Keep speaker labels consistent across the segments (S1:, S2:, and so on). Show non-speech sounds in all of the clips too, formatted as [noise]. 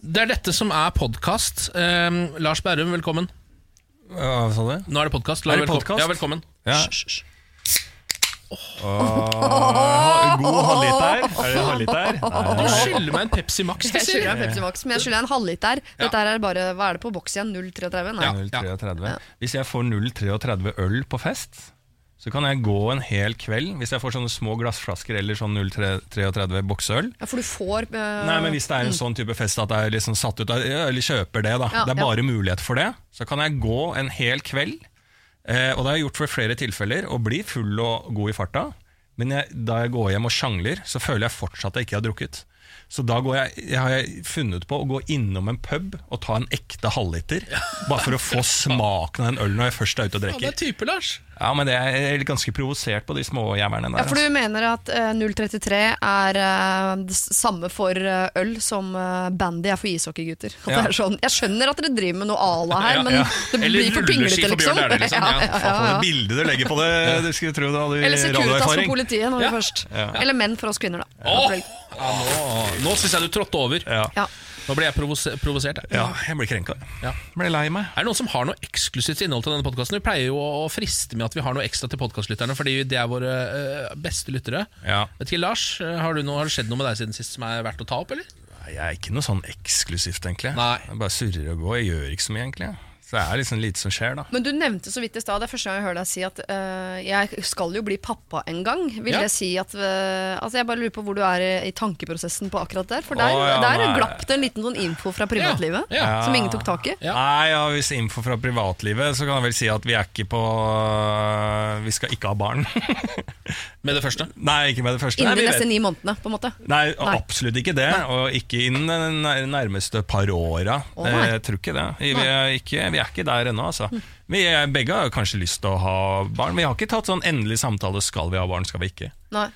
S1: Det er dette som er podkast. Um, Lars Berrum, velkommen.
S2: Hva sa du?
S1: Nå er det podkast.
S2: Er det podcast?
S1: Ja, velkommen.
S2: Ja.
S1: Hysj, hysj, hysj.
S2: God halvliter. Er det en halvliter?
S1: Du
S2: Nei.
S1: skylder meg en Pepsi Max. Det
S3: Jeg skylder
S1: sier jeg.
S3: deg Pepsi Max, men jeg skylder deg en halvliter. Dette her er bare, Hva er det på boks igjen? 0,33? Nei.
S1: Ja.
S2: 0,33. Hvis jeg får 0,33 øl på fest, så kan jeg gå en hel kveld. Hvis jeg får sånne små glassflasker eller sånn 0,33 bokseøl.
S3: Ja, for du får eh,
S2: Nei, men Hvis det er en sånn type fest at jeg er liksom satt ut av, eller kjøper det, da.
S3: Ja,
S2: det er
S3: ja.
S2: bare mulighet for det. Så kan jeg gå en hel kveld, eh, og det har jeg gjort ved flere tilfeller, og blir full og god i farta. Men jeg, da jeg går hjem og sjangler, så føler jeg fortsatt at jeg ikke har drukket. Så da går jeg, jeg har jeg funnet på å gå innom en pub og ta en ekte halvliter. Bare for å få smaken av den ølen når jeg først er ute og
S1: Ja, det er
S2: drikker.
S1: type, Lars.
S2: Ja, men det er, jeg er ganske provosert på de småjævlene der.
S3: Ja, for du mener at eh, 0,33 er eh, det s- samme for eh, øl som eh, bandy er for ishockeygutter. At
S2: Ja.
S3: det er sånn. Jeg skjønner at dere driver med noe ala her,
S1: Ja,
S3: men
S1: ja.
S3: det
S1: Eller
S3: blir for
S1: rulleski
S3: pinglete,
S1: for Bjørn
S3: liksom.
S1: Dæhlie, liksom. Ja,
S3: [laughs] ja,
S2: Faen, for
S3: ja,
S2: et
S3: ja.
S2: bilde du legger på det! Du skulle tro du hadde
S3: Eller Securitas for
S2: radioerfaring.
S3: politiet, når
S1: Ja.
S3: vi først.
S2: Ja.
S3: Eller menn for oss kvinner, da.
S1: Åh! Ja, nå nå syns jeg du trådte over.
S2: Ja.
S3: Ja.
S1: Nå ble jeg provose- provosert. jeg.
S2: Ja, jeg blir krenka.
S1: Ja.
S2: Ble lei meg.
S1: Er det noen som har noe eksklusivt innhold til denne podkasten? Vi pleier jo å friste med at vi har noe ekstra til podkastlytterne, fordi det er våre eh, beste lyttere.
S2: Ja.
S1: Vet ikke, Lars, eh, har, du noe, har det skjedd noe med deg siden sist som er verdt å ta opp, eller?
S2: Nei, Jeg er ikke noe sånn eksklusivt, egentlig.
S1: Nei.
S2: Jeg bare surrer og går. Jeg gjør ikke så mye, egentlig. Så det er liksom lite som skjer, da.
S3: Men du nevnte så vidt i stad, det er første gang jeg hører deg si at øh, jeg skal jo bli pappa en gang. Vil
S1: Ja.
S3: det si at øh, Altså, jeg bare lurer på hvor du er i, i tankeprosessen på akkurat der. For
S2: Å,
S3: der,
S2: ja,
S3: der
S2: nei.
S3: glapp det en liten sånn info fra privatlivet
S1: Ja,
S2: ja.
S3: som ingen tok tak i.
S1: Ja.
S2: Nei, ja, Hvis info fra privatlivet, så kan jeg vel si at vi er ikke på Vi skal ikke ha barn. [laughs]
S1: Med det første.
S2: Nei, ikke med det første. Nei,
S3: Innen
S2: vi
S3: de
S2: vet-
S3: neste ni månedene, på en måte.
S2: Nei, absolutt ikke det. Og ikke innen de nærmeste par åra.
S3: Å,
S2: Eh,
S3: nei. Hm.
S2: jeg tror ikke det. Vi er ikke, vi er ikke der ennå, altså. Vi er, begge har kanskje lyst til å ha barn. Vi har ikke tatt sånn endelig samtale skal vi ha barn, skal vi ikke.
S3: Nei.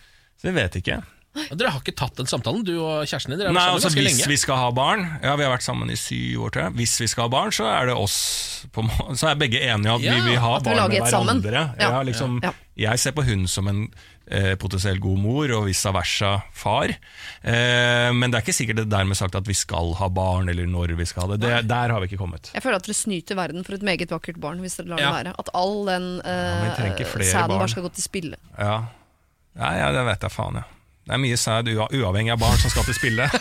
S2: Så vi vet ikke.
S1: Og Dere har ikke tatt den samtalen, du og kjæresten din? Dere har
S2: Nei,
S1: vært
S2: altså
S1: sammen ganske
S2: Hvis
S1: lenge.
S2: vi skal ha barn Ja, vi har vært sammen i syv år, tror jeg. Hvis vi skal ha barn, så er det oss på må- [laughs] Så er begge enige at
S1: Ja,
S2: vi vil ha
S3: at vi
S2: barn
S3: lager
S2: med
S3: et sammen.
S2: hverandre.
S3: Ja.
S2: Ja. liksom,
S3: Ja.
S2: Jeg ser på hun som en eh, potensiell god mor, og vice versa far. Eh, men det er ikke sikkert det er dermed sagt at vi skal ha barn, eller når vi skal ha det. det der har vi ikke kommet.
S3: Jeg føler at dere snyter verden for et meget vakkert barn. Hvis dere lar det
S1: Ja.
S3: være At all den
S2: men vi trenger
S3: øh,
S2: ikke flere
S3: sæden
S2: barn.
S3: bare skal gå til spille.
S2: Ja, ja, ja det vet jeg faen, ja. Det er mye sæd ua- uavhengig av barn som skal til spille.
S3: [laughs]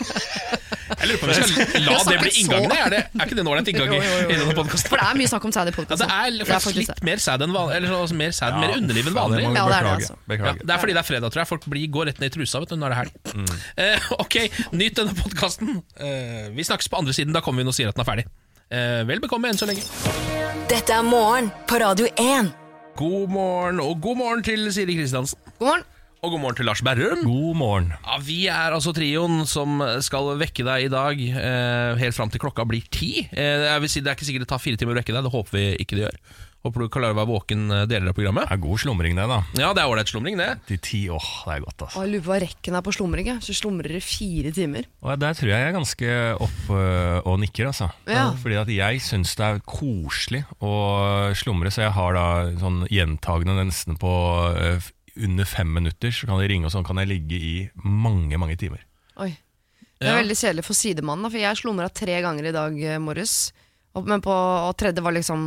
S1: Jeg lurer på om vi skal la
S3: Jeg
S1: det bli
S3: snakker så-
S1: inngangen. Er, det, er ikke det en ålreit inngang i
S3: Jo, jo, jo, jo.
S1: i denne podkasten?
S3: For det er altså- mye snakk om sæd i
S1: Ja, det
S3: podkasten.
S1: er faktisk litt mer sæd enn vanlig. Eller så, altså mer sæd, mer underliv enn vanlig.
S2: Ja, det må vi
S3: Ja, det er det,
S2: beklage.
S3: altså.
S1: Ja,
S2: beklage.
S1: det er fordi det er fredag, tror jeg. Folk blir, går rett ned i trusa vet du, når det er helg. Eh, ok, nyt denne podkasten. Eh, vi snakkes på andre siden. Da kommer vi inn og sier at den er ferdig. Eh, vel bekomme enn så lenge.
S4: Dette er morgen på Radio 1.
S1: God morgen, og god morgen til Siri Kristiansen.
S3: God morgen.
S1: Og god morgen til Lars Berrum.
S2: God morgen.
S1: Ja, vi er altså trioen som skal vekke deg i dag eh, helt fram til klokka blir ti. Eh, jeg vil si, det er ikke sikkert det tar fire timer å vekke deg, det håper vi ikke det gjør. Håper du kan klare å være våken eh, deler av programmet.
S2: Det er god slumring, det, da.
S1: Ja, det er ålreit slumring, det.
S2: Til ti, åh, det er godt, altså.
S3: Og jeg lurer på hva rekken er på slumring. jeg. Så slumrer det fire timer.
S2: Og Der tror jeg jeg er ganske oppe og nikker, altså.
S3: Ja.
S2: Fordi at jeg syns det er koselig å slumre, så jeg har da sånn gjentagende nesten på eh, f- under fem minutter, så kan de ringe, og sånn kan jeg ligge i mange, mange timer.
S3: Oi. Det er
S1: Ja.
S3: veldig kjedelig for sidemannen, da, for jeg slumra tre ganger i dag eh, morges. Og, men på og tredje var liksom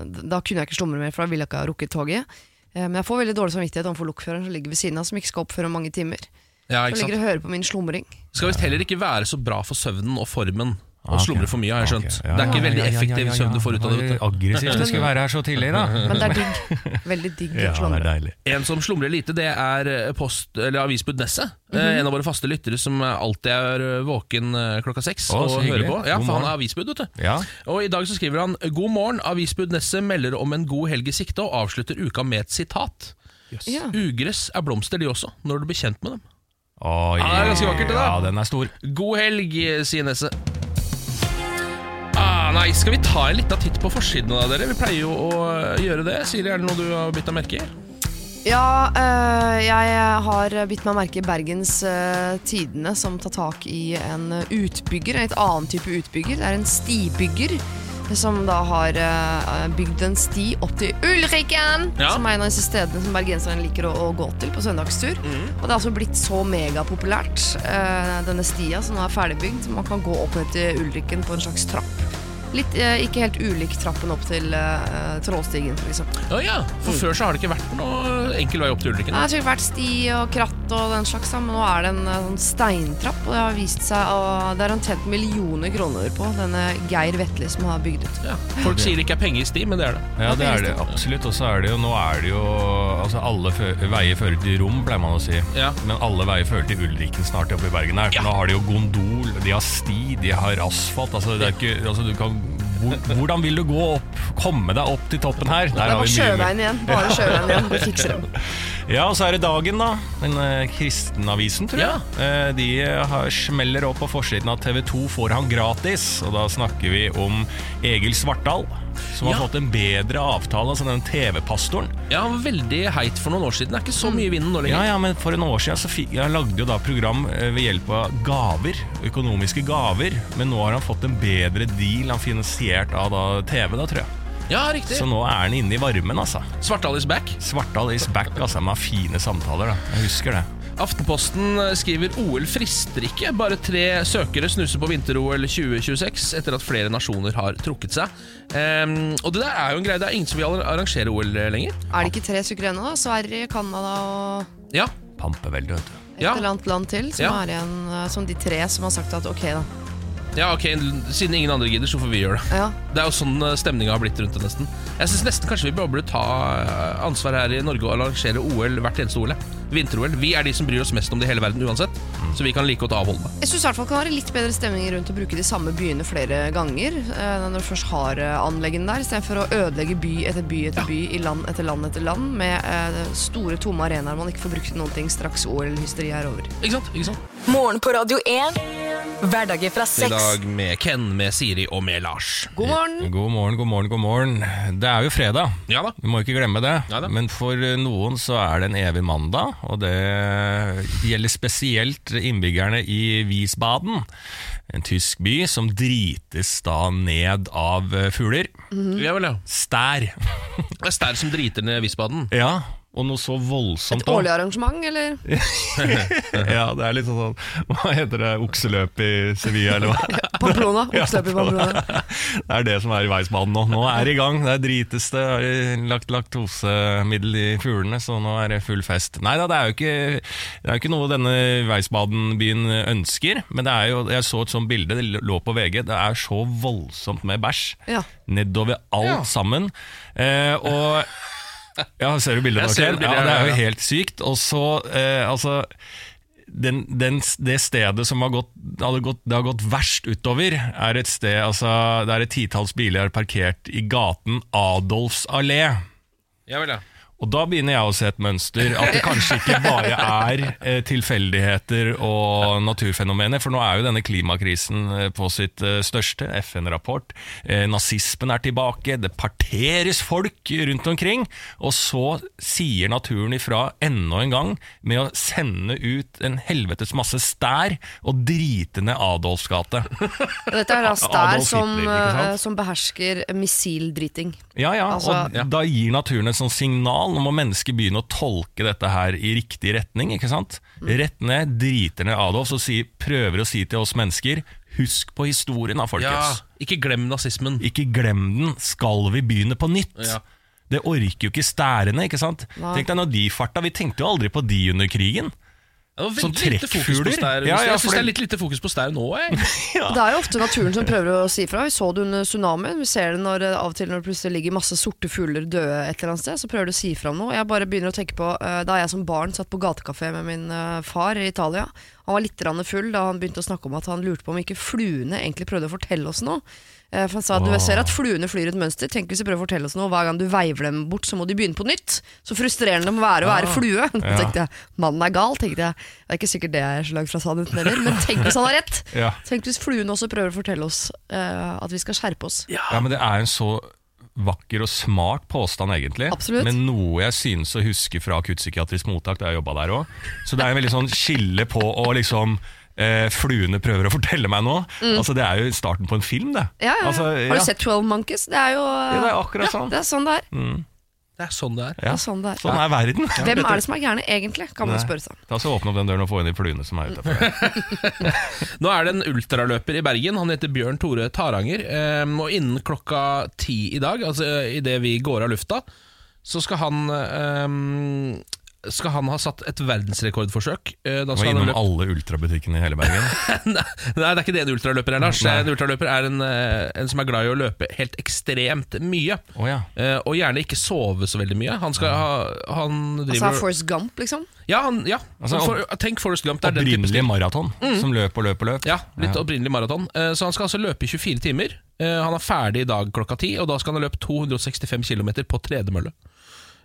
S3: Da kunne jeg ikke slumre mer, for da ville jeg ikke ha rukket toget. Eh, Men jeg får veldig dårlig samvittighet overfor lokføreren som ligger ved siden av, som ikke skal opp før om mange timer.
S1: Ja,
S3: Så
S1: ikke sant?
S3: ligger og hører på min slumring.
S1: Det skal visst heller ikke være så bra for søvnen og formen å
S2: Ah, ok.
S1: slumre for mye, har jeg skjønt.
S2: Ok, ja,
S1: Det er ikke
S2: ja,
S1: veldig
S2: ja, ja, ja,
S1: effektiv
S2: ja,
S1: søvn du får ut av det.
S2: Det
S1: vet
S2: var Aggressivt det skulle være her så tidlig,
S1: [laughs]
S2: da.
S3: Men det er digg. Veldig digg å
S2: Ja, det
S3: slumre.
S2: er deilig.
S1: du. En som slumrer lite, det er eh, post- eller avisbud Nesset. Eh,
S2: Mhm.
S1: En av våre faste lyttere som alltid er eh, våken eh, klokka seks
S2: Å,
S1: og
S2: så
S1: hører
S2: hyggelig.
S1: på. Ja,
S2: God
S1: for han
S2: morgen.
S1: er avisbud, vet du.
S2: Ja.
S1: Og I dag så skriver han God morgen, avisbud Nesset melder om en god helg i sikte og avslutter uka med et sitat.
S3: Ja.
S1: Ugress er blomster, de også, når du blir kjent med dem.
S2: Oi,
S1: Ja, det er ganske vakkert, det da.
S2: Ja, den er stor.
S1: God helg, sier Nesse. Ah, nei, skal vi ta en liten titt på forsiden av dere? Vi pleier jo å eh, gjøre det. Siri, er det noe du har bytta merke i?
S3: Ja, øh, jeg har bitt meg merke i Bergens øh, Tidende, som tar tak i en utbygger. En litt annen type utbygger. Det er en stibygger som da har eh, bygd en sti opp til Ulriken,
S1: Ja.
S3: som er en av disse stedene som bergenserne liker å, å gå til på søndagstur. Og det er altså blitt så megapopulært, eh, denne stia som nå er ferdigbygd. Man kan gå opp ned til Ulriken på en slags trapp. Litt, eh, ikke helt ulik trappen opp til eh, Trollstigen, for eksempel.
S1: Å ja, for før så har det ikke vært noe enkel vei opp til Ulriken.
S3: Det har sikkert vært sti og kratt og den slags, da, men nå er det en eh, sånn steintrapp. Og det har vist seg å Det er han tjent millioner kroner på, denne Geir Vetle som har bygd ut.
S1: Ja. Folk sier det ikke er penger i sti, men det er det.
S2: Ja, det er det absolutt. Og så er det jo, nå er det jo Altså, alle fø- veier fører til Rom, pleier man å si.
S1: Ja.
S2: Men alle veier fører til Ulriken snart oppe i Bergen her. For nå har de jo gondol, de har sti, de har asfalt. Altså, det er ikke Altså, du kan hvor, Hvordan vil du gå opp? Komme deg opp til toppen her? Der
S3: Det er
S2: har
S3: bare
S2: vi mye mer.
S3: sjøveien igjen. Bare sjøveien igjen.
S2: [laughs]
S3: Vi fikser dem.
S2: Ja, og så er det dagen, da. Den eh, kristenavisen, tror jeg. Eh, de har, smeller opp på forsiden at TV 2 får han gratis. Og da snakker vi om Egil Svartdal, som
S1: Ja.
S2: har fått en bedre avtale som den TV-pastoren.
S1: Ja, han var veldig heit for noen år siden. Det er ikke så mye i vinden nå
S2: Ja,
S1: lenger.
S2: ja, men for en år siden så fikk, jeg lagde jo da program eh, ved hjelp av gaver, økonomiske gaver, men nå har han fått en bedre deal, han finansiert av da TV da, tror jeg.
S1: Ja, Sånn. riktig.
S2: Så nå er han inne i varmen, altså.
S1: Svartdal is back.
S2: Svartdal is back, altså, med fine samtaler da. Jeg husker det.
S1: Aftenposten skriver OL frister ikke. Bare tre søkere snuser på vinter-OL 2026 etter at flere nasjoner har trukket seg. Ehm, og det der er jo en greie. Det er ingen som vil arrangere OL lenger.
S3: Er det ikke tre stykker igjen nå? da? Sverige, Canada og
S1: Ja,
S2: Pampevelde, vet du.
S3: et
S1: Ja.
S3: eller annet land til som
S1: Ja.
S3: er igjen eh, som de tre som har sagt at ok, da.
S1: ja ok, siden ingen andre gidder, så får vi gjøre det.
S3: Ja.
S1: Det er jo sånn stemninga har blitt rundt det, nesten. Jeg syns nesten kanskje vi bare burde ta eh, ansvar her i Norge og arrangere OL hvert eneste OL. Vinter-OL. Vi er de som bryr oss mest om det i hele verden uansett, så vi kan like godt avholde det.
S3: Jeg syns i hvert fall kan være litt bedre stemning rundt å bruke de samme byene flere ganger. eh, Når du først har eh, anleggene der, istedenfor å ødelegge by etter by etter by i land etter land etter land med eh, store, tomme arenaer man ikke får brukt til noen ting straks OL-hysteriet er over.
S1: Ikke sant? Ikke sant?
S4: Morgen på Radio 1. Hverdager fra
S1: I
S4: seks.
S1: dag med Ken, med Siri og med Lars.
S3: God morgen!
S2: God morgen, god morgen, god morgen. Det er jo fredag.
S1: Ja da.
S2: Vi må ikke glemme det.
S1: Neida.
S2: Men for eh, noen så er det en evig mandag, og det gjelder spesielt innbyggerne i Wiesbaden. En tysk by som drites da ned av eh, fugler.
S1: Ja vel, ja.
S2: [laughs] Stær.
S1: Det er Stær som driter ned Visbaden.
S2: Ja, og noe så voldsomt
S3: Et
S2: da.
S3: årlig arrangement, eller?
S2: [laughs] Ja, det er litt sånn Hva heter det? Okseløp i Sevilla, eller hva? [laughs]
S3: Pamplona. Oppstøp i Pamplona.
S2: Det er det som er i Weisbaden nå. Nå er det i gang. Det er drites det. Har de lagt laktosemiddel i fuglene, så nå er det full fest. Nei da, det er jo ikke, det er jo ikke noe denne Weisbaden-byen ønsker. Men det er jo, jeg så et sånt bilde, det lå på VG. Det er så voldsomt med bæsj.
S3: Ja.
S2: Nedover alt sammen. Eh, og ja, ser du bildet
S1: Jeg
S2: nå,
S1: ser
S2: Ken?
S1: bildet,
S2: Ja, det er
S1: ja,
S2: jo
S1: ja.
S2: helt sykt. Og så, eh, altså den, den, Det stedet som har gått, hadde gått, det har gått verst utover, er et sted altså, Det er et titalls biler parkert i gaten Adolfs allé.
S1: Ja vel, ja.
S2: Og da begynner jeg å se et mønster. At det kanskje ikke bare er eh, tilfeldigheter og naturfenomener. For nå er jo denne klimakrisen eh, på sitt eh, største. FN-rapport. Eh, nazismen er tilbake. Det parteres folk rundt omkring. Og så sier naturen ifra enda en gang med å sende ut en helvetes masse stær og drite ned Adolfs gate.
S3: Og Dette er da stær
S2: Adolf Hitler,
S3: som,
S2: ikke sant?
S3: eh, som behersker missildriting.
S2: Ja, ja,
S3: Altså-
S2: og da gir naturen et sånt signal Nå må mennesker begynne å tolke dette her i riktig retning, ikke sant? Rett ned, driter ned Adolf og sier, prøver å si til oss mennesker Husk på historien da,
S1: ja.
S2: folkens
S1: Ikke glem nazismen.
S2: Ikke glem den, skal vi begynne på nytt?
S1: Ja.
S2: Det orker jo ikke stærene, ikke sant? Tenk deg når de farta, vi tenkte jo aldri på de under krigen
S1: Det var
S2: Som
S1: veldig lite fokus på
S2: Sånn trekkfugler.
S1: stær.
S2: Ja, ja,
S1: jeg syns
S2: for
S1: det er
S2: det-
S1: litt lite fokus på stær nå, jeg.
S3: Det er jo ofte naturen som prøver å si fra. Vi så det under tsunamien. Vi ser det når, eh, av og til når det plutselig ligger masse sorte fugler døde et eller annet sted. Så prøver du å si fra om noe. Jeg bare begynner å tenke på eh, Da jeg som barn satt på gatekafé med min eh, far i Italia. Han var litt grann full da han begynte å snakke om at han lurte på om ikke fluene egentlig prøvde å fortelle oss noe. Eh, For han sa at du ser at fluene flyr et mønster. Tenk hvis de prøver å fortelle oss noe. Hver gang du veiver dem bort, så må de begynne på nytt. Så frustrerende det må være å være flue. [laughs] Da tenkte jeg, Mannen er gal, tenkte jeg. Det er ikke sikkert det er så langt fra sannheten heller, men tenk hvis han har rett.
S2: Ja.
S3: Tenk hvis fluen også prøver å fortelle oss eh, at vi skal skjerpe oss.
S2: Ja, men det er jo en så vakker og smart påstand, egentlig.
S3: Absolutt.
S2: Men noe jeg synes å huske fra akuttpsykiatrisk mottak, da jeg jobba der òg. Så det er en veldig sånn skille på å liksom eh, fluene prøver å fortelle meg nå. Altså, det er jo starten på en film, det.
S3: Mm. Ja, ja, ja.
S2: Altså, ja.
S3: Har du sett 12 Monkeys? Det er jo
S2: Ja, det er akkurat sånn.
S3: Det er sånn det er.
S1: Det er sånn det er.
S3: Det
S2: Ja.
S3: er, sånn det er.
S2: Sånn er verden.
S3: Hvem er det som er gærne, egentlig? Kan man
S2: Nei.
S3: spørre seg.
S2: Ta så Åpne opp den døren og få inn de fluene som er utafor.
S1: Nå er det en ultraløper i Bergen. Han heter Bjørn Tore Taranger. ehm, Og innen klokka ti i dag, altså idet vi går av lufta, så skal han ehm, skal han ha satt et verdensrekordforsøk? Eh, Da
S2: Var
S1: skal han ha
S2: innom
S1: løpt-
S2: alle ultrabutikkene i hele Bergen.
S1: Nei, det er ikke det en ultraløper er, Lars.
S2: Nei.
S1: En ultraløper er en, eh, en som er glad i å løpe helt ekstremt mye.
S2: Å ja.
S1: Eh, Og gjerne ikke sove så veldig mye. Han skal ha Han
S3: Altså
S1: driver
S3: er Forrest Gump, liksom.
S1: Ja, han, ja.
S2: Altså,
S1: For, tenk Forrest Gump. Det er den type
S2: Opprinnelig maraton,
S3: Mm.
S2: som løp og løp og løp.
S1: Ja, litt opprinnelig maraton. Eh, Så han skal altså løpe i 24 timer. Eh, Han er ferdig i dag klokka 10, og da skal han ha løpt 265 km på tredemølle.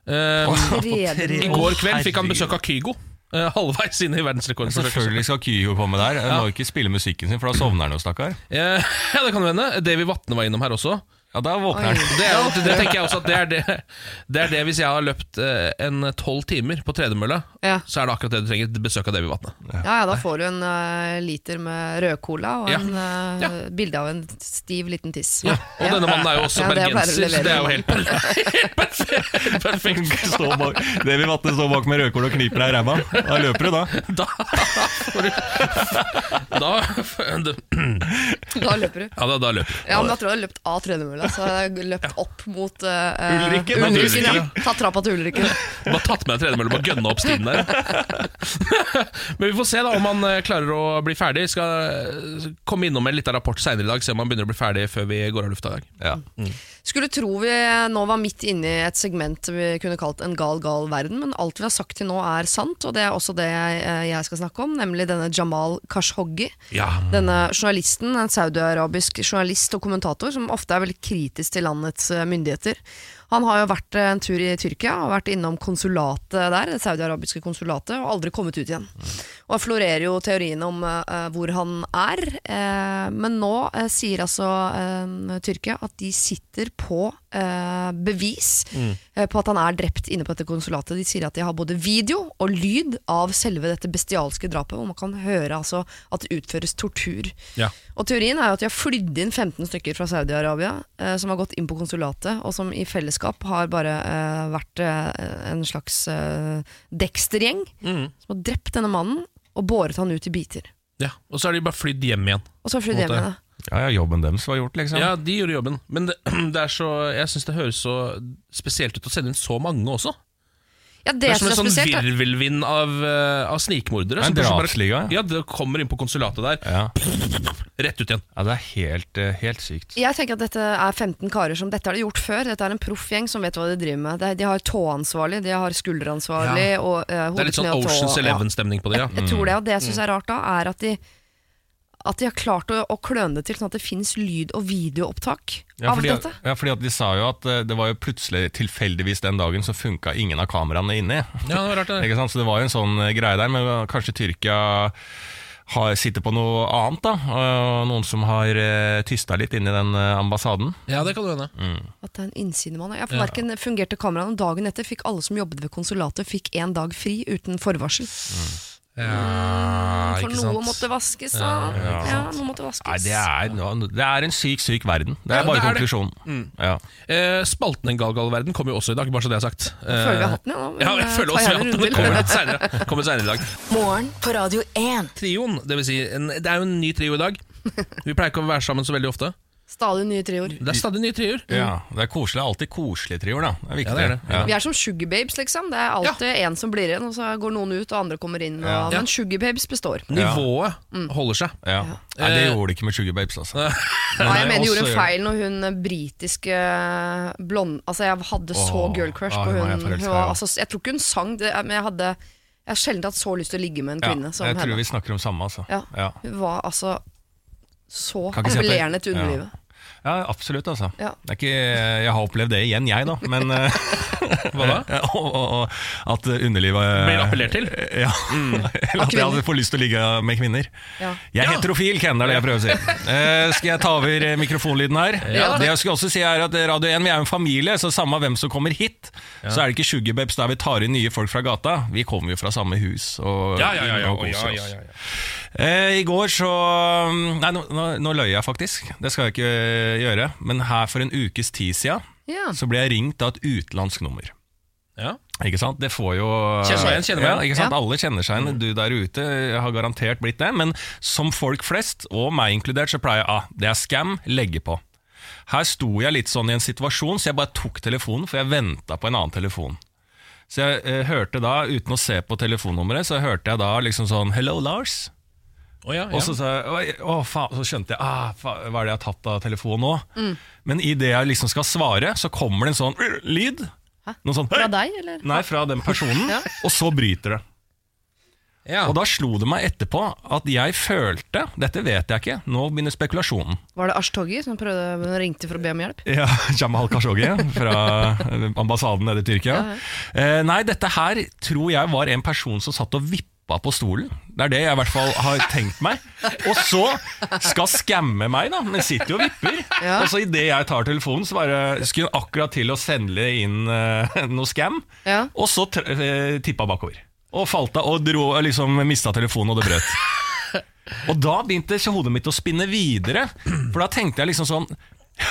S1: Eh,
S3: Tredje-
S1: I går kveld fikk han besøk av Kygo, eh, halvveis inn i verdensrekordforsøket.
S2: Selvfølgelig skal Kygo komme der. Han må ikke spille musikken sin, for da sovner han jo, stakkar.
S1: Eh, [laughs] Ja, det kan jo hende. Davy Vatne var innom her også.
S2: Ja, da våkner [laughs] han.
S1: Det, er, jo- det tenker jeg også at det er det, det er det hvis jeg har løpt eh, en tolv timer på tredemølle,
S3: Ja.
S1: så er det akkurat det du trenger. Besøk av Davy Vatne.
S3: Ja, ja, da får du en eh, liter med rødcola og
S1: Ja.
S3: en eh,
S1: Ja.
S3: bilde av en stiv liten tiss.
S1: Ja. Og
S3: Ja.
S1: denne mannen er jo også
S3: Ja, det pleier å
S1: bergenser, så det er jo
S3: levere.
S1: [laughs] helt perfekt. perfekt, perfekt.
S2: Stå bak- Davy Vatne står bak med rødkål og kniper deg i ræva. Da løper du, da.
S1: Da får du Da
S3: [laughs] Da løper du.
S1: Ja, da, da løper du.
S3: Ja, men da tror jeg du har løpt av tredemølla. Så jeg har løpt opp mot eh,
S2: Ulriken,
S3: eh,
S2: da, til
S3: Ulriken, ja.
S2: Ulriken.
S3: Ta trappa til Ulriken.
S1: Bare tatt med en tredemølle og gønna opp stien der. Men vi får se da om han eh, klarer å bli ferdig. Skal eh, komme innom med en liten rapport seinere i dag, se om han begynner å bli ferdig før vi går av lufta i dag.
S2: Ja.
S3: Skulle tro vi nå var midt inne i et segment vi kunne kalt en gal, gal verden, men alt vi har sagt til nå er sant, og det er også det jeg, eh, jeg skal snakke om, nemlig denne Jamal Khashoggi.
S1: Ja.
S3: Denne journalisten, en saudiarabisk journalist og kommentator, som ofte er veldig kritisk til landets eh, myndigheter. Han har jo vært eh, en tur i Tyrkia og vært innom konsulatet der, det saudiarabiske konsulatet, og aldri kommet ut igjen. Og det florerer jo teoriene om eh, eh, hvor han er, eh, men nå eh, sier altså eh, Tyrkia at de sitter på eh, bevis
S1: Mm.
S3: eh, på at han er drept inne på dette konsulatet. De sier at de har både video og lyd av selve dette bestialske drapet, hvor man kan høre altså at det utføres tortur.
S1: Ja.
S3: Og teorien er jo at de har flydd inn 15 stykker fra Saudi-Arabia, eh, som har gått inn på konsulatet, og som i fellesskap har bare eh, vært eh, en slags eh, Dexter-gjeng,
S1: Mm.
S3: som har drept denne mannen og båret han ut i biter.
S1: ja. Og så har de bare flydd hjem igjen.
S3: Og så har de flydd
S1: Måte.
S3: hjem igjen. da.
S2: ja, ja, jobben deres var gjort, liksom.
S1: Ja, de gjorde jobben. Men det, [clears throat] det er så, jeg syns det høres så spesielt ut å sende inn så mange også.
S3: Ja, det,
S1: Det er
S3: som
S1: som en sånn
S3: spesielt, er-
S1: virvelvind av, eh, av snikmordere.
S2: En
S1: som plutselig
S2: drapsliga.
S1: Bare, ja, det kommer inn på konsulatet der,
S2: Ja.
S1: rett ut igjen.
S2: ja, det er helt, eh, helt sykt.
S3: Jeg tenker at dette er 15 karer som Dette har de gjort før. Dette er en proffgjeng som vet hva de driver med. De, de har tåansvarlig, de har skulderansvarlig og uh,
S1: Det er litt sånn Oceans Eleven-stemning på det.
S3: [laughs]
S1: ja Mm.
S3: Jeg tror det, og det jeg syns er rart da, er at de at de har klart å, å kløne det til sånn at det fins lyd- og videoopptak
S2: Ja,
S3: av
S2: fordi,
S3: dette.
S2: ja, fordi at De sa jo at eh, det var jo plutselig tilfeldigvis den dagen så funka ingen av kameraene inni.
S1: Ja, det var rart det der.
S2: Ikke sant? Så det var jo en sånn eh, greie der, men eh, kanskje Tyrkia har, sitter på noe annet, da. Og noen som har eh, tysta litt inni den eh, ambassaden.
S1: Ja, det kan du hende.
S3: At det er en innsidemann. Ja, for verken fungerte kameraene dagen etter, fikk alle som jobbet ved konsulatet, fikk én dag fri uten forvarsel.
S1: Ja,
S3: For noe måtte vaskes, da. Ja, noe måtte vaskes.
S2: Nei, det er, nå- det er en syk, syk verden. Det Mm.
S1: Ja,
S2: er bare
S1: det er det.
S2: konklusjonen. Ja.
S1: Eh, spalten En gal gal verden kommer jo også i dag, bare så det er sagt.
S3: Jeg føler vi har hatt den, ja, nå, men,
S1: Ja, jeg
S3: eh,
S1: føler
S3: ta
S1: også vi
S3: gjerne
S1: har hatt den.
S3: en
S1: Det kommer litt senere. Kommer senere i dag.
S4: Morgen på Radio 1.
S1: Trioen, det vil si en, Det er jo en ny trio i dag. Vi pleier ikke å være sammen så veldig ofte.
S3: Stadig nye trioer.
S1: Det er stadig nye trioer.
S2: ja, Det er koselig. Alltid koselige trioer, da. Det er viktig.
S1: Ja, det er det.
S2: Mm. Ja.
S3: Vi er som sugarbabes, liksom. Det er alltid én som blir igjen, og så går noen ut, og andre kommer inn. Og,
S2: Ja.
S3: Men sugarbabes består.
S1: Nivået
S3: Mm.
S1: holder seg. [laughs]
S2: Ja. Nei, det gjorde det ikke med Sugar Babes, altså.
S3: Nei, jeg
S2: nei,
S3: mener jeg gjorde
S2: også
S3: en
S2: gjør-
S3: feil når hun eh, britiske blond... Altså, jeg hadde så
S2: Åh,
S3: girl crush
S2: ah,
S3: på
S2: hun var
S3: hun.
S2: jeg forelsket
S3: hun
S2: i,
S3: var,
S2: ja.
S3: altså, jeg tror ikke hun sang, det, men jeg hadde Jeg har sjelden hatt så lyst til å ligge med en
S2: Ja,
S3: kvinne som
S2: jeg tror
S3: henne.
S2: vi snakker om samme, altså.
S3: Ja.
S2: Ja.
S3: Hun var altså så
S2: Kan ikke si at det-
S3: appellerende til underlivet.
S2: Ja, absolutt, altså.
S3: Ja.
S2: Det er ikke, jeg har opplevd det igjen, jeg, da. Men eh, [laughs]
S1: Hva da?
S2: og, og, og, at underlivet
S1: Blir appellert til?
S2: Ja. [laughs] Eller at jeg hadde får lyst til å ligge med kvinner.
S3: Ja.
S2: Jeg er
S1: Ja.
S2: heterofil, Ken, det er det jeg prøver å si.
S1: [laughs]
S2: Eh, skal jeg ta over eh, mikrofonlyden her?
S3: Ja.
S2: Det jeg skal også si er at Radio 1 vi er jo en familie, så samme hvem som kommer hit, så er det ikke sugarbabes der vi tar inn nye folk fra gata. Vi kommer jo fra samme hus og
S1: Ja, ja, ja, ja,
S2: og koser
S1: ja, ja,
S2: oss.
S1: ja,
S2: Eh, I går så Nei, nå, nå, nå løy jeg faktisk. Det skal jeg ikke eh, gjøre. Men her for en ukes tid siden
S3: Ja.
S2: så ble jeg ringt av et utenlandsk nummer.
S1: Ja.
S2: Ikke sant? Det får jo
S1: Kjenner meg igjen, kjenner meg igjen. Mm.
S2: Ja, ikke sant?
S3: Ja.
S2: Alle kjenner seg igjen. Du der ute har garantert blitt det. Men som folk flest, og meg inkludert, så pleier jeg ah, det er scam, legge på. Her sto jeg litt sånn i en situasjon, så jeg bare tok telefonen, for jeg venta på en annen telefon. Så jeg eh, hørte da, uten å se på telefonnummeret, så hørte jeg da liksom sånn Hello, Lars.
S1: Å, ja, ja.
S2: Og så sa jeg «Oi, Å, faen. Så skjønte jeg ah, faen, hva er det jeg har tatt av telefonen nå.
S1: Mm.
S2: Men idet jeg liksom skal svare, så kommer det en sånn «Rrr», lyd. Noe sånn,
S3: Fra
S2: «Hei!»
S3: deg, eller?
S2: Nei, fra den personen.
S3: Ja.
S2: Og så bryter det.
S1: ja.
S2: Og da slo det meg etterpå at jeg følte Dette vet jeg ikke, nå begynner spekulasjonen.
S3: Var det Ashtogi som prøvde, ringte for å be om hjelp?
S2: Ja, [laughs] Jamal Khashoggi fra eh, ambassaden nede i Tyrkia. Eh, nei, dette her tror jeg var en person som satt og vippa på stolen. Det er det jeg i hvert fall har tenkt meg. Og så skal skamme meg, da. Men sitter jo og vipper.
S3: Ja.
S2: Og så idet jeg tar telefonen, så bare skulle hun akkurat til å sende inn eh, [laughs] noe scam.
S3: Ja.
S2: Og så tr- eh, tippa bakover. Og falt av og dro, liksom mista telefonen, og det brøt. Og da begynte så hodet mitt å spinne videre. For da tenkte jeg liksom sånn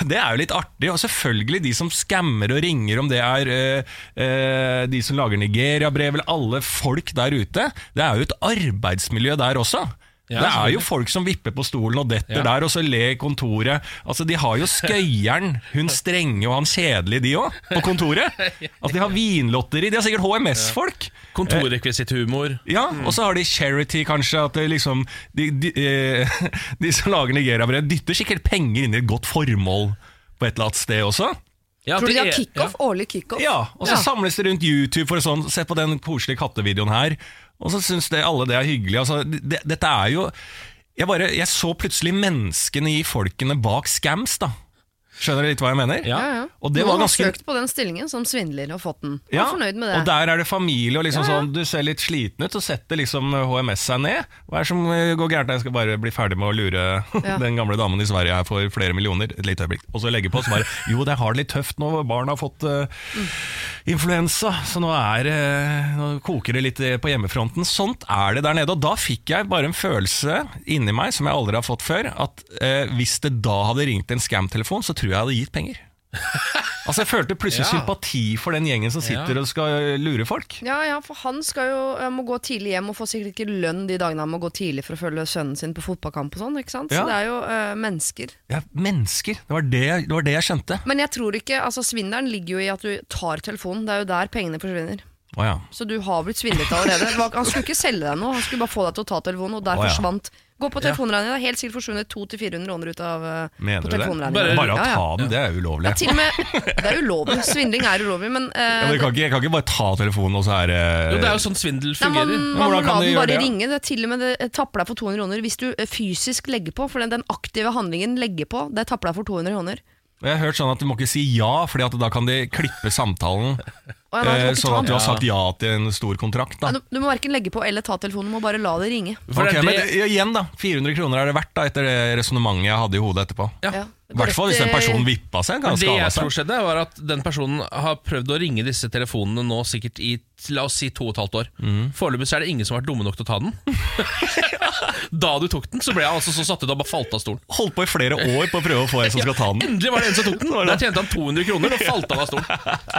S2: det er jo litt artig, og selvfølgelig de som skammer og ringer, om det er eh, eh, de som lager Nigeria-brev, eller alle folk der ute. Det er jo et arbeidsmiljø der også.
S1: Ja,
S2: det er
S1: selvfølgelig.
S2: jo folk som vipper på stolen og
S1: Ja.
S2: detter der, og så ler kontoret. Altså, De har jo skøyeren, hun strenge og han kjedelige, de òg, på
S1: [laughs]
S2: kontoret. Altså, De har vinlotteri, de har sikkert HMS-folk.
S1: Kontorrekvisitthumor.
S2: Ja, og så har de charity, kanskje. At det liksom, de, de, eh, [laughs] de som lager Nigeria-brev, dytter sikkert penger inn i et godt formål på et eller annet sted også.
S1: Ja,
S3: Tror du de har
S1: er-
S3: kickoff? Årlig kickoff?
S2: Ja, Og så
S3: Ja.
S2: samles det rundt YouTube for sånn Se på den koselige kattevideoen her. Og så syns det, alle det er hyggelig. Altså, det, dette er jo jeg, bare, jeg så plutselig menneskene i folkene bak scams, da. Skjønner du litt hva jeg mener?
S1: Ja.
S3: Ja, ja.
S2: Og det var
S3: Noen har
S2: ganske-
S3: søkt på den stillingen som svindler og fått den.
S2: Ja,
S3: Ja. Er fornøyd med det.
S2: Og der er det familie, og liksom
S3: Ja, ja.
S2: sånn, du ser litt sliten ut, så setter liksom HMS seg ned. Hva er det som eh, går gærent? Jeg skal bare bli ferdig med å lure [laughs]
S3: Ja.
S2: den gamle damen i Sverige her for flere millioner. Et lite øyeblikk. Og så legge på, så
S3: [laughs]
S2: bare Jo, det har det litt tøft nå, barn har fått eh, influensa, så nå, er, eh, nå koker det litt eh, på hjemmefronten. Sånt er det der nede. Og da fikk jeg bare en følelse inni meg som jeg aldri har fått før, at eh, hvis det da hadde ringt en scam-telefon, så tror jeg jeg hadde gitt
S3: [laughs]
S2: penger. Altså Jeg følte plutselig
S1: Ja.
S2: sympati for den gjengen som sitter
S1: Ja.
S2: og skal eh, lure folk.
S3: Ja, ja, for han skal jo, eh, må gå tidlig hjem og får sikkert ikke lønn de dagene han må gå tidlig for å følge sønnen sin på fotballkamp og sånn, ikke sant? Så
S2: Ja.
S3: det er jo eh, mennesker.
S2: Ja, mennesker. Det var det, jeg- det var det jeg skjønte.
S3: Men jeg tror ikke, altså svindelen ligger jo i at du tar telefonen, det er jo der pengene forsvinner.
S2: Å ja.
S3: Så du har blitt svindlet allerede. Det var- Han skulle ikke selge deg noe, han skulle bare få deg til å ta telefonen, og der
S2: Å, ja.
S3: forsvant. Gå på telefonregningen, det er helt sikkert forsvunnet 200-400 kroner ut av eh,
S2: Mener
S3: på
S2: du det?
S3: telefonregningen.
S2: Bare, å
S3: Ja, ja.
S2: ta den, det er ulovlig.
S3: Ja, til og med, det er ulovlig, svindling er ulovlig, men eh,
S2: Ja, men jeg, kan ikke, jeg kan ikke bare ta telefonen, og så er eh, det
S1: Jo, det er jo sånn svindel
S3: Nei, man,
S1: fungerer.
S3: man må
S2: hvordan kan
S3: la
S2: de
S3: den
S2: gjøre
S3: bare
S2: det, ja?
S3: ringe. Det er til og med det tapper deg for 200 kroner hvis du eh, fysisk legger på. For den, den aktive handlingen legger på, det tapper deg for 200 kroner.
S2: Og Jeg har hørt sånn at du må ikke si ja, Fordi at da kan de klippe samtalen.
S3: Og jeg, nei,
S2: eh,
S3: du,
S2: sånn
S3: må
S2: at
S3: ikke
S2: du
S3: ta
S2: har sagt ja til en stor kontrakt. Da.
S3: den. du, du må verken legge på eller ta telefonen, du må bare la det ringe.
S1: For det
S2: Ok,
S1: er
S2: men
S1: det-
S2: det- igjen, da. 400 kroner er det verdt, da, etter det resonnementet jeg hadde i hodet etterpå.
S1: Ja.
S3: Ja.
S2: I hvert fall hvis den
S3: Dette-
S2: personen vippa seg. Kan
S1: Men det
S2: skada
S1: jeg tror
S2: seg.
S1: skjedde, var at den personen har prøvd å ringe disse telefonene nå sikkert i la oss si to og et halvt år. Foreløpig så er det ingen som har vært dumme nok til å ta den. [laughs] da du tok den, så ble jeg altså så satt ut og bare falt av stolen.
S2: Holdt på i flere år på å prøve å få en
S1: [laughs]
S2: som skal ta den.
S1: Endelig var det en som tok den!
S2: var
S1: Der
S2: det.
S1: tjente han 200 kroner og falt av av stolen.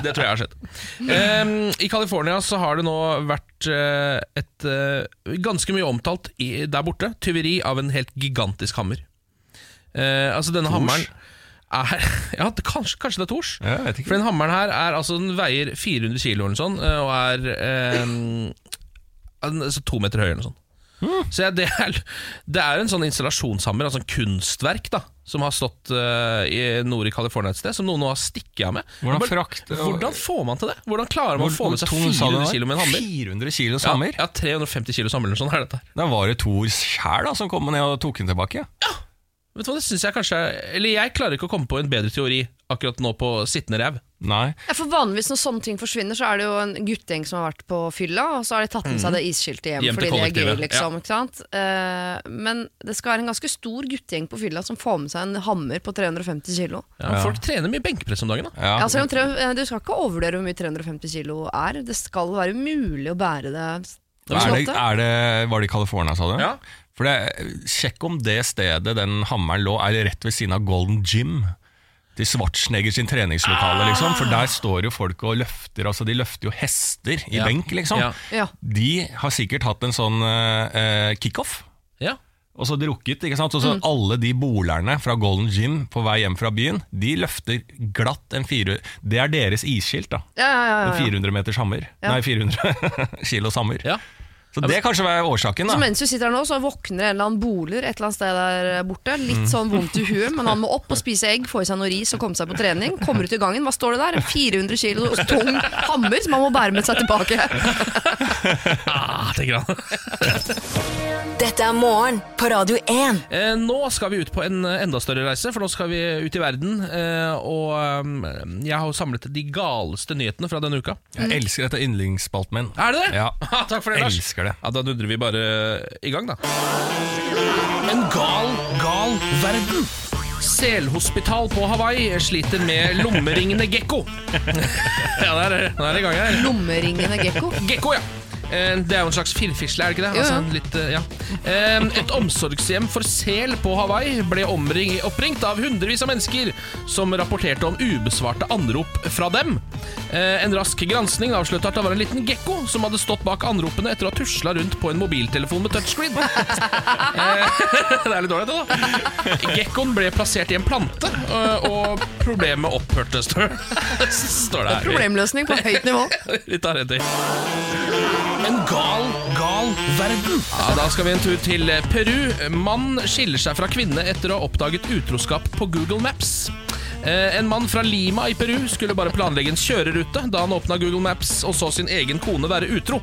S1: Det tror jeg har skjedd. Ehm, I California så har det nå vært eh, et eh, ganske mye omtalt i, der borte tyveri av en helt gigantisk hammer. Eh, altså denne hammeren er [laughs] Ja, det, kanskje, kanskje det er Tors?
S2: Ja, jeg vet ikke.
S1: For den hammeren her er, altså, den veier 400 kilo eller noe sånt, eh, og er eh, en- altså, to meter høy eller noe sånt.
S2: Hmm.
S1: Så ja, det, er, det er en sånn installasjonshammer, altså en kunstverk, da som har stått eh, i nord i California et sted, som noen nå har stikket av med.
S2: Hvordan
S1: Bare-
S2: frakt-
S1: hvordan får man til det? Hvordan klarer man å få med seg
S2: tung sa du
S1: 400
S2: den var?
S1: kilo med en hammer?
S2: 400 kilo
S1: Ja,
S2: sammer?
S1: ja, 350 kilo sammer eller noe sånt er dette her.
S2: Da var det Thor sjæl da, som kom ned og tok den tilbake.
S1: Vet du hva, det synes jeg kanskje er- Eller jeg klarer ikke å komme på en bedre teori akkurat nå på sittende rev.
S2: Nei.
S3: Ja, for Vanligvis når sånne ting forsvinner, så er det jo en guttegjeng som har vært på fylla, og så har de tatt
S2: Mm.
S3: med seg det isskiltet hjem,
S1: Hjem til
S3: fordi det er gøy,
S1: kollektivet,
S3: liksom. Ikke sant? Eh, men det skal være en ganske stor guttegjeng på fylla som får med seg en hammer på 350 kilo.
S1: Ja, Folk trener mye benkpress om dagen. da
S2: Ja.
S3: Ja, selv om tre, eh, du skal ikke overvurdere hvor mye 350 kilo er. Det skal være mulig å bære det.
S2: er det, er det, var det i California, sa du?
S1: Ja.
S2: For det, Sjekk om det stedet den hammeren lå, er rett ved siden av Golden Gym. Til Schwarzenegger sin treningslokale, liksom. For der står jo folk og løfter altså de løfter jo hester i
S1: Ja.
S2: benk, liksom.
S1: Ja.
S3: Ja.
S2: De har sikkert hatt en sånn eh, eh, kickoff.
S1: Ja.
S2: Og så drukket, ikke sant? Og
S3: Mm.
S2: så alle de bolerne fra Golden Gym på vei hjem fra byen, de løfter glatt en 400 Det er deres isskilt, da.
S3: Ja, ja, ja,
S2: En
S3: ja, ja.
S2: 400 meters hammer.
S3: Ja.
S2: Nei, [laughs] 400 kilos hammer.
S1: ja.
S2: Så det kanskje var årsaken,
S3: Så
S2: da.
S3: mens du sitter her nå, så våkner en eller annen boler et eller annet sted der borte. Litt sånn vondt i huet, men han må opp og spise egg, få i seg noe ris og komme seg på trening. Kommer ut i gangen, hva står det der? En 400 kilo tung hammer som han må bære med seg tilbake.
S1: Ah, tenker han.
S4: Dette er morgen på Radio 1.
S1: Eh, nå skal vi ut på en eh, enda større reise, for nå skal vi ut i verden. Eh, og ehm, jeg har jo samlet de galeste nyhetene fra denne uka.
S2: Jeg elsker dette yndlingsspalten min.
S1: Er det det? [laughs]
S2: Ja.
S1: Takk for det, Lars.
S2: Elsker det.
S1: Ja, Da dundrer vi bare i gang, da. En gal, gal verden. Selhospital på Hawaii sliter med lommeringende gekko. [laughs] ja, der er der er det i gang her.
S3: Lommeringende gekko.
S1: Gekko, ja. Eh, Det er jo en slags firfisle, er det ikke det?
S3: Jo, jo.
S1: Altså, litt, eh, ja. Eh, Et omsorgshjem for sel på Hawaii ble omring, oppringt av hundrevis av mennesker som rapporterte om ubesvarte anrop fra dem. Eh, En rask gransking avslørte at det var en liten gekko som hadde stått bak anropene etter å ha tusla rundt på en mobiltelefon med touchscreen. Eh, [laughs] det er litt dårlig, det, da. Gekkoen ble plassert i en plante, eh, og problemet opphørte, [laughs] står står det her.
S3: Problemløsning på høyt nivå.
S1: [laughs] Vi tar en til. En gal, gal verden. Ja, da skal vi en tur til Peru. Mann skiller seg fra kvinne etter å ha oppdaget utroskap på Google Maps. Eh, En mann fra Lima i Peru skulle bare planlegge en kjørerute da han åpna Google Maps og så sin egen kone være utro.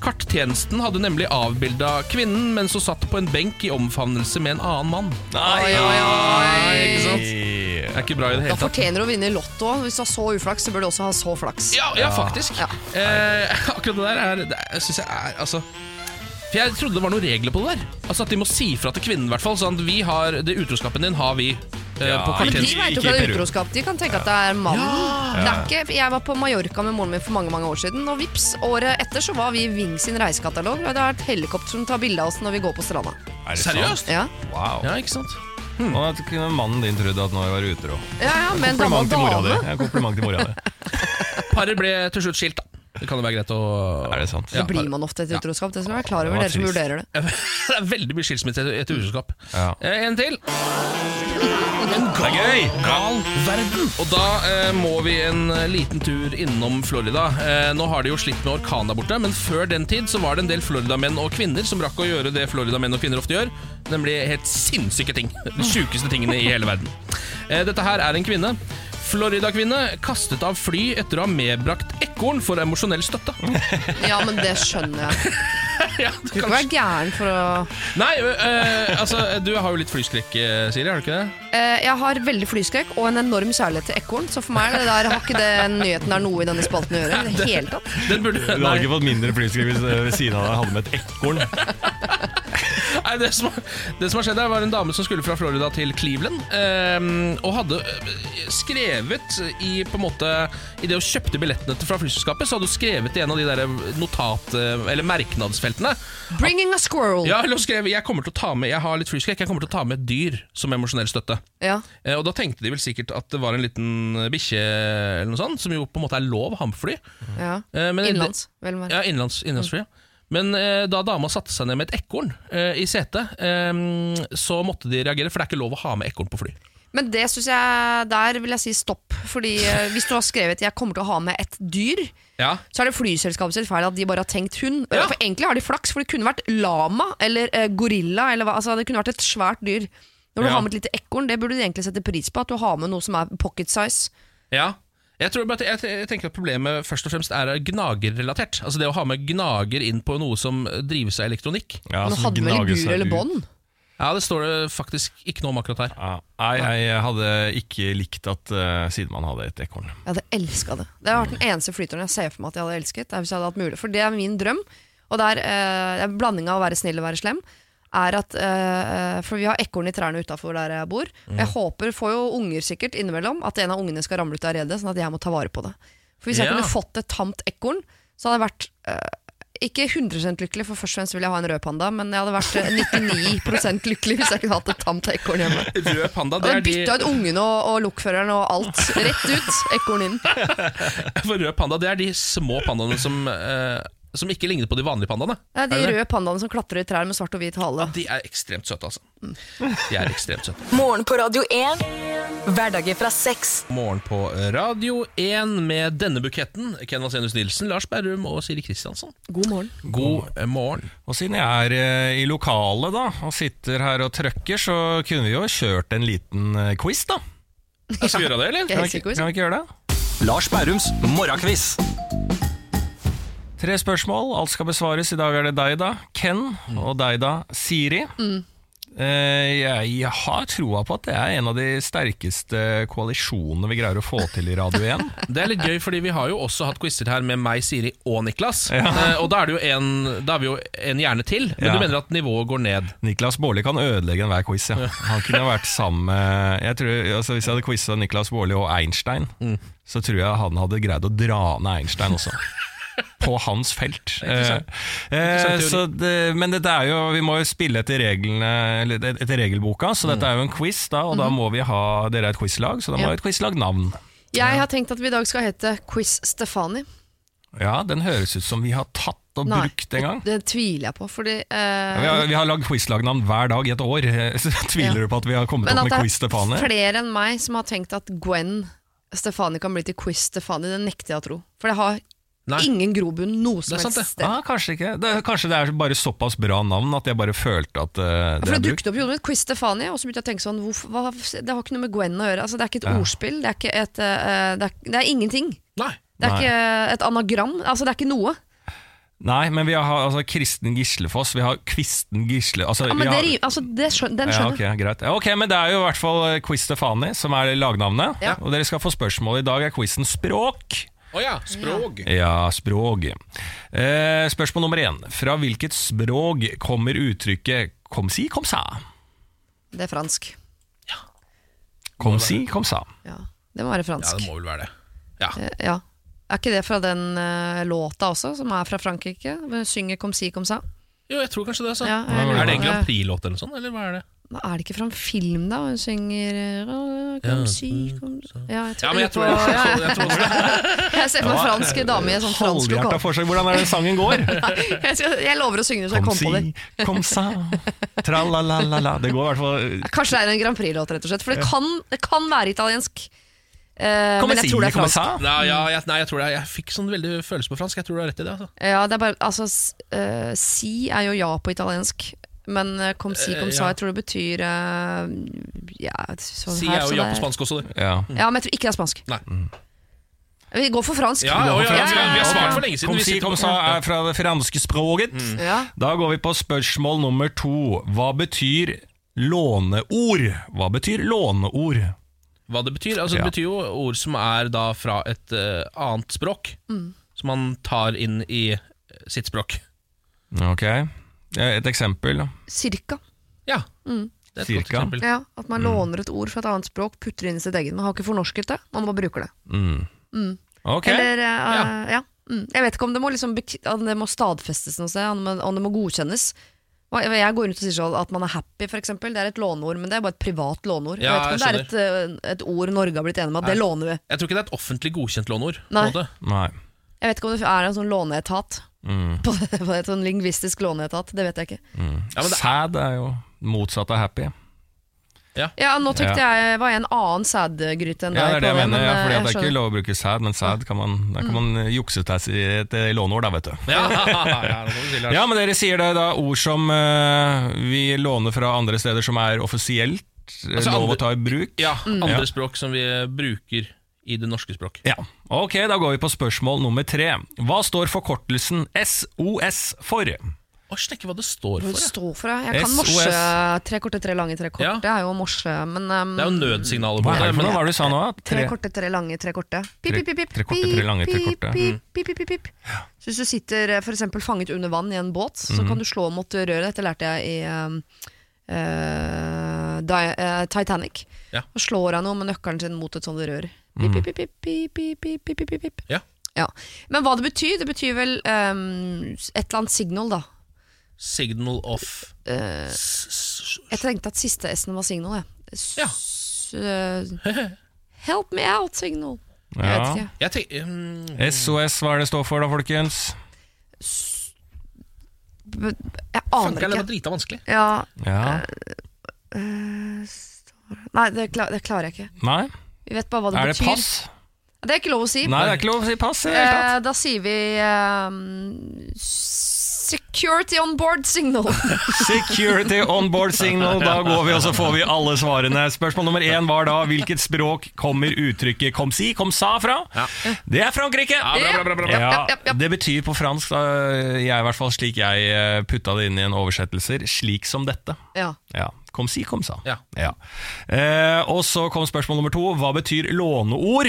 S1: Karttjenesten hadde nemlig avbilda kvinnen mens hun satt på en benk i omfavnelse med en annen mann.
S2: Nei,
S1: Ikke sant?
S2: sant?
S1: Det er ikke bra i det
S3: Da
S1: hele tatt.
S3: fortjener du å vinne i Lotto. Hvis du har så uflaks, så bør du også ha så flaks.
S1: Ja, ja faktisk. Eh, [laughs] akkurat det der er, det er, synes jeg er altså, For jeg trodde det var noen regler på det der. Altså At de må si fra til kvinnen, i hvert fall. Sånn at vi har det utroskapen din har vi eh, på
S2: Ja.
S3: Men de
S1: kvarteret.
S2: Ikke-
S3: vet jo
S2: ikke
S3: hva
S2: i
S3: det er
S2: Peru.
S3: utroskap. De kan tenke at det er mannen. Det er ikke, jeg var på Mallorca med moren min for mange mange år siden, og vips, året etter så var vi i Ving sin reisekatalog. Og det er et helikopter som tar bilde av oss når vi går på stranda.
S2: Er det
S1: Seriøst?
S3: Ja,
S2: sant? Wow.
S1: Ja, ikke sant?
S2: Og at kunne mannen din trodde at nå var jeg utro.
S3: ja, ja men da var
S2: Kompliment til mora di.
S3: dame.
S2: Ja, kompliment til mora di.
S1: Paret ble til slutt skilt, da. Det kan jo være greit å
S2: Er det sant?
S1: Ja.
S3: Så blir man ofte et utroskap. Det skal være klar
S2: Det
S3: over,
S2: var
S3: dere som
S2: trist.
S3: vurderer det.
S1: [laughs] Det er veldig mye skilsmisse etter- etter utroskap.
S2: Ja.
S1: Eh, en til. En
S2: Det er gøy!
S1: gal verden. Og da eh, må vi en eh, liten tur innom Florida. Eh, nå har de jo slitt med orkan der borte, men før den tid så var det en del Florida-menn og -kvinner som rakk å gjøre det Florida-menn og -kvinner ofte gjør, nemlig helt sinnssyke ting. De sjukeste tingene i hele verden. Eh, dette her er en kvinne. Florida-kvinne kastet av fly etter å ha medbrakt ekorn for emosjonell
S2: [laughs]
S1: støtte.
S3: Ja, men det skjønner jeg.
S1: ja,
S3: Du kan ikke være gæren for å
S1: Nei, ø, ø, altså, du har jo litt flyskrekk, eh, Siri, har du ikke det?
S3: Eh, Jeg har veldig flyskrekk og en enorm kjærlighet til ekorn, så for meg er det der, har ikke den nyheten der noe i denne spalten å gjøre. i Det hele tatt.
S1: Den burde,
S2: Du hadde
S1: nei.
S2: ikke fått mindre flyskrekk hvis eh, ved siden av deg hadde med et ekorn.
S1: Nei, det, som, det som har skjedd her var en dame som skulle fra Florida til Cleveland ehm, Og hadde eh, skrevet i, på en måte, i det hun kjøpte billettene til- fra flyselskapet Så hadde hun skrevet i en av de der eh, notat- eller merknadsfeltene
S3: Bringing a squirrel.
S1: Ja, eller hun skrev Jeg kommer til å ta med, jeg har litt flyskrekk Jeg kommer til å ta med et dyr som emosjonell støtte
S3: Ja.
S1: Eh, Og da tenkte de vel sikkert at det var en liten bikkje Eller noe sånt Som jo på en måte er lov hamfly
S3: Ja.
S1: Eh, men-
S3: Innenlands, vel å merke.
S1: Ja, innenlands, innenlandsfly. ja. Men eh, da dama satte seg ned med et ekorn eh, i setet, eh, så måtte de reagere, for det er ikke lov å ha med ekorn på fly.
S3: Men det synes jeg, der vil jeg si stopp. Fordi eh, Hvis du har skrevet 'jeg kommer til å ha med et dyr',
S1: Ja,
S3: så er det flyselskapet sitt feil at de bare har tenkt hund.
S1: Ja.
S3: For Egentlig har de flaks, for det kunne vært lama eller eh, gorilla. Eller hva, altså Det kunne vært et svært dyr. Når du
S1: Ja.
S3: har med et lite ekorn, det burde du egentlig sette pris på. At du har med noe som er pocket size.
S1: ja. Jeg, tror, bare at- jeg, jeg tenker at problemet først og fremst er gnagerrelatert. Altså det å ha med gnager inn på noe som drives av elektronikk.
S2: Ja,
S3: Nå
S2: som
S3: hadde vel
S2: gnager
S3: bur
S2: seg
S3: eller
S2: ut.
S3: bånd.
S1: Ja, det står det faktisk ikke noe om akkurat her.
S2: Ja. Nei, jeg hadde ikke likt at eh, sidemannen hadde et ekorn.
S3: Jeg hadde elska det. Det har vært den eneste flyturen jeg ser for meg at jeg hadde elsket. Det er hvis jeg hadde hatt mulighet. For det er min drøm. Og det er eh, en blanding av å være snill og være slem. Er at, eh, for vi har ekorn i trærne utafor der jeg bor.
S1: Mm.
S3: Og Jeg håper, får jo unger sikkert innimellom, at en av ungene skal ramle ut av redet, sånn at jeg må ta vare på det. For hvis jeg
S1: Ja.
S3: kunne fått et tamt ekorn, så hadde jeg vært eh, ikke 100 lykkelig, for først og fremst vil jeg ha en rød panda, men jeg hadde vært eh, 99 lykkelig hvis jeg kunne hatt et tamt ekorn hjemme.
S1: Rød panda,
S3: Og
S1: det er
S3: den
S1: de
S3: bytta ut ungen og, og lokføreren og alt. Rett ut, ekorn inn.
S1: [laughs] For rød panda, det er de små pandaene som, eh, som ikke ligner på de vanlige pandaene.
S3: Det er de
S1: Er det det?
S3: røde pandaene som klatrer i trær med svart og hvit hale.
S1: De er ekstremt søte, altså. De er ekstremt søte.
S4: Morgen på Radio 1. Hverdager fra seks.
S1: Morgen på Radio 1 med denne buketten. Ken Vasenius Nilsen, Lars Berrum og Siri Kristiansson.
S3: God morgen.
S1: God morgen.
S2: Og siden jeg er eh, i lokalet da, og sitter her og trøkker, så kunne vi jo kjørt en liten eh, quiz, da.
S1: Skal vi gjøre det, eller?
S2: Kan
S3: Jeg
S2: vi,
S3: er
S2: ikke-
S3: sikker,
S2: kan vi ikke gjøre det?
S5: Lars Bærums morgenkviss.
S2: Tre spørsmål, alt skal besvares. I dag er det deg, da, Ken, og deg, da, Siri. Eh, Jeg, jeg har troa på at det er en av de sterkeste koalisjonene vi greier å få til i Radio 1.
S1: Det er litt gøy, fordi vi har jo også hatt quizer her med meg, Siri og Niklas. Eh, og da er, det jo en, da er vi jo en hjerne til, men
S2: Ja.
S1: du mener at nivået går ned.
S2: Niklas Baarli kan ødelegge enhver quiz. Ja. Han kunne vært sammen med jeg tror, altså Hvis jeg hadde quiza Niklas Baarli og Einstein,
S3: Mm.
S2: så tror jeg han hadde greid å dra ned Einstein
S3: [laughs]
S2: også. På hans felt. Eh, eh,
S1: Interessant teori.
S2: så det, men dette er jo, vi må jo spille etter, reglene, eller etter regelboka, så dette er jo en quiz, da, og da må vi ha Dere er et quizlag, så da må
S3: Mm. Mhm. Ja.
S2: vi ha et quizlagnavn.
S3: Jeg har tenkt at vi i dag skal hete Quiz Stefani.
S2: Ja, den høres ut som vi har tatt og
S3: Nei,
S2: brukt en gang.
S3: Det tviler jeg på, fordi eh,
S2: Vi har, vi har lagd quizlagnavn hver dag i et år. [laughs] Så tviler
S3: Ja.
S2: du på at vi har kommet
S3: Men
S2: opp
S3: at
S2: med
S3: det
S2: quiz til Fane?
S3: er flere enn meg som har tenkt at Gwen Stefani kan bli til Quiz Stefani, det nekter jeg å tro. For det har
S1: Nei.
S3: ingen grobunn noe
S1: Det
S3: som
S1: er sant,
S3: helst
S1: det.
S3: sted.
S2: Ah, kanskje ikke. Det, er- kanskje det er bare såpass bra navn at jeg bare følte at eh,
S3: Ja,
S2: det
S3: For
S2: er
S3: det
S2: brukt.
S3: dukket opp i hodet mitt, Quiz Stefani, og så begynte jeg å tenke sånn hvorfor, hva, Det har ikke noe med Gwen å gjøre. Altså, det er ikke et
S2: Ja.
S3: ordspill. Det er, ikke et, eh, det, er, det er ingenting.
S1: Nei.
S3: Det er
S2: Nei.
S3: ikke et anagram. Altså, det er ikke noe.
S2: Nei, men vi har altså, Kristen Gislefoss, vi har Kvisten Gisle... Altså,
S3: Ja, men
S2: vi
S3: det,
S2: har,
S3: rim- altså, det skjøn, den
S2: ja,
S3: skjønner
S2: ok,
S3: jeg.
S2: greit. Ja, ok, men det er jo i hvert fall eh, Quiz Stefani som er lagnavnet.
S3: Ja.
S2: Og dere skal få spørsmål. I dag er quizen språk.
S1: Å ja, språk.
S2: Ja, språk. Eh, spørsmål nummer én. Fra hvilket språk kommer uttrykket 'kom si, kom sa'?
S3: Det er fransk.
S2: Kom si, kom sa.
S3: Ja, det må være
S1: Ja,
S3: fransk.
S1: det må vel være det. Ja.
S3: Eh, ja. Er ikke det fra den eh, låta også, som er fra Frankrike? Hun synger 'Comme si, comme ça'.
S1: Jo, jeg tror kanskje det, altså.
S3: Ja, jeg lurer
S1: er det
S3: på
S1: en Grand Prix-låt eller noe sånt, eller hva er det?
S3: Nå Er det ikke fra en film, da? Hun synger eh,
S1: Ja, mm,
S3: «Comme si, comme ça». ja, jeg
S1: Ja, men jeg tror,
S3: på-
S1: jeg,
S3: ja, ja.
S1: jeg tror også det.
S3: [laughs] Jeg ser for meg en fransk dame i en sånn fransk
S2: Halvhjerta
S3: lokal.
S2: forsøk. Hvordan er det sangen går?
S3: [laughs] Jeg, skal- jeg lover å synge det så jeg
S2: Kom
S3: kommer på det.
S2: si, kom sa, tralalalala Det går i hvert fall
S3: Kanskje det er en Grand Prix-låt, rett og slett. For det kan, det kan være italiensk. Eh,
S2: Kom
S3: men jeg tror det er fransk.
S1: Nei, ja, jeg, nei, jeg tror det. er- Jeg fikk sånn veldig følelse på fransk. Jeg tror du har rett i det. altså
S3: Ja, det er bare, altså, s- eh, si er jo ja på italiensk. Men eh, kom si, kom
S1: Eh,
S3: sa,
S1: ja.
S3: jeg tror det betyr eh, ja, sånn
S1: Si
S3: her,
S1: er
S3: sånn
S1: jo ja
S3: der.
S1: på spansk også, du.
S2: Ja.
S3: Ja, men jeg tror ikke det er spansk.
S1: Nei.
S3: Vi går for fransk.
S1: Ja, å, ja, ja,
S3: ja, ja.
S1: vi har svart for lenge siden.
S2: Kom
S1: Vi
S2: si,
S1: sitter Mm.
S2: kom
S1: på-
S2: sa er fra det franske språket.
S3: Ja.
S2: Da går vi på spørsmål nummer to. Hva betyr låneord? Hva betyr låneord?
S1: Hva det betyr. Altså,
S2: Ja.
S1: Det betyr jo ord som er da fra et eh, annet språk,
S3: Mm.
S1: som man tar inn i eh, sitt språk.
S2: Ok, Eh, et eksempel.
S3: Cirka.
S1: Ja. Mm. Det er et
S2: Cirka.
S1: godt eksempel.
S3: Ja, at man
S1: Mm.
S3: låner et ord fra et annet språk, putter det inn i sitt eget. Man har ikke fornorsket det, man bare bruker det.
S2: Mm. Ok,
S3: Mm. Eller, eh, ja. Mm. Jeg vet ikke om det må, liksom, bek- om det må stadfestes noe sted, om det- om det må godkjennes. Hva- Jeg går rundt og sier sånn at man er happy, for eksempel. Det er et låneord, men det er bare et privat låneord. Jeg
S1: Ja,
S3: vet ikke om
S1: jeg
S3: det er et, eh, et ord Norge har blitt enig med at det låner vi.
S1: Jeg tror ikke det er et offentlig godkjent låneord. på en
S3: Nei. [laughs]
S1: måte.
S2: nei.
S3: Jeg vet ikke om det er en sånn låneetat.
S2: Mm.
S3: [laughs] På, på et sånn lingvistisk låneetat, det vet jeg ikke.
S1: Ja, men det,
S2: Sad er jo motsatt av happy.
S3: Ja, nå tenkte jeg var jeg en annen sædgryte enn
S2: Ja, det er
S3: deg.
S2: det jeg
S3: på
S2: mener.
S3: men,
S2: Ja,
S3: eh,
S2: fordi at det er
S3: jeg
S2: ikke
S3: skjønner. Mm.
S2: lov å bruke sad, men sad kan man, der kan man eh, jukse til et eh, låneord, da, vet du.
S1: ja, ja, det må du si, Lars.
S2: Ja, men dere sier det da ord som eh, vi låner fra andre steder som er offisielt eh,
S1: Altså,
S2: lov
S1: andre-
S2: å ta i bruk.
S1: ja,
S3: Mm.
S1: andre
S2: Ja.
S1: språk som vi bruker i det norske språk.
S2: Ja. Ok, da går vi på spørsmål nummer tre. Hva står forkortelsen SOS for?
S1: Å, snekke hva det står for.
S3: Hvor
S1: Ja.
S3: står for det? Jeg kan
S2: SOS.
S3: morse tre korte, tre lange, tre korte.
S1: Ja.
S3: Det er jo morse, men um,
S1: Det er jo nødsignaler på
S2: Hva er
S1: det.
S2: det for noe?
S1: Men
S2: Hva var det du sa nå? da?
S3: Tre korte, tre lange, tre korte. Pip,
S2: Tre-
S3: pip, pip,
S2: tre korte, tre
S3: pip,
S2: lange, tre
S3: pip,
S2: korte.
S3: Pip, pip, pip, pip, pip. Så hvis du sitter eh, for eksempel fanget under vann i en båt, så kan du slå mot røret. Dette lærte jeg i um, eh, Di- eh, Titanic.
S1: Ja.
S3: Og slår han jo med nøkkelen sin mot et sånt rør. Pip, pip, pip, pip, pip, pip, pip, pip, pip, pip.
S1: Ja.
S3: Ja. Men hva det betyr? Det betyr vel ehm, et eller annet signal, da.
S1: Signal off.
S3: Eh. Jeg tenkte at siste S-en var signal, jeg. S-
S1: Ja.
S3: eh, help me out, signal. Jeg vet ikke.
S1: Jeg tenker mm,
S2: SOS, hva er det står for da, folkens?
S3: Men Jeg
S1: Funker
S3: aner
S1: det? Det var
S3: ikke.
S1: drita vanskelig.
S3: Ja, Eh,
S2: Ja.
S3: nei, det, kla- det klarer jeg ikke.
S2: Nei?
S3: Vi vet bare hva det
S2: Er det
S3: betyr.
S2: pass?
S3: Det er ikke lov å si.
S2: Nei, det er ikke lov å si pass. i det hele tatt.
S3: Eh, da sier vi ehm, Security on board
S2: [laughs]
S3: signal.
S2: Security on board signal. Da går vi, og så får vi alle svarene. Spørsmål nummer én var da hvilket språk kommer uttrykket kom si, kom sa fra? Det er Frankrike!
S1: bra, bra, bra, bra.
S2: Ja,
S3: Ja, ja, ja.
S2: Det betyr på fransk, da, jeg, i hvert fall slik jeg eh, putta det inn i en oversettelser, slik som dette.
S3: ja.
S2: Ja, Kom si, kom sa.
S1: Ja.
S2: Eh, og så kom spørsmål nummer to. Hva betyr låneord?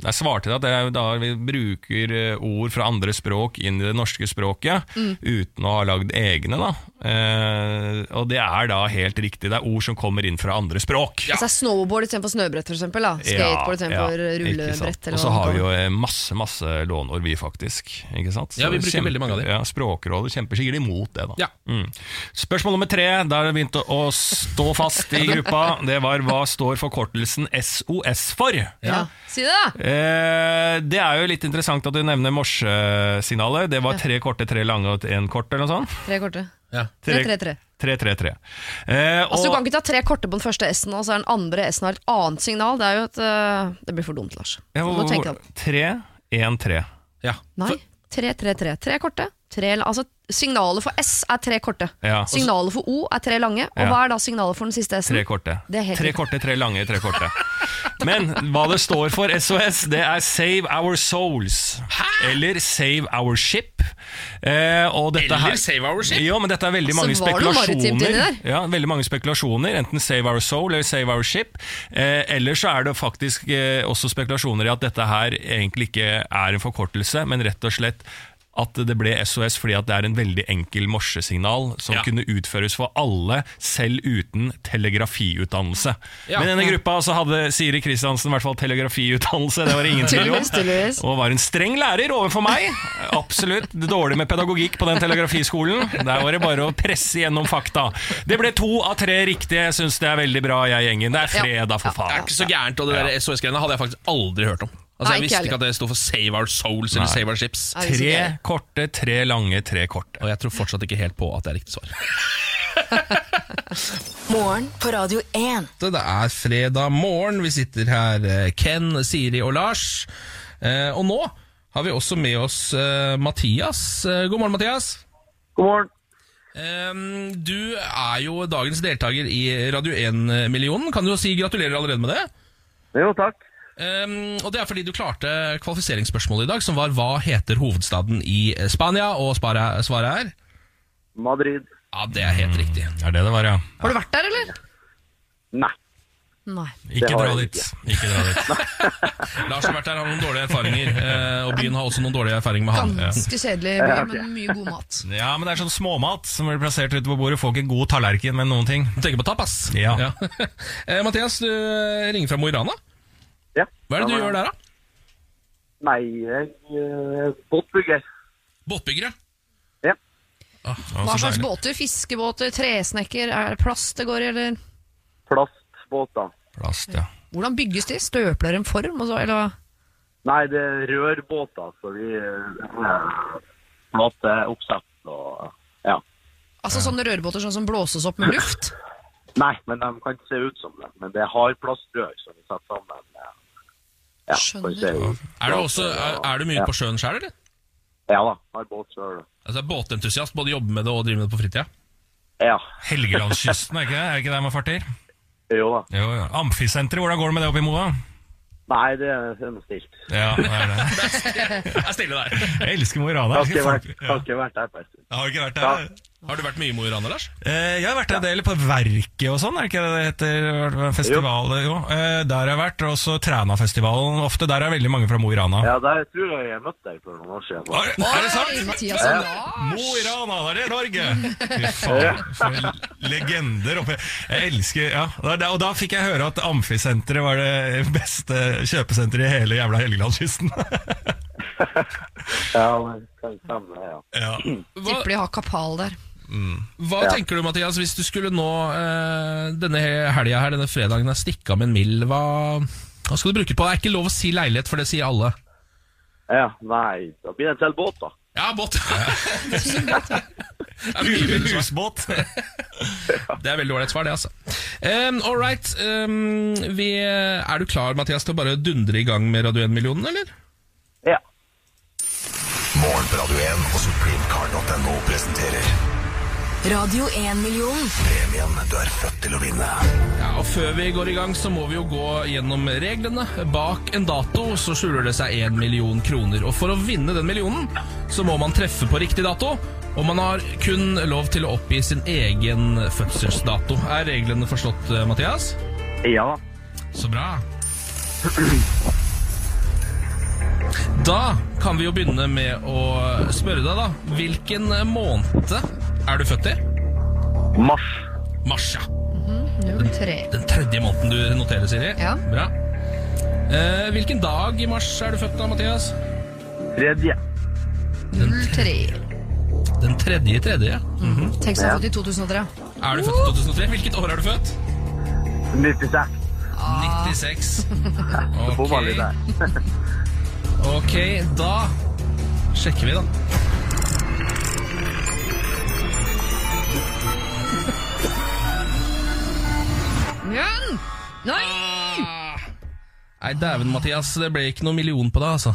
S2: Jeg svarte at det er jo da vi bruker eh, ord fra andre språk inn i det norske språket, uten å ha lagd egne. da. Eh, og det er da helt riktig. Det er ord som kommer inn fra andre språk.
S3: Altså det er snowboard istedenfor snøbrett, for eksempel. Da. Skateboard
S2: ja,
S3: istedenfor
S2: ikke sant.
S3: rullebrett. eller
S2: Og så
S3: hva
S2: har
S3: det
S2: vi jo
S3: kalles.
S2: eh, masse masse lånord, vi faktisk. ikke sant?
S1: Ja, vi bruker veldig mange av dem.
S2: Ja, Språkrådet kjemper sikkert imot det. da.
S1: Ja.
S2: Mm. Spørsmål nummer tre, da har det begynt å- å stå fast i gruppa. Det var hva står forkortelsen SOS for?
S3: ja. Si det, da!
S2: Eh, det er jo litt interessant at du nevner morsesignalet. Det var tre korte, tre lange og én kort, eller noe sånt.
S3: Tre korte.
S1: Ja.
S3: Tre, tre, tre.
S2: Tre, tre, tre. Eh,
S3: Altså, du
S2: og-
S3: kan ikke ta tre korte på den første S-en, og så er den andre S-en har et annet signal. Det er jo et øh, Det blir for dumt, Lars.
S2: Ja,
S3: Så
S2: hvor-
S3: må du tenke deg om.
S2: Tre, én, tre.
S1: ja.
S3: Nei. Tre, tre, tre. Tre korte. Tre, la- altså, signalet for S er tre korte.
S2: Ja.
S3: Signalet for O er tre lange. Og
S2: Ja.
S3: hva er da signalet for den siste S-en?
S2: Tre korte.
S3: Det er helt
S2: tre
S3: riktig.
S2: korte, tre lange, tre korte.
S3: [laughs]
S2: Men hva det står for SOS, det er Save Our Souls. Eller Save Our Ship. Eh, og dette
S1: Eller
S2: her-
S1: Save Our Ship.
S2: Ja, men dette er veldig mange
S3: Altså, var det noe maritimt inni
S2: spekulasjoner.
S3: der?
S2: Ja, veldig mange spekulasjoner, enten Save Our Soul eller Save Our Ship. Eh, eller så er det faktisk eh, også spekulasjoner i at dette her egentlig ikke er en forkortelse, men rett og slett at det ble SOS fordi at det er en veldig enkel morsesignal som
S1: Ja.
S2: kunne utføres for alle, selv uten telegrafiutdannelse.
S1: Ja.
S2: Men i denne gruppa så hadde Siri Kristiansen i hvert fall telegrafiutdannelse, det var det ingen tvil
S3: Tydeligvis, tydeligvis.
S2: om. Og var en streng lærer overfor meg. Absolutt dårlig med pedagogikk på den telegrafiskolen. Der var det bare å presse gjennom fakta. Det ble to av tre riktige. Jeg syns det er veldig bra, jeg, gjengen. Det er fredag, for
S1: Det er
S2: faen.
S1: ikke så gærent, og det der SOS-greiene hadde jeg faktisk aldri hørt om. Altså,
S3: Nei,
S1: jeg
S3: ikke
S1: visste
S3: heller.
S1: ikke at det sto for Save Our Souls eller Save Our Ships.
S3: Nei, det er
S2: Tre
S3: sikkert.
S2: korte, tre lange, tre korte.
S1: Og jeg tror fortsatt ikke helt på at det er riktig [laughs] svar.
S4: Morgen på Radio 1.
S1: Det er fredag morgen. Vi sitter her, eh, Ken, Siri og Lars. Eh, og nå har vi også med oss eh, Mathias. Eh, god morgen, Mathias.
S6: God morgen.
S1: Eh, du er jo dagens deltaker i Radio 1-millionen. Kan du jo si gratulerer allerede med det?
S6: Jo, takk.
S1: Um, og det er fordi du klarte kvalifiseringsspørsmålet i dag, som var hva heter hovedstaden i eh, Spania? Og spara- svaret er
S6: Madrid.
S1: Ja, det er helt riktig.
S2: Det er det det var, ja.
S3: Har du vært der, eller?
S6: Nei.
S3: Nei.
S2: Ikke
S6: Det har
S2: dra
S6: jeg
S2: dit. Ikke dra dit.
S1: Lars har vært der, har noen dårlige erfaringer. eh, og byen har også noen dårlige erfaringer med han. Ja.
S3: Ganske kjedelig by, men mye god mat.
S2: Ja, men det er sånn småmat som blir plassert ute på bordet. Får ikke god tallerken med noen ting.
S1: Du tenker på tapas?
S2: Ja.
S1: [laughs] Eh, Mathias, du eh, ringer fra Mo i Rana.
S6: Ja.
S1: Hva er det du gjør der, da?
S6: Nei, jeg er båtbygger.
S1: Båtbyggere? Ah,
S6: Ja.
S3: Hva slags båter? Fiskebåter? Tresnekker? Er det plast det går i, eller?
S6: Plastbåter.
S2: Plast, ja.
S3: Hvordan bygges de? Støper dere en form? Og så, eller hva?
S6: Nei, det er rørbåter, så vi eh, flate oppsett og ja.
S3: Altså Sånne rørbåter sånn som blåses opp
S2: [laughs]
S3: med luft?
S6: Nei, men de kan ikke se ut som det. Men det er hardplastrør som vi setter sammen. eh, Ja,
S3: Skjønner.
S6: kan vi si.
S1: Er du, også, er, er du mye
S6: Ja.
S1: ute på sjøen sjøl, eller?
S6: Ja da, har båt sjøl.
S1: Altså, er Båtentusiast, både jobbe med det og drive med det på fritida?
S6: Ja,
S2: Helgelandskysten, er ikke det? Er det ikke der man farter?
S6: jo da.
S2: Jo, ja. Amfisenteret, hvordan går det med det oppe i Moa?
S6: Nei, det er noe stilt.
S2: Ja, det er det.
S1: Jeg er stille der.
S2: Jeg elsker Mo i Rana.
S6: Har ikke
S2: Jeg
S6: vært,
S2: elsker folk-
S6: har ikke vært der på en stund.
S2: Ja. Har du ikke vært der?
S1: Har du vært mye i Mo i Rana, Lars?
S2: Eh, Jeg har vært en del på Verket og sånn, er det ikke det det heter? Festivalet, jo. Eh, Der har jeg vært, og så Trænafestivalen ofte. Der er veldig mange fra Mo i Rana.
S6: Ja, der tror jeg jeg møtte deg for noen år siden.
S2: Er er det
S3: Oi,
S2: sant?
S3: Mathias og Lars.
S2: Mo i Rana, det er det Norge! Fy faen, for legender oppe Jeg elsker ja. Og da- Og da fikk jeg høre at [laughs] Amfisenteret var det beste kjøpesenteret i hele jævla Helgelandskysten.
S6: Ja, men det kan stemme, det, ja.
S1: Hva,
S3: Tipper de har kapal der.
S1: hva tenker du, Mathias, hvis du skulle nå eh, denne helga her, denne fredagen, er stikka med en mill, hva, hva skal du bruke på? Det er ikke lov å si leilighet, for det sier alle.
S6: Ja, nei, da blir det en til båt, da.
S1: [laughs] Ja, båt! Det er mye bedre svar.
S2: Husbåt.
S1: Det er veldig ålreit svar, det, altså. Um, all right. Um, vi, er du klar, Mathias, til å bare dundre i gang med Radio 1-millionen, eller?
S6: Ja.
S7: Morgen på Radio 1 og supremecar.no presenterer
S4: Radio 1-millionen.
S7: premien du er født til å vinne.
S1: Ja, og Før vi går i gang, så må vi jo gå gjennom reglene. Bak en dato så skjuler det seg én million kroner. Og for å vinne den millionen, så må man treffe på riktig dato. Og man har kun lov til å oppgi sin egen fødselsdato. Er reglene forstått, eh, Mathias?
S6: Ja da.
S1: Så bra. Da kan vi jo begynne med å spørre deg, da. Hvilken måned er du født i?
S6: Mars.
S1: Mars, ja.
S3: 03.
S1: Den tredje måneden du noterer, Siri.
S3: Ja.
S1: Bra. Eh, hvilken dag i mars er du født da, Mathias?
S6: Tredje.
S3: 03.
S1: Den tredje i tredje.
S3: Tenk seg fått i 2003.
S1: Er du født i 2003? Hvilket år er du født?
S6: 96.
S1: 96.
S6: Bomma litt der.
S1: Ok, da sjekker vi, da.
S3: Men! Nei!
S1: Nei, dæven, Mathias. Det ble ikke noen million på deg, altså.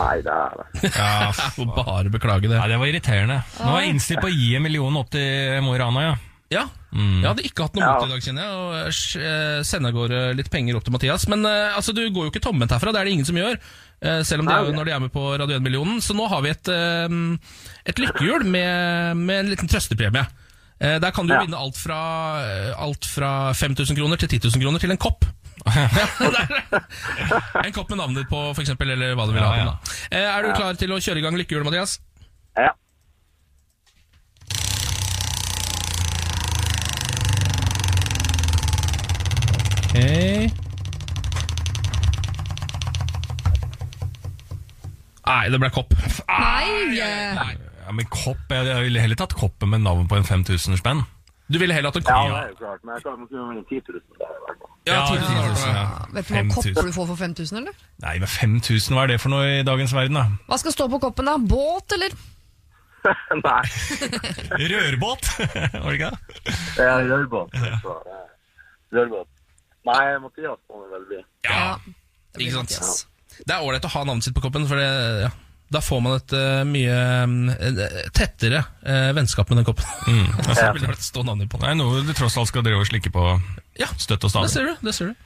S6: Nei, det er det.
S2: Ja,
S1: Jeg får bare beklage det.
S2: Nei, det var irriterende. Nå er jeg innstilt på å gi en million opp til Mo i Rana, ja.
S1: Ja.
S2: Mm.
S1: Jeg hadde ikke hatt noe mot i dag, kjenner jeg. Og eh, sj- eh, sende av gårde litt penger opp til Mathias. Men eh, altså, du går jo ikke tomhendt herfra, det er det ingen som gjør. eh, selv om det er jo når de er med på Radio 1-millionen. Så nå har vi et, eh, et lykkehjul med, med en liten trøstepremie. Eh, der kan du
S6: Ja.
S1: vinne alt fra, eh, alt fra 5000 kroner til 10 000 kroner til en kopp. Der. en kopp med navnet ditt på, for eksempel, eller hva du vil ha
S2: Ja,
S1: på. den, Da. Eh, er du klar til å kjøre i gang lykkehjulet, Mathias?
S6: Ja.
S1: Nei, det ble kopp.
S3: Nei! eh,
S2: ja men kopp, jeg, jeg ville heller tatt koppen med navn på en 5000 spenn.
S1: Du ville heller hatt en
S6: ja,
S1: kopp?
S6: det er jo klart. Men jeg kan ikke vinne 10 000. Det er jo verdt det.
S1: Ja, 10 000
S2: 10
S1: var det.
S2: 000, ja.
S3: Vet du hva
S2: 5 000.
S3: kopper du får for 5000, eller?
S2: Nei, men 5000, hva er det for noe i dagens verden, da?
S3: Hva skal stå på koppen, da? Båt, eller?
S6: [laughs] Nei,
S2: Rørbåt! [laughs] Var det ikke det?
S6: det er rørbåt. så det er Rørbåt. Nei, Mathias må det vel bli.
S1: Ja,
S3: det blir
S1: ikke sant?
S3: Mathias.
S1: Det er ålreit å ha navnet sitt på koppen, for det, ja, da får man et eh, mye eh, tettere eh, vennskap med den koppen. [laughs] Så Mm, det er veldig ålreit å stå navnet på
S2: Det
S1: den.
S2: er noe du tross alt skal drive og slikke på
S1: Ja,
S2: støtt og
S1: det
S2: stadig.
S1: ser du. det ser du.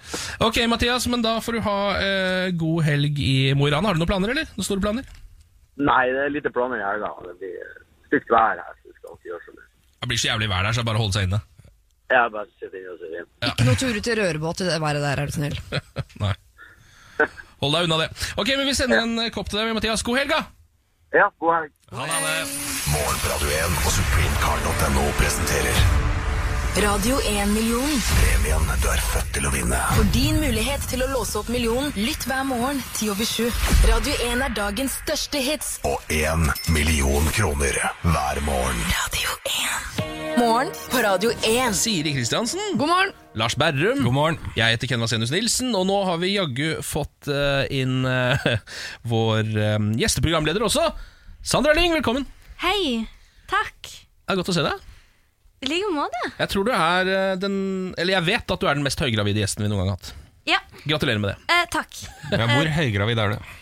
S1: Ok, Mathias, men da får du ha eh, god helg i Mo i Rana. Har du noen planer, eller? Noen store planer?
S6: Nei, det er lite planer i helga. Det blir stygt vær her, så vi skal ikke gjøre så mye.
S1: Det blir så jævlig vær der, så det er bare å holde seg inne.
S6: Jeg bare sitter inne og ser inn.
S3: Ikke noe turer til rørebåt i det været der, er du snill.
S1: Nei. Hold deg unna det. Ok, men Vi sender en eh, kopp til deg, Mathias. God helg, da!
S6: Ja, god helg.
S7: Morgen på Radio 1 og supremecar.no presenterer
S4: Radio 1-millionen.
S7: premien du er født til å vinne.
S4: For din mulighet til å låse opp millionen, lytt hver morgen 10 over 7. Radio 1 er dagens største hits.
S7: Og én million kroner hver morgen.
S4: Radio 1. Morgen på Radio 1.
S1: Siri Kristiansen.
S3: God morgen!
S1: Lars Berrum.
S2: God morgen.
S1: Jeg heter Ken Vasenius Nilsen, og nå har vi jaggu fått eh, inn eh, vår eh, gjesteprogramleder også. Sandra Lyng, velkommen.
S8: Hei, takk.
S1: Det er godt å se deg.
S8: I like måte.
S1: Jeg tror du er eh, den Eller jeg vet at du er den mest høygravide gjesten vi noen gang har hatt.
S8: Ja,
S1: Gratulerer med det.
S8: eh,
S2: [laughs]
S8: takk.
S2: Ja, hvor høygravid er du?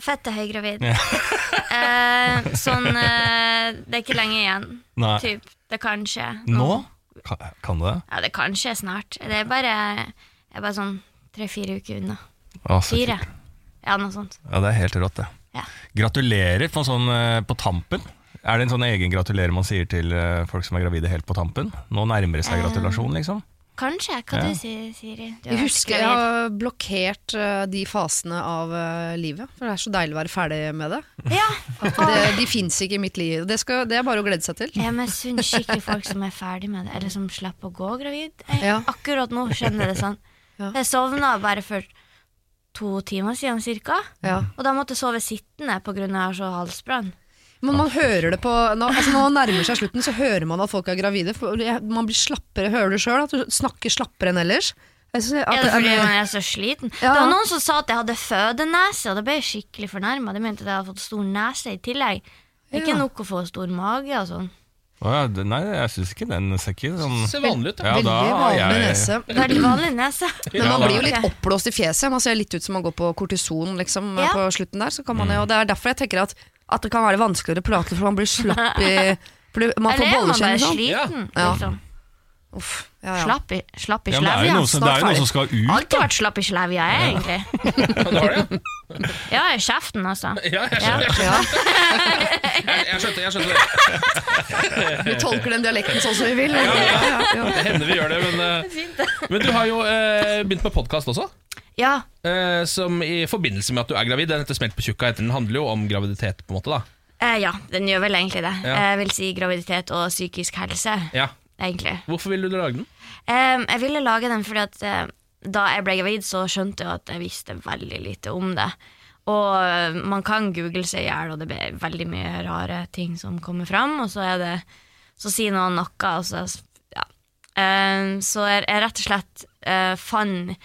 S8: Fett er høygravid. [laughs] eh, sånn eh, Det er ikke lenge igjen.
S2: Nei.
S8: Typ. Det kan skje.
S2: Nå? Kan, kan du det?
S8: Ja, det kan skje snart. Det er bare, jeg er bare sånn tre-fire uker unna.
S2: Å, så
S8: Fire.
S2: kult.
S8: Ja, noe sånt.
S2: Ja, det er helt rått, det.
S8: Ja.
S2: Gratulerer på, sånn, eh, på tampen. Er det en sånn egen gratulerer man sier til eh, folk som er gravide helt på tampen? Nå nærmer det seg gratulasjon, liksom.
S8: Kanskje. Hva
S2: Ja.
S8: du sier Siri? Du
S3: Jeg
S8: har
S3: husker jeg
S8: gravid.
S3: har blokkert eh, de fasene av eh, livet, for det er så deilig å være ferdig med det. [laughs]
S8: Ja.
S3: det de fins ikke i mitt liv. Det, skal, det er bare å glede seg til.
S8: Jeg misunner skikkelig folk som er ferdig med det, eller som slipper å gå gravid. Jeg,
S3: Ja.
S8: Akkurat nå skjønner jeg det sånn.
S3: Ja.
S8: Jeg sovna bare for to timer siden cirka.
S3: Ja.
S8: Og da måtte jeg sove sittende pga. jeg har så halsbrann.
S3: Men man hører det på nå, altså Når man nærmer seg slutten, så hører man at folk er gravide. For jeg- man blir slappere, Hører du sjøl at du snakker slappere enn ellers? Jeg synes at,
S8: Er det fordi man er så sliten?
S3: Ja.
S8: Det var noen som sa at jeg hadde fødenese, og da ble jeg skikkelig fornærma. De mente at jeg hadde fått stor nese i tillegg. Det
S3: Ja.
S8: er Ikke nok å få stor mage og sånn.
S2: Å ja, det- nei, jeg syns ikke den ser ikke sånn
S1: Ser vanlig ut, da.
S2: Ja,
S3: Veldig
S2: da er
S3: vanlig
S2: jeg-
S3: nese.
S8: Veldig vanlig nese.
S3: Men man
S2: da-
S3: blir jo litt oppblåst i fjeset. Man ser litt ut som man går på kortison liksom,
S8: Ja.
S3: på slutten der. Så kan man, jo- og det er derfor jeg tenker at, at det kan være vanskeligere å prate, for man blir slapp [laughs] i for det- Man får
S8: Eller er man
S3: bolleskinn.
S8: bare
S3: Liksom.
S8: sliten?
S3: Ja.
S8: Liksom.
S3: Uff, ja, ja.
S8: Slapp i, slapp i
S2: Ja, men det er jo
S8: slevja.
S2: noen som, det er jo noen som skal ut.
S8: Alltid vært slapp i slevja, jeg, egentlig.
S1: Du har det, [laughs] ja.
S8: [laughs] Ja, i kjeften, altså.
S1: Ja, jeg skjønner, jeg
S3: Ja.
S1: skjønner, jeg skjønte, jeg skjønte det.
S3: Vi tolker den dialekten sånn som vi vil. men- [laughs] Ja, ja.
S1: Det hender vi gjør det, men, eh, men du har jo eh, begynt med podkast også.
S8: Ja,
S1: eh, som i forbindelse med at du er gravid. Den heter Smelt på tjukka. heter Den handler jo om graviditet, på en måte. da
S8: eh, ja, den gjør vel egentlig det.
S1: Ja.
S8: Jeg vil si graviditet og psykisk helse,
S1: Ja
S8: egentlig.
S1: Hvorfor ville du lage den?
S8: Em, jeg ville lage den fordi at eh, da jeg ble gravid, så skjønte jeg at jeg visste veldig lite om det. Og eh, man kan google seg i hjel, og det blir veldig mye rare ting som kommer fram. Og så, er det, så sier noen noe, og så ja. Em, Så jeg, jeg rett og slett eh, fant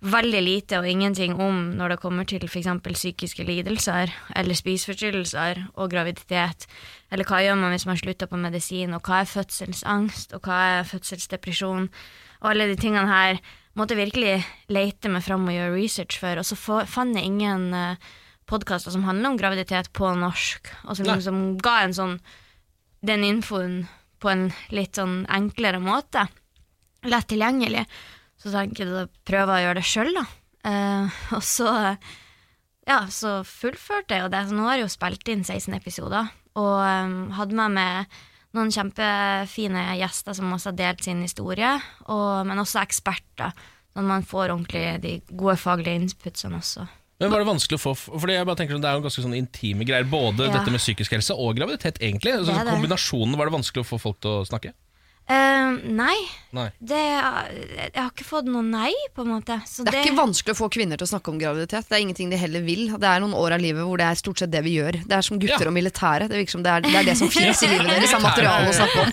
S8: veldig lite og ingenting om når det kommer til f.eks. psykiske lidelser eller spiseforstyrrelser og graviditet. Eller hva gjør man hvis man slutter på medisin, og hva er fødselsangst, og hva er fødselsdepresjon? Og alle de tingene her måtte jeg virkelig lete meg fram og gjøre research for, og så få- fant jeg ingen eh, podkaster som handler om graviditet på norsk, og som
S1: Nei.
S8: liksom ga en sånn den infoen på en litt sånn enklere måte lett tilgjengelig. Så tenker jeg å prøve å gjøre det sjøl, da. Eh, [laughs] og så, ja, så fullførte jeg jo det. Så nå har jeg jo spilt inn 16 episoder, og eh, hadde med meg noen kjempefine gjester som også har delt sin historie, og, men også eksperter. Sånn at man får ordentlig de gode faglige inputsene også.
S1: Men Var det vanskelig å få Fordi jeg bare tenker sånn, Det er jo ganske sånn intime greier. Både
S8: Ja.
S1: dette med psykisk helse og graviditet, egentlig. Så,
S8: Det er det.
S1: kombinasjonen var det vanskelig å få folk til å snakke.
S8: Eh, nei,
S1: Nei
S8: det, jeg har ikke fått noe nei, på en måte. Så
S3: Det er ikke vanskelig å få kvinner til å snakke om graviditet. Det er ingenting de heller vil. Det er noen år av livet hvor det er stort sett det vi gjør. Det er som gutter
S1: Ja.
S3: og militære. Det virker som det er det, er det som fins i livet deres av materiale å snakke
S1: [laughs]
S3: om.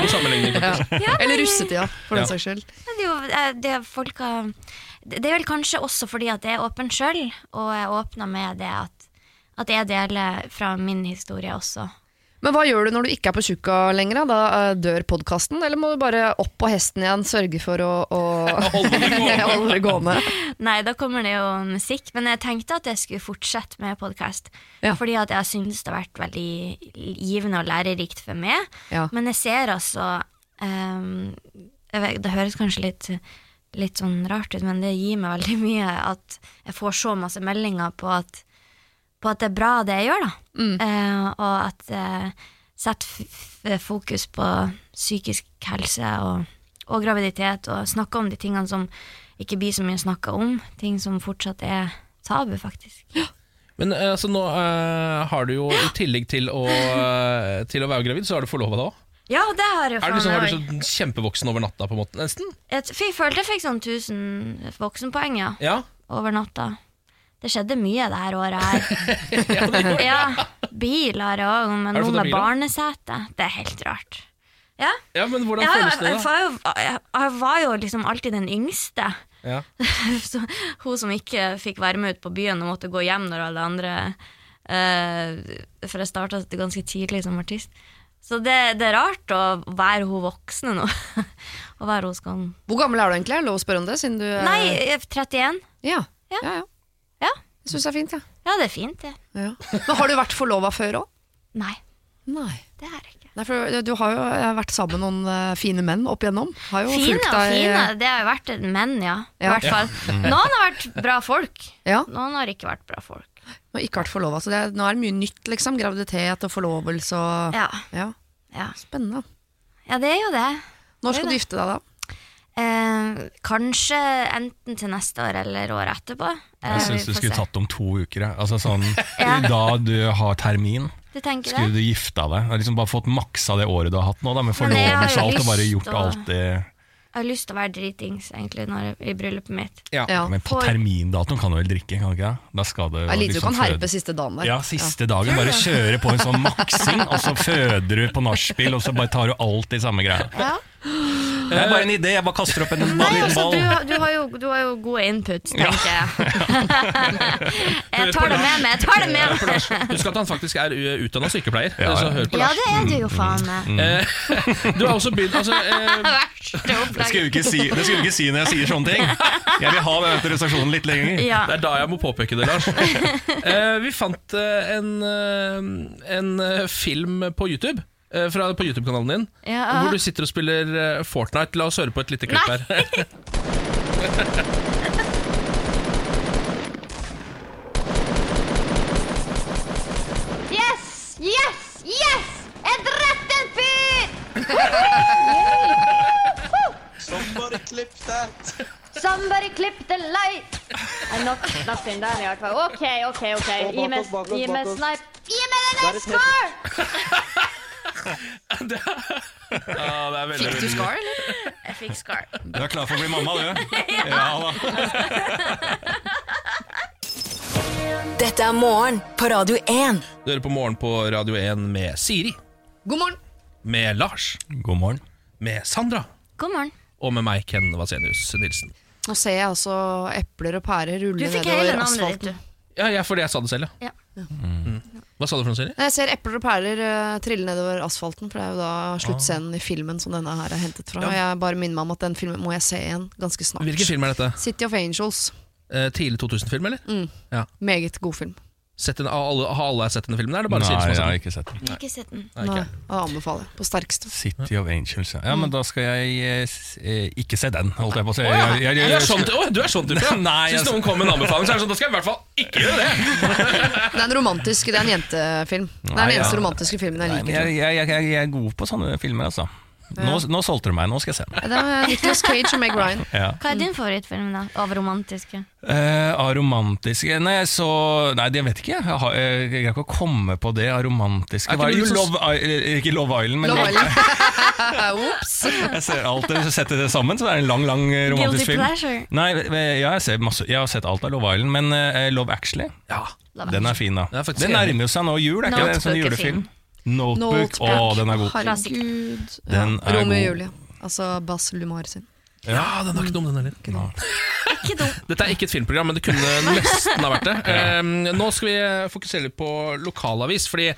S1: God sammenligning. faktisk.
S3: Ja. [laughs] Eller russetida, for
S1: Ja.
S3: den saks skyld.
S8: Men Det er, jo, eh, det, er folk, har- det det er vel kanskje også fordi at jeg er åpen sjøl, og jeg åpner med det at, at jeg deler fra min historie også.
S3: Men hva gjør du når du ikke er på tjukka lenger? da? Da eh, dør podkasten, eller må du bare opp på hesten igjen, sørge for å, å
S1: [laughs] Holde det gående.
S3: [laughs] holde det gående?
S8: Nei, da kommer det jo musikk, men jeg tenkte at jeg skulle fortsette med podkast.
S3: Ja.
S8: Fordi at jeg syns det har vært veldig givende og lærerikt for meg.
S3: Ja.
S8: Men jeg ser altså ehm, jeg vet, Det høres kanskje litt, litt sånn rart ut, men det gir meg veldig mye at jeg får så masse meldinger på at, på at det er bra, det jeg gjør, da.
S1: Mm.
S8: Eh, og at eh, Sett f- f- fokus på psykisk helse og, og graviditet, og snakke om de tingene som ikke blir så mye snakka om. Ting som fortsatt er tabu, faktisk.
S1: Men eh, altså, nå eh, har du jo, i tillegg til å, eh, til å være gravid, så har du forlova deg òg.
S8: Ja, det har jeg
S1: Er du
S8: faen
S1: liksom,
S8: meg
S1: er du sånn kjempevoksen over natta, på en måte? Nesten?
S8: Jeg t- jeg følte jeg fikk sånn 1000 voksenpoeng ja,
S1: Ja.
S8: over natta. Det skjedde mye det her året
S1: [laughs]
S8: her. ja, bil har jeg òg, men
S1: Har du
S8: nå
S1: fått
S8: med
S1: bil, da?
S8: barnesete. Det er helt rart. Ja,
S1: ja, men hvordan
S8: ja jeg,
S1: føles det,
S8: jeg,
S1: da?
S8: var jo, jeg, jeg var jo liksom alltid den yngste. [laughs]
S1: Ja.
S8: Så, hun som ikke fikk være med ut på byen og måtte gå hjem når alle andre eh, For jeg starta ganske tidlig som artist. Så det, det er rart å være hun voksne nå. [laughs] Å være hun skal
S3: Hvor gammel er du egentlig? Er det lov å spørre om det? Siden du er
S8: Nei, jeg er 31.
S3: Ja.
S8: Ja.
S3: ja, ja.
S8: Ja.
S3: Jeg syns det er fint, jeg.
S8: Ja, det er fint, det.
S3: Ja. Men har du vært forlova før òg?
S8: Nei,
S3: Nei.
S8: det er det ikke.
S3: Nei, for du har jo vært sammen med noen eh, fine menn opp igjennom. Har jo
S8: Fine
S3: fulgt
S8: og
S3: deg
S8: fine, det har jo vært et menn, ja. I
S3: Ja.
S8: hvert fall. Noen har vært bra folk,
S3: Ja,
S8: noen har ikke vært bra folk.
S3: og ikke vært forlova. Så det er, nå er det mye nytt, liksom. Graviditet og forlovelse og
S8: Ja,
S3: Ja,
S8: ja.
S3: Spennende.
S8: ja det er jo det.
S3: Når skal du gifte deg, da?
S8: Eh, kanskje enten til neste år eller året etterpå. Eh,
S2: Jeg syns
S8: vi
S2: du
S8: får
S2: skulle
S8: se.
S2: tatt om to uker. jeg. Altså sånn,
S8: Ja.
S2: Da du har termin,
S8: Du tenker
S2: skulle
S8: det?
S2: du gifta deg. Og Liksom bare fått maksa det året du har hatt nå, da, med
S8: Men jeg har
S2: forlovelse og
S8: jo
S2: alt, og bare
S8: lyst
S2: gjort
S8: å-
S2: alt det
S8: Jeg har lyst til å være dritings egentlig når, i bryllupet mitt.
S3: Ja.
S2: Men på
S8: For-
S2: termindatoen kan du vel drikke? kan du ikke? det? Da skal det
S3: Det er lite du
S2: liksom
S3: kan
S2: føde-
S3: herpe siste dagen der.
S2: Ja, siste dagen. Bare kjøre på en sånn maksing, og så føder du på nachspiel, og så bare tar du alt i samme greia. Det er bare en idé, jeg bare kaster opp en
S8: Nei,
S2: liten
S8: altså,
S2: ball.
S8: du, du, har jo, du har jo gode inputs, tenker
S2: [laughs]
S8: jeg. jeg tar det med meg. jeg tar det med meg.
S1: Husk at han faktisk er u- utdanna sykepleier.
S2: Ja, ja.
S1: Så hør på
S8: Ja,
S1: Lars.
S8: det er du jo faen meg.
S1: Du har også begynt altså, eh,
S8: [laughs]
S2: Det skal
S8: Verste
S2: Mm. jeg jo
S8: opplegg.
S2: ikke si, det skal jeg jo ikke si når jeg sier
S1: [laughs]
S2: sånne ting. Jeg vil ha den autorisasjonen litt lenger.
S8: Ja.
S1: Det er da jeg må påpeke det, Lars. Eh, vi fant eh, en, eh, en eh, film på YouTube. eh, Fra, på YouTube-kanalen din,
S8: Ja.
S1: hvor du sitter og spiller eh, Fortnite. La oss høre på et lite klipp
S8: [laughs] Nei.
S1: her.
S9: Yes! Yes! Yes! Jeg drepte en fyr! Somebody clip that! Somebody clip the light! Nei, nå knapper den der i hvert fall. Ok, ok, ok. Gi meg gi meg snipe. Gi meg den score!
S1: Ja, det er veldig,
S3: Fikk du scar, eller?
S8: Jeg fikk scar.
S2: Du er klar for å bli mamma, du? Ja da.
S4: Dette er morgen på Radio 1.
S1: Du hører på Morgen på Radio 1 med Siri,
S3: God morgen!
S1: med Lars,
S2: God morgen.
S1: med Sandra
S8: God morgen.
S1: og med meg, Ken Vasenius Nilsen.
S3: Nå ser jeg altså epler og pærer
S8: Du
S3: rulle
S8: fikk hele
S3: nedover
S8: navnet ditt,
S3: asfalten.
S8: du.
S1: Ja, ja, fordi jeg sa det selv,
S8: Ja.
S1: Mm. Hva sa du for noe, Siri?
S3: Nei, Jeg ser epler og pærer eh, trille nedover asfalten, for det er jo da sluttscenen
S2: Ah.
S3: i filmen som denne her er hentet fra. Og jeg bare minner meg om at den filmen må jeg se igjen ganske snart.
S1: Hvilken film er dette?
S3: City of Angels.
S1: Eh, tidlig 2000-film, eller?
S3: Meget god film.
S1: Sett den, har, alle, har alle sett denne filmen? Er det bare
S2: Nei,
S1: Siri som
S2: jeg
S1: har sett
S2: har
S1: den?
S2: ikke sett den.
S8: Jeg har ikke sett den.
S1: Nei, ikke.
S3: Nei, jeg anbefaler jeg på sterkeste.
S2: City of Angels. Ja, men da skal jeg eh, s- eh, ikke se den, holdt jeg på å si. Jeg- jeg- jeg-
S1: Du er sånn, ty- å, du er sånn type, ja. Så
S2: Nei,
S1: Hvis
S2: altså-
S1: noen kommer med en anbefaling, så er det sånn, da skal jeg i hvert fall ikke gjøre det.
S3: Det er en romantisk, det er en jentefilm. Det er
S2: Nei,
S3: den eneste
S2: ja.
S3: romantiske filmen jeg
S2: Nei, men jeg,
S3: liker.
S2: jeg, jeg, jeg er god på sånne filmer, altså. Nå, nå solgte du meg, nå skal jeg se den.
S3: tror jeg. Det er Nicholas Cage og Meg Ryan.
S2: Ja.
S8: Hva er din favorittfilm da, av romantiske?
S2: Eh, av romantiske Nei, jeg så Nei, det vet ikke jeg. Jeg har- Jeg jeg greier ikke å komme på det av romantiske
S1: Er ikke
S2: Hva er
S1: du
S2: det? Jo,
S1: som-
S2: Love, I- eh, Ikke Love Island, men
S3: Love Island. [laughs] Ops!
S2: Jeg ser alt Hvis jeg setter det sammen, så er det en lang, lang eh, romantisk
S8: Guilty
S2: film.
S8: pleasure.
S2: Nei, ve- ve- ja, jeg, ser masse, jeg har sett alt av Love Island, men eh, Love Actually,
S1: Ja.
S8: Love
S2: den er fin, da.
S1: Jeg er faktisk
S2: Den
S1: enig.
S2: nærmer jo seg nå jul, er ikke det? En sånn
S8: Notebook er
S2: julefilm.
S8: fin.
S2: Notebook. Å, den er god.
S3: Herregud. Ja.
S2: Den er
S3: Romeo og
S2: god.
S3: Julie. Altså Bas Lumar sin.
S1: ja, den var ikke dum, den heller.
S8: Ikke dum.
S1: Dette er ikke et filmprogram, men det kunne nesten ha vært det. Ehm, nå skal vi fokusere litt på lokalavis, fordi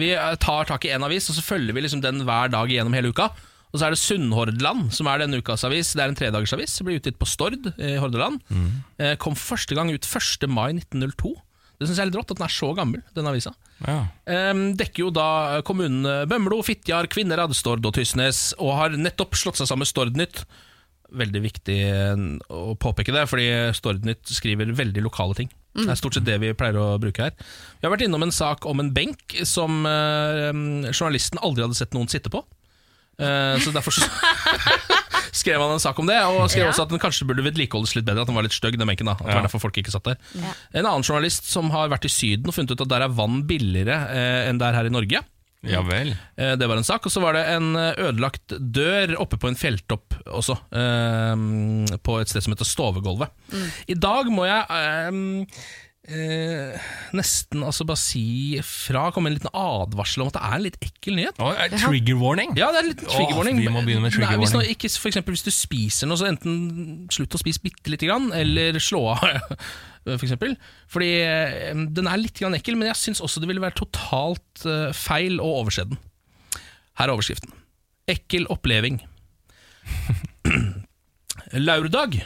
S1: vi eh, tar tak i en avis, og så følger vi liksom den hver dag gjennom hele uka. Og så er det Sunnhordland som er denne ukas avis. Det er en tredagersavis. Ble utgitt på Stord i Hordaland. Eh, Kom første gang ut 1. mai 1902. Det syns jeg er litt rått at den er så gammel, den avisa.
S2: Ja.
S1: Ehm, dekker jo da kommunene Bømlo, Fitjar, Kvinnherad, Stord og Tysnes, og har nettopp slått seg sammen med Stordnytt. Veldig viktig eh, å påpeke det, fordi Stordnytt skriver veldig lokale ting. Det er stort sett det vi pleier å bruke her. Vi har vært innom en sak om en benk som eh, journalisten aldri hadde sett noen sitte på. Eh, så derfor så [laughs] skrev han en sak om det, og skrev også at den kanskje burde vedlikeholdes litt bedre. At den var litt stygg, den benken. da At det var
S2: Ja.
S1: derfor folk ikke satt der En annen journalist som har vært i Syden og funnet ut at der er vann billigere eh, enn det er her i Norge.
S2: ja vel.
S1: Eh, det var en sak. Og så var det en eh, ødelagt dør oppe på en fjelltopp også. Eh, på et sted som heter Stovegolvet. I dag må jeg eh, eh, nesten altså bare si fra, komme med en liten advarsel om at det er en litt ekkel nyhet.
S2: Å, eh, trigger warning.
S1: Ja, det er litt trigger
S2: Åh,
S1: warning.
S2: vi må begynne med trigger
S1: Nei, hvis, nå
S2: warning.
S1: ikke, for eksempel, hvis du spiser noe, så enten slutt å spise bitte lite grann, eller slå av. [laughs] For eksempel. Fordi eh, den er litt grann ekkel, men jeg syns også det ville være totalt eh, feil å overse den. Her er overskriften. Ekkel oppleving. [clears throat] Laurdag,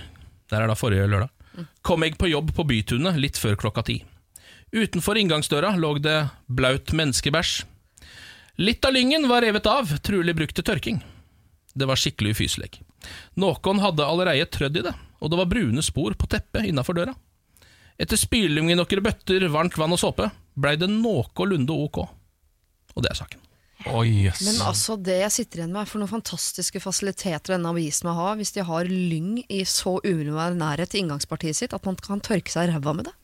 S1: der er da forrige lørdag, kom jeg på jobb på Bytunet litt før klokka ti. Utenfor inngangsdøra lå det blaut menneskebæsj. Litt av lyngen var revet av, trolig brukt til tørking. Det var skikkelig ufyselig. Noen hadde allereie trødd i det, og det var brune spor på teppet innafor døra. Etter spyling i noen bøtter varmt vann og såpe, blei det noenlunde ok. Og det er saken.
S2: Oi, jøss.
S3: Men altså, det jeg sitter igjen med, er for noen fantastiske fasiliteter denne avisen må ha, hvis de har lyng i så umiddelbar nærhet til inngangspartiet sitt at man kan tørke seg i ræva med det.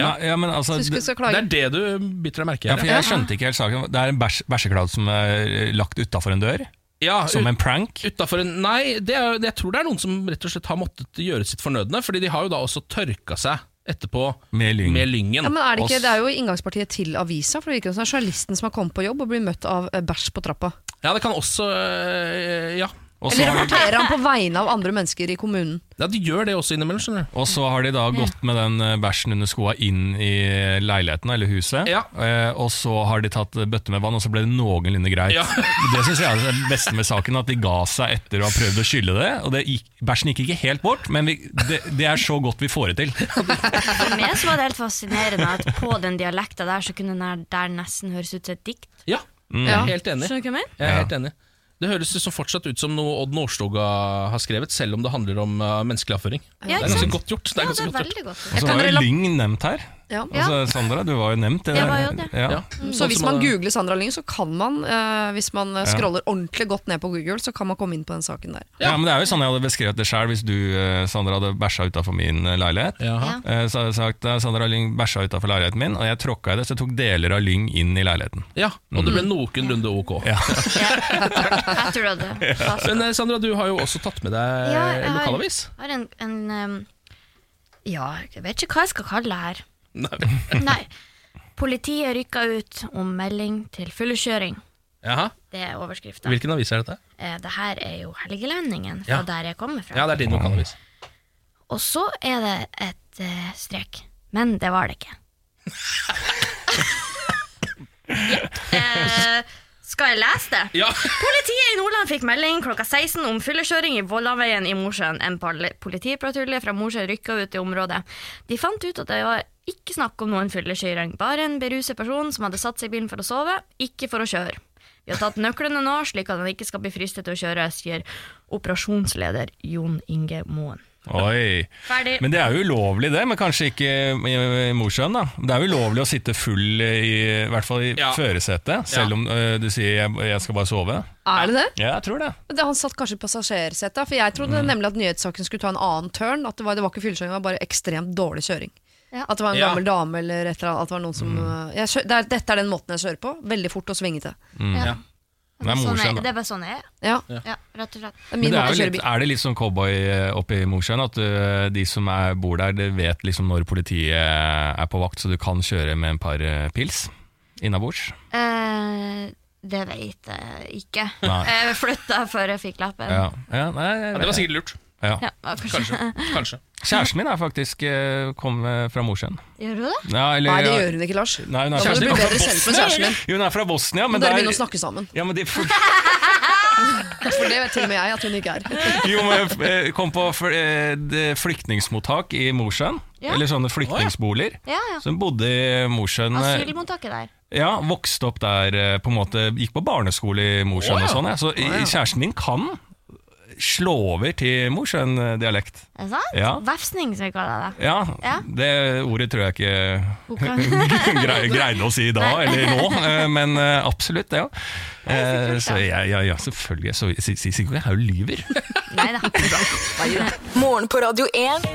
S2: Ja, ja, men altså
S3: Syns ikke vi skal
S1: Det
S3: klage.
S1: er det du biter deg merke
S2: Ja,
S1: i.
S2: for
S1: her,
S2: jeg skjønte ikke helt saken. Det er en bæsj- bæsjekladd som er lagt eh, utafor en dør.
S1: Ja,
S2: Som en prank?
S1: Utenfor en, nei, det er, jeg tror det er noen som rett og slett har måttet gjøre sitt fornødne. Fordi de har jo da også tørka seg etterpå
S2: Med lyng.
S1: lyngen.
S3: Ja, men er det, ikke,
S2: Oss.
S3: det er jo inngangspartiet til avisa, for det virker som det er journalisten som har kommet på jobb og blir møtt av eh, bæsj på trappa.
S1: Ja, det kan også øh, Ja.
S2: Og så
S3: Eller
S2: har,
S3: rapporterer han på vegne av andre mennesker i kommunen.
S1: ja de gjør det også innimellom, skjønner du.
S2: og så har de da gått med den eh, bæsjen under skoa inn i leiligheten eller huset.
S1: Ja.
S2: Eh, og så har de tatt eh, bøtte med vann, og så ble det noenlunde greit.
S1: Ja.
S2: [laughs] Det syns jeg er det beste med saken, at de ga seg etter å ha prøvd å skylle det. Og det gikk, bæsjen gikk ikke helt bort, men vi, det, det er så godt vi får det til.
S8: [laughs] For meg så var det helt fascinerende at på den dialekta der så kunne den her- der nesten høres ut som et dikt.
S1: Mm. Ja, jeg
S3: Ja.
S1: er helt enig.
S8: Skjønner du hva jeg mener?
S1: Jeg er
S2: Ja.
S1: helt enig. Det høres som fortsatt ut som noe Odd Nordstoga har skrevet, selv om det handler om eh, menneskelig avføring.
S8: Ja,
S1: det
S8: ikke
S1: er ganske
S8: sant?
S1: godt gjort. Det er
S8: Ja, det
S1: ganske
S8: er
S1: godt gjort.
S8: veldig godt.
S2: Og så
S3: kan
S2: var jo
S3: rela-
S2: lyng nevnt her.
S3: Ja.
S2: Altså, Sandra, du var jo nevnt. i
S8: Jeg
S2: den-
S8: var jo det.
S2: Ja.
S1: Ja.
S3: Så
S1: Noen
S3: hvis
S1: Mm. Sånn som
S3: man
S1: har-
S3: googler Sandra Lyng, så kan man, eh, hvis man eh, scroller ordentlig godt ned på Google, så kan man komme inn på den saken der.
S2: Ja. men Det er jo sånn jeg hadde beskrevet det sjøl hvis du eh, Sandra, hadde bæsja utafor min eh, leilighet.
S1: Jaha.
S8: Ja.
S2: Eh, Så hadde jeg sagt eh, Sandra Lyng bæsja utafor leiligheten min, og jeg tråkka i det, så jeg tok deler av lyng inn i leiligheten.
S1: Ja, og det ble
S8: Mm.
S1: noenlunde ok.
S8: Jeg tror det. Fast.
S1: Men eh, Sandra, du har jo også tatt med deg
S8: Ja, jeg har-
S1: Eh, lokalavis.
S8: Jeg har en, en um, Ja, jeg vet ikke hva jeg skal kalle det her.
S1: Nei.
S8: [laughs] Nei. Politiet rykka ut om melding til fyllekjøring.
S1: Jaha.
S8: Det er overskrifta.
S1: Hvilken avis er dette?
S8: Eh, det her er jo Helgelendingen,
S1: Ja.
S8: fra der jeg kommer fra.
S1: Ja, det er din lokalavis.
S8: Og så er det et eh, strek. Men det
S1: [laughs]
S8: var det ikke. ja. eh, skal jeg lese det? [laughs]
S1: Ja.
S8: Politiet i Nordland fikk melding klokka 16 om fyllekjøring i Vollanveien i Mosjøen. En pal- politipatrulje fra Mosjøen rykka ut i området. De fant ut at det var ikke snakk om noen fyllekjøring, bare en beruset person som hadde satt seg i bilen for å sove, ikke for å kjøre. Vi har tatt nøklene nå, slik at han ikke skal bli fristet til å kjøre, sier operasjonsleder Jon Inge Moen.
S2: Oi.
S8: Ferdig.
S2: Men det er jo ulovlig, det. Men kanskje ikke i i Mosjøen, da. Det er jo ulovlig å sitte full i, i hvert fall i
S1: Ja.
S2: førersetet,
S1: Ja.
S2: selv om eh, du sier jeg, 'jeg skal bare sove'.
S3: Er det det?
S2: Ja, jeg tror det.
S3: det han satt kanskje i passasjersetet, for jeg
S2: Mm.
S3: trodde nemlig at nyhetssaken skulle ta en annen turn. At det var, det var ikke fyllekjøring, det var bare ekstremt dårlig kjøring.
S8: Ja.
S3: At det var en
S1: Ja.
S3: gammel dame eller et eller annet. At det var noen som,
S2: Mm.
S3: øh, jeg kjø, det er, dette er den måten jeg kjører på. Veldig fort og svingete.
S8: Ja.
S2: Det er
S8: Sånn
S2: Mosjøen,
S8: er, det
S2: da.
S8: er bare sånn jeg er.
S3: Ja,
S8: Ja, rett og slett.
S3: det er
S2: Men
S3: min
S2: det
S3: måte
S2: er,
S3: å
S2: jo
S3: kjøre
S2: litt,
S3: bil.
S2: er det litt sånn cowboy eh, oppe i Mosjøen, at eh, de som er, bor der, de vet liksom når politiet eh, er på vakt, så du kan kjøre med en par eh, pils innabords?
S8: Eh, det vet jeg ikke.
S2: Nei.
S8: Jeg flytta før jeg fikk lappen.
S2: Ja. Ja, nei, jeg-
S1: Ja, det var sikkert lurt.
S2: ja.
S8: Ja, kanskje.
S1: Kanskje.
S8: [laughs]
S1: Kanskje.
S2: Kjæresten min er faktisk eh, kom eh, fra Mosjøen.
S8: Gjør du det?
S2: Ja, eller-
S3: Nei, det gjør hun ikke, Lars.
S2: Nei, hun er
S3: Da
S2: fra-
S3: må du bli
S1: Kjæresten
S3: bedre
S1: kommer fra
S3: selv for kjæresten din.
S2: Jo, hun er fra Bosnia, men
S3: Men dere
S2: der-
S3: begynner å snakke sammen.
S2: ja, men de for,
S3: For det vet til og med jeg at hun ikke er.
S2: [laughs] jo, men, eh, kom på fl- eh, det flyktningsmottak i Mosjøen,
S8: Ja.
S2: eller sånne flyktningsboliger.
S8: Ja, ja.
S2: Så hun bodde i Mosjøen. eh,
S8: Asylmottaket der.
S2: Ja, vokste opp der, eh, på en måte, gikk på barneskole i Mosjøen
S1: Å, ja.
S2: og sånn. Ja. Så i- kjæresten din kan slå over til Mosjøen-dialekt.
S8: Er det sant?
S2: Ja.
S8: Vefsning, som vi kaller det.
S2: Ja,
S8: Ja.
S2: det ordet tror jeg ikke
S8: Hun kan-
S2: [laughs] grei, greide å si da, eller nå, eh, men eh, absolutt det, ja. Eh, Så jeg, ja, ja, selvfølgelig. Så jeg sier ikke at jeg er jo lyver.
S8: Nei da.
S4: Morgen på Radio 1.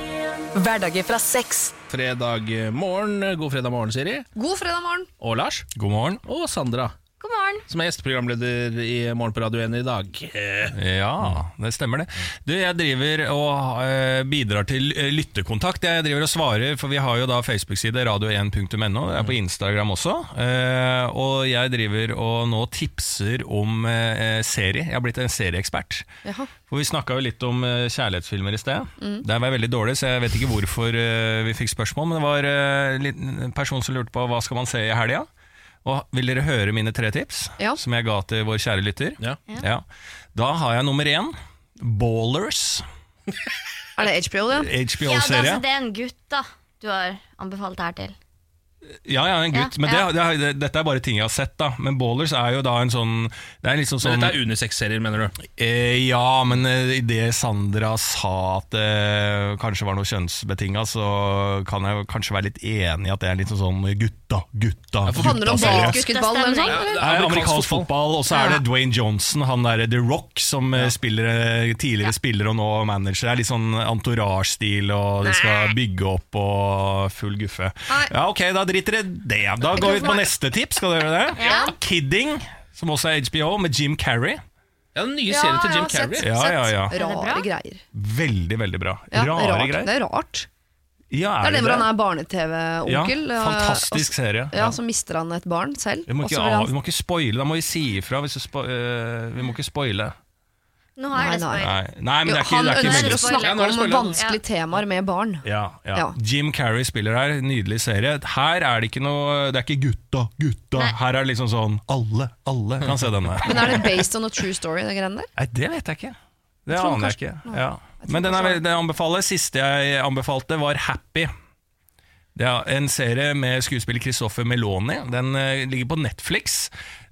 S4: Hverdager fra seks.
S1: Fredag morgen. God fredag morgen, Siri.
S3: God fredag morgen.
S1: Og Lars.
S2: God morgen.
S1: Og Sandra,
S8: God morgen.
S1: som er gjesteprogramleder i Morgen på Radio 1 i dag. Eh,
S2: Ja, det stemmer det. Du, jeg driver og eh, bidrar til eh, lyttekontakt. Jeg driver og svarer, for vi har jo da Facebook-side radio1.no. Jeg er på Instagram også. Eh, og jeg driver og nå tipser om eh, serie. Jeg har blitt en serieekspert.
S3: Jaha.
S2: For Vi snakka jo litt om eh, kjærlighetsfilmer i sted.
S1: Mm.
S2: Der var jeg veldig dårlig, så jeg vet ikke hvorfor eh, vi fikk spørsmål. Men det var eh, litt- en person som lurte på hva skal man se i helga. Og vil dere høre mine tre tips,
S3: Ja.
S2: som jeg ga til vår kjære lytter?
S1: Ja.
S2: Ja. Da har jeg nummer én. Ballers,
S3: Er det HBO, det?
S8: Ja, det, er
S2: HBO-serie.
S8: altså, det er en gutt da du har anbefalt det her til.
S2: Ja, ja, en gutt.
S8: Ja,
S2: Men det,
S8: ja.
S2: det, det, dette er bare ting jeg har sett, da. Men Ballers er jo da en sånn Det er liksom
S1: Men
S2: sånn
S1: dette er unisex-serier, mener du?
S2: eh, Ja, men eh, i det Sandra sa at det kanskje var noe kjønnsbetinga, så kan jeg jo kanskje være litt enig i at det er litt sånn gutta, gutta,
S1: for
S3: Handler det om
S2: gutta-serie.
S3: basket- Basketball eller noe sånt,
S8: Guttastemning.
S1: det
S2: Det er amerikansk fotball, og så er det Dwayne Johnson, han der The Rock, som eh, spiller, eh, tidligere spiller og nå manager. Det er litt sånn entourage-stil, og de skal bygge opp og full guffe.
S3: Nei.
S2: Ja, ok, da driter dere i det. Da går vi ut på neste tips, skal dere gjøre det? Kidding, som også er HBO, med Jim Carrey.
S1: Ja, den nye
S3: Ja,
S1: serien til
S3: jeg
S1: Jim
S3: har sett-
S1: Carrey.
S2: Ja,
S3: sett
S2: ja, ja.
S8: det bra?
S3: Rare greier.
S2: Veldig, veldig bra.
S3: Ja,
S2: Rare
S3: rart.
S2: greier.
S3: Det er rart.
S2: Ja,
S3: Det er den hvor han
S2: det?
S3: er barne-TV-onkel.
S2: Ja,
S3: eh,
S2: fantastisk
S3: og-
S2: serie.
S3: Ja,
S2: Ja.
S3: Så mister han et barn selv.
S2: Vi må,
S3: og
S2: ikke,
S3: så vil han-
S2: av- vi må ikke spoile, da må vi si ifra. Hvis vi, spo, eh, vi må ikke spoile.
S8: Nå har jeg det
S3: Nei,
S8: spoilet.
S2: Nei, nei men
S3: jo,
S2: det er ikke,
S3: han
S2: det er ikke
S3: ønsker
S2: mulig.
S3: å snakke
S1: Ja, nå er det
S3: om
S1: spoiler.
S3: vanskelige temaer med barn.
S2: Ja, ja.
S3: Ja.
S2: Jim Carrey spiller her, nydelig serie. Her er det ikke noe Det er ikke gutta, gutta. Her er det liksom sånn alle, alle kan se denne.
S3: Men er det based on a true story, det greiene der?
S2: Nei, det vet jeg ikke. Det
S3: tror
S2: aner jeg
S3: kanskje-
S2: ikke. Ja. Men den er veldig den anbefaler. Siste jeg anbefalte, var Happy. Det er en serie med skuespiller Christoffer Meloni. Den eh, ligger på Netflix.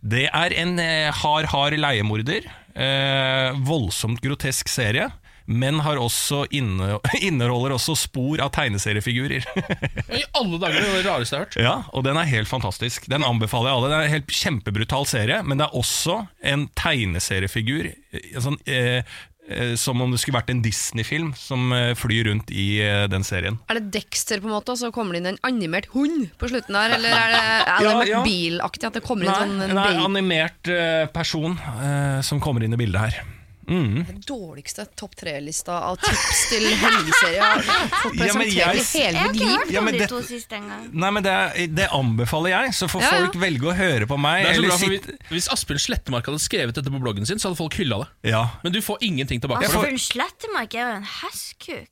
S2: Det er en eh, hard, hard leiemorder. Eh, voldsomt grotesk serie. Men har også inne, [laughs] inneholder også spor av tegneseriefigurer.
S1: I alle dager, det er det rareste jeg har hørt.
S2: Ja, og den er helt fantastisk. Den anbefaler jeg alle. Det er en helt kjempebrutal serie, men det er også en tegneseriefigur eh, sånn, eh, eh, som om det skulle vært en Disney-film som eh, flyr rundt i eh, den serien.
S3: Er det Dexter, på en måte, og så kommer det inn en animert hund på slutten der? Eller er det, er det
S2: Ja, ja.
S3: McBeal-aktig, at det kommer inn
S2: Nei,
S3: sånn
S2: en
S3: en baby?
S2: animert eh, person eh, som kommer inn i bildet her.
S3: Den dårligste topp tre-lista av tips til helgeserier jeg har fått
S2: Ja, men
S3: presentert
S2: jeg-
S3: i hele mitt liv.
S8: Jeg har ikke hørt
S2: Ja,
S8: om
S2: men
S8: de
S2: det-
S8: to siste engang.
S2: Nei, men det, er- det anbefaler jeg, så får
S3: Ja, ja.
S2: folk velge å høre på meg.
S1: Det er så
S2: eller
S1: bra, for
S2: sitte-
S1: vi- Hvis Asbjørn Slettemark hadde skrevet dette på bloggen sin, så hadde folk hylla det.
S2: ja.
S1: Men du får ingenting tilbake. for det.
S8: Asbjørn Slettemark er jo en hestkuk.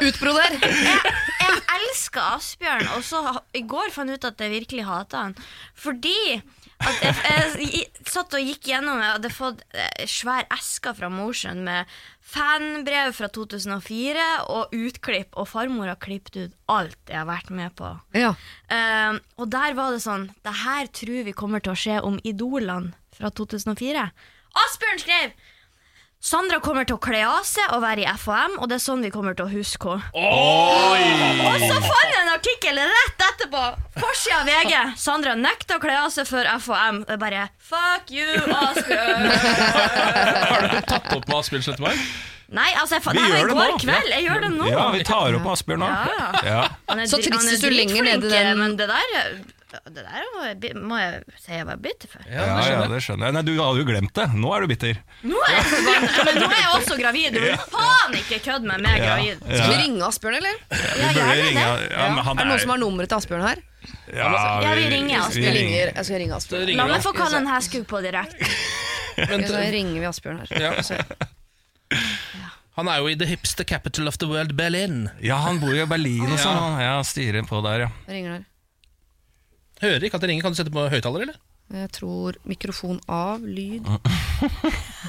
S3: Utbroder!
S8: Jeg elsker Asbjørn, og så ha- i går fant jeg ut at jeg virkelig hater han. Fordi at jeg, jeg i- satt og gikk gjennom Jeg hadde fått eh, svær eske fra Mosjøen med fanbrev fra 2004 og utklipp, og farmor har klippet ut alt jeg har vært med på.
S3: Ja.
S8: Eh, og der var det sånn Det her tror vi kommer til å skje om idolene fra 2004. Asbjørn skrev! Sandra kommer til å kle av seg og være i FHM, og det er sånn vi kommer til å huske henne. Og så får vi en artikkel rett etterpå! Forsida av VG. Sandra nekter å kle av seg før FHM. Det er bare fuck you, Asbjørn.
S1: Har du tatt opp med Asbjørn Slettemark?
S8: Nei, altså, jeg fa-
S2: Vi
S8: det her var
S2: gjør
S8: i
S2: det
S8: går
S2: nå.
S8: kveld. Jeg gjør det nå.
S2: ja, vi tar opp Asbjørn nå.
S8: Ja.
S2: Ja.
S8: Han er
S3: Så
S8: dri-
S3: trist
S8: han er
S3: hvis du lenger ned i
S8: dritflink,
S3: den-
S8: Men det der, det der må, jeg, bi- må jeg si jeg var bitter for.
S2: Ja, ja, det skjønner jeg. Nei, du hadde jo glemt det. Nå er du bitter.
S8: Nå er jeg forbanna, men nå er jeg også gravid. Du vil faen ikke kødde med meg
S2: Ja.
S8: gravid.
S2: Ja.
S3: Skal vi ringe Asbjørn, eller?
S8: Ja,
S2: Vi burde
S8: gjerne
S2: ringe
S8: det.
S2: ja, men han
S3: er det noen som har nummeret til Asbjørn her?
S2: Ja,
S8: Ja, vi ringer Asbjørn.
S2: vi ringer.
S3: Jeg ringer, jeg skal ringe
S1: Det
S3: Asbjørn.
S1: ringer
S8: La
S1: han.
S8: meg få kalle en heskuk på direkte.
S1: Men,
S3: Så
S1: eh,
S3: ringer vi Asbjørn her.
S1: Ja.
S2: Altså,
S3: Så-
S1: Han er jo i the hipster capital of the world, Berlin.
S2: Ja, han bor jo i Berlin og sånn. han. Ja, styrer på der, ja.
S3: Jeg ringer her.
S1: Hører ikke at det ringer. Kan du sette på høyttaler, eller?
S3: Jeg tror mikrofon av, lyd
S1: Vi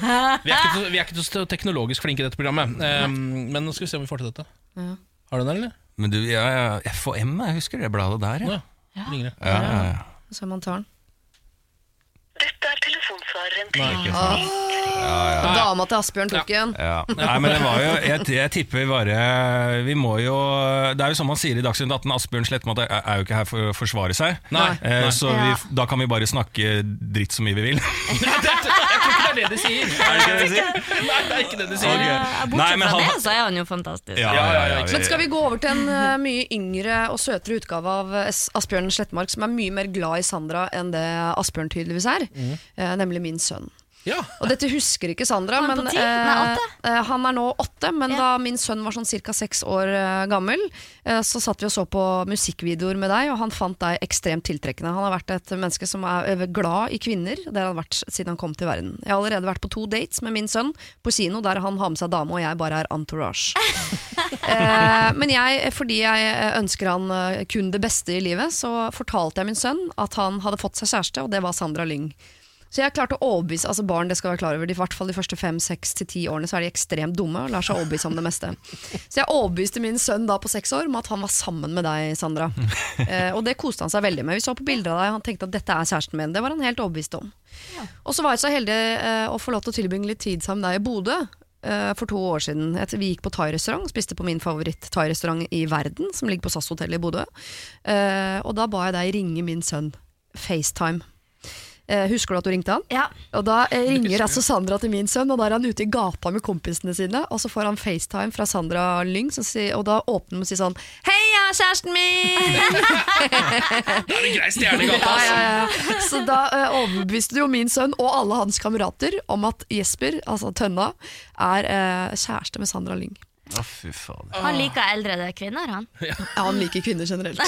S1: er ikke, vi er ikke så teknologisk flinke i dette programmet. Ehm, men nå skal vi se om vi får til dette.
S3: Ja.
S1: Har du den, eller?
S2: Men du, ja, ja, FHM, jeg husker det bladet der, ja.
S1: Ja. Ringer det.
S2: ja, ja, ja.
S3: Så man tar den. Dama til Asbjørn tok den.
S2: Ja. Nei, men det var jo Jeg, jeg tipper bare Vi må jo Det er jo som man sier i Dagsnytt 18, Asbjørn Slettmann er, er jo ikke her for å forsvare seg.
S1: Nei.
S2: Eh, Så
S8: Ja.
S2: vi, da kan vi bare snakke dritt så mye vi vil.
S1: [laughs] Nei, det, jeg tror ikke det er det de sier.
S2: Er det ikke det de sier?
S1: Nei, det er ikke det de sier.
S2: Ok.
S8: Eh,
S2: Nei, men han-
S8: så er han jo fantastisk.
S2: Ja,
S1: Ja, ja,
S2: ja,
S1: ja,
S2: ja,
S1: ikke
S3: Men skal vi gå over til en eh, mye yngre og søtere utgave av eh, S- Asbjørn Slettmark, som er mye mer glad i Sandra enn det Asbjørn tydeligvis er, eh, nemlig min sønn.
S1: Ja.
S3: Og dette husker ikke Sandra,
S8: Han er
S3: men
S8: på ti?
S3: eh,
S8: Nei, åtte.
S3: eh, han er nå åtte. Men
S8: Ja.
S3: da min sønn var sånn ca. seks år eh, gammel, eh, så satt vi og så på musikkvideoer med deg, og han fant deg ekstremt tiltrekkende. Han har vært et menneske som er eh, glad i kvinner. Det har han vært siden han kom til verden. Jeg har allerede vært på to dates med min sønn på kino, der han har med seg dame, og jeg bare er entourage. Eh, men jeg, fordi jeg ønsker han eh, kun det beste i livet, så fortalte jeg min sønn at han hadde fått seg kjæreste, og det var Sandra Lyng. Så jeg klarte å overbevise altså barn det skal være klar over, de, i hvert fall de første fem, seks til ti årene så er de ekstremt dumme og lar seg overbevise om det meste. Så jeg overbeviste min sønn da på seks år om at han var sammen med deg, Sandra. Eh, og det koste han seg veldig med. Vi så på bilder av deg, han tenkte at dette er kjæresten min. Det var han helt overbevist om. Og så var jeg så heldig eh, å få lov til å tilbringe litt tid sammen med deg i Bodø eh, for to år siden. Et, vi gikk på thai-restaurant, spiste på min favoritt-thai-restaurant i verden, som ligger på SAS-hotellet i Bodø. Eh, og da ba jeg deg ringe min sønn. FaceTime. Eh, Eh, Husker du at du ringte han?
S8: Ja.
S3: Og da eh, ringer altså Sandra til min sønn, og da er han ute i gata med kompisene sine, og så får han FaceTime fra Sandra Lyng, som sier, og da åpner hun og sier sånn Hei, jeg er kjæresten min!
S1: Da er det grei stjerne i gata!
S3: Ja,
S1: ass.
S3: ja, ja. [laughs] Så da eh, overbeviste jo min sønn og alle hans kamerater om at Jesper, altså Tønna, er eh, kjæreste med Sandra Lyng.
S10: Å, fy faen.
S8: Han liker eldre kvinner, han.
S3: Ja, han liker kvinner generelt.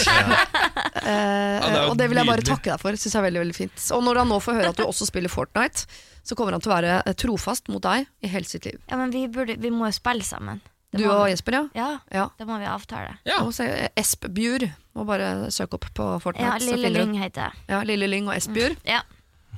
S1: Ja, det er
S3: [laughs] Eh,
S1: jo
S3: og det vil jeg bare
S1: nydelig.
S3: takke deg for. Synes jeg er veldig, veldig fint Og når han nå får høre at du også spiller Fortnite, så kommer han til å være eh, trofast mot deg i hele sitt liv.
S8: Ja, men vi, burde, vi må jo spille sammen. Det
S3: Du
S8: må
S3: og
S8: vi.
S3: Jesper, ja?
S8: Ja,
S3: Ja.
S8: det må vi avtale.
S1: Ja.
S3: Og så er Espbjur. eh, Må bare søke opp på Fortnite.
S8: Ja,
S3: så
S8: Lille
S3: finner du-
S8: Lyng heter jeg.
S3: Ja, Lille Lyng og Espbjur.
S8: Ja.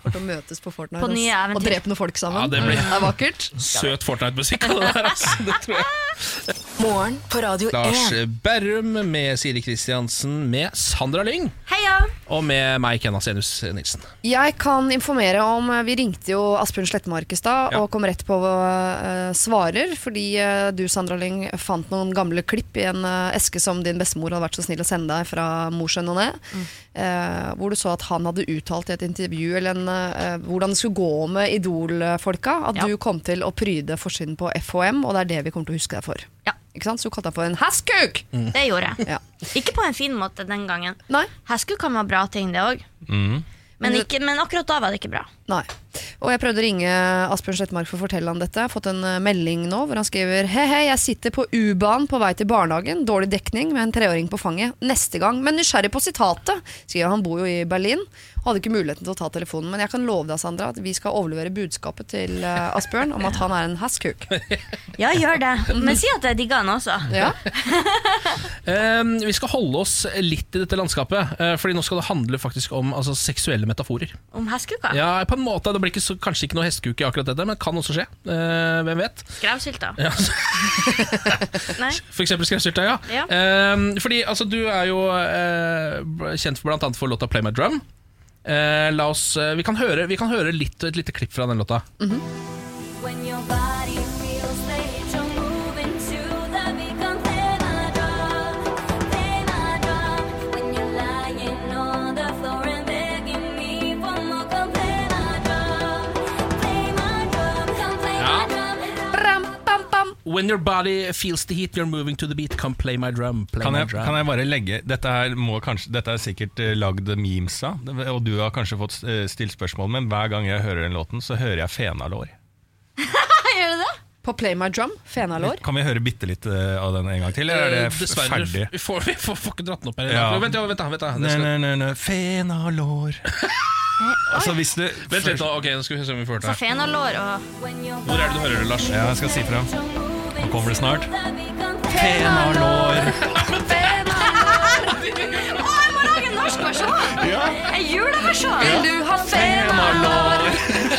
S3: Kommer til å møtes på Fortnite
S8: På
S3: ass.
S8: nye eventyr.
S3: og drepe noen folk sammen.
S1: Ja, det blir-
S3: er vakkert.
S1: Søt Fortnite-musikk av det der, ass. Det tror jeg.
S4: Morgen på Radio 1.
S1: Lars Berrum med Siri Kristiansen, med Sandra Lyng
S8: Heia!
S1: og med meg, Kennas Enus Nilsen.
S3: Jeg kan informere om eh, Vi ringte jo Asbjørn Slettemark i stad
S1: Ja.
S3: og kom rett på eh, svarer. Fordi eh, du, Sandra Lyng, fant noen gamle klipp i en eh, eske som din bestemor hadde vært så snill å sende deg fra Mosjøen og ned.
S8: Mm.
S3: eh, hvor du så at han hadde uttalt i et intervju eller en, eh, hvordan det skulle gå med Idol-folka. At
S8: Ja.
S3: du kom til å pryde forsiden på FHM, og det er det vi kommer til å huske deg for.
S8: Ja. Mm.
S3: Ikke sant? Så du kalte deg for en haskuk!
S8: Det gjorde jeg.
S3: Ja.
S8: Ikke på en fin måte den gangen.
S3: Nei.
S8: Hesku kan være bra ting, det òg.
S2: Mm.
S8: Men, ikke- men akkurat da var det ikke bra.
S3: Nei. Og jeg prøvde å ringe Asbjørn Slettmark for å fortelle han dette. Jeg har fått en eh, melding nå hvor han skriver Hei, hei, jeg sitter på U-banen på vei til barnehagen. Dårlig dekning med en treåring på fanget. Neste gang, men nysgjerrig på sitatet. Skriver han bor jo i Berlin. Hadde ikke muligheten til å ta telefonen, men jeg kan love deg, Sandra, at vi skal overlevere budskapet til eh, Asbjørn om at han er en hasskuk.
S8: Ja, gjør det. Men si at jeg digger han også.
S3: [laughs] Ja.
S1: Eh, vi skal holde oss litt i dette landskapet, eh, Fordi nå skal det handle faktisk om altså, seksuelle metaforer.
S8: Om heskuka.
S1: Ja, på en måte, Det blir ikke så, kanskje ikke noe hestekuke i akkurat dette, men kan også skje. Eh, hvem vet?
S8: Skrevsylta.
S1: Ja, så-
S8: [laughs] Nei.
S1: [laughs] For eksempel skrevsylta, ja.
S8: Ja.
S1: Ehm, fordi altså, du er jo eh, b- kjent for blant annet for låta 'Play My Drum'. Eh, la oss, eh, vi kan høre, vi kan høre litt, et lite klipp fra den låta.
S3: Bram, bam, bam.
S1: When your body feels the heat, you're moving to the beat. Come play my drum. Play
S2: Kan
S1: my
S2: jeg,
S1: drum.
S2: kan jeg bare legge Dette, her må kanskje, dette er sikkert eh, lagd memes av, og du har kanskje fått eh, stilt spørsmål, men hver gang jeg hører den låten, så hører jeg fenalår.
S8: Gjør du det?
S3: På Play My Drum, fenalår.
S2: Kan vi høre bitte litt eh, av den en gang til, eller er det
S1: Eh,
S2: f
S1: Dessverre.
S2: ferdig?
S1: Vi får, vi får, får ikke dratt den opp her. i
S2: Ja.
S1: dag. Vent, ja, vent, da, vent, da. Det
S2: Nei,
S1: skal-
S2: nei, nei, nei.
S1: [laughs]
S2: Fenalår. Altså, hvis du
S1: Vent litt, da. Ok, nå skal vi se om vi får
S8: Så
S1: det.
S8: fenalår og
S1: Hvor er det du hører det, Lars?
S2: Ja, jeg skal si fra. Nå kommer det snart. Fenalår.
S8: [laughs] Å, jeg må lage en norsk versjon! En juleversjon!
S3: Du har
S2: Fenalår.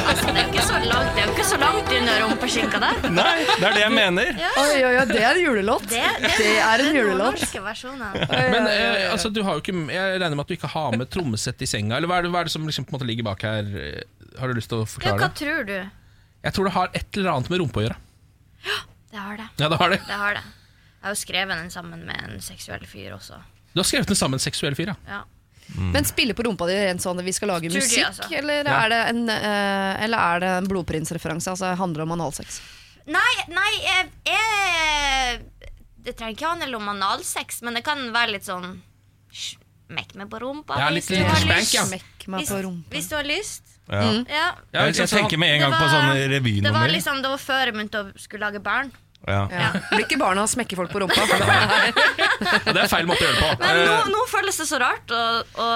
S8: Altså, det er jo ikke så langt, det er jo ikke så langt under rumpeskinka der.
S2: Nei, det er det jeg mener.
S3: Oi, oi, oi, det er en julelåt.
S8: Det, det,
S3: Det er en julelåt.
S8: norske versjonen.
S1: Men eh, altså, du har jo ikke, jeg regner med at du ikke har med trommesett i senga. Eller hva er det, hva er det som liksom, på en måte ligger bak her? Eh, Har du lyst til å
S8: Ja,
S1: forklare
S8: hva
S1: det?
S8: tror du?
S1: Jeg tror det har et eller annet med rumpe å gjøre.
S8: Det har det.
S1: Ja, det har det.
S8: det har det. Jeg har jo skrevet den sammen med en seksuell fyr også.
S1: Du har skrevet den sammen seksuell fyr, ja.
S8: Ja.
S2: Mm.
S3: Men spiller på rumpa di rent sånn at vi skal lage
S8: Tror de,
S3: musikk,
S8: altså.
S3: eller, er det en, eh, eller er det en blodprinsreferanse? Altså handler det om analsex?
S8: Nei, nei, jeg, jeg Det trenger ikke handle om analsex, men det kan være litt sånn Smekk meg på rumpa.
S1: Ja,
S8: hvis
S1: litt-
S8: du
S1: litt
S8: har
S1: spank,
S8: lyst.
S1: ja.
S3: Smekk meg
S8: Hvis,
S3: på rumpa.
S8: hvis du har lyst.
S2: Ja.
S8: Ja.
S1: Mm. Ja,
S2: Jeg, jeg tenker med en gang på sånne
S8: det var
S2: revynummer.
S8: liksom, det var før jeg begynte å skulle lage barn.
S2: Ja.
S3: Ja. Blir ikke barna å smekke folk på rumpa? For det er
S1: Ja, Det er feil måte å gjøre det på.
S8: [laughs] Men nå, nå føles det så rart å, å,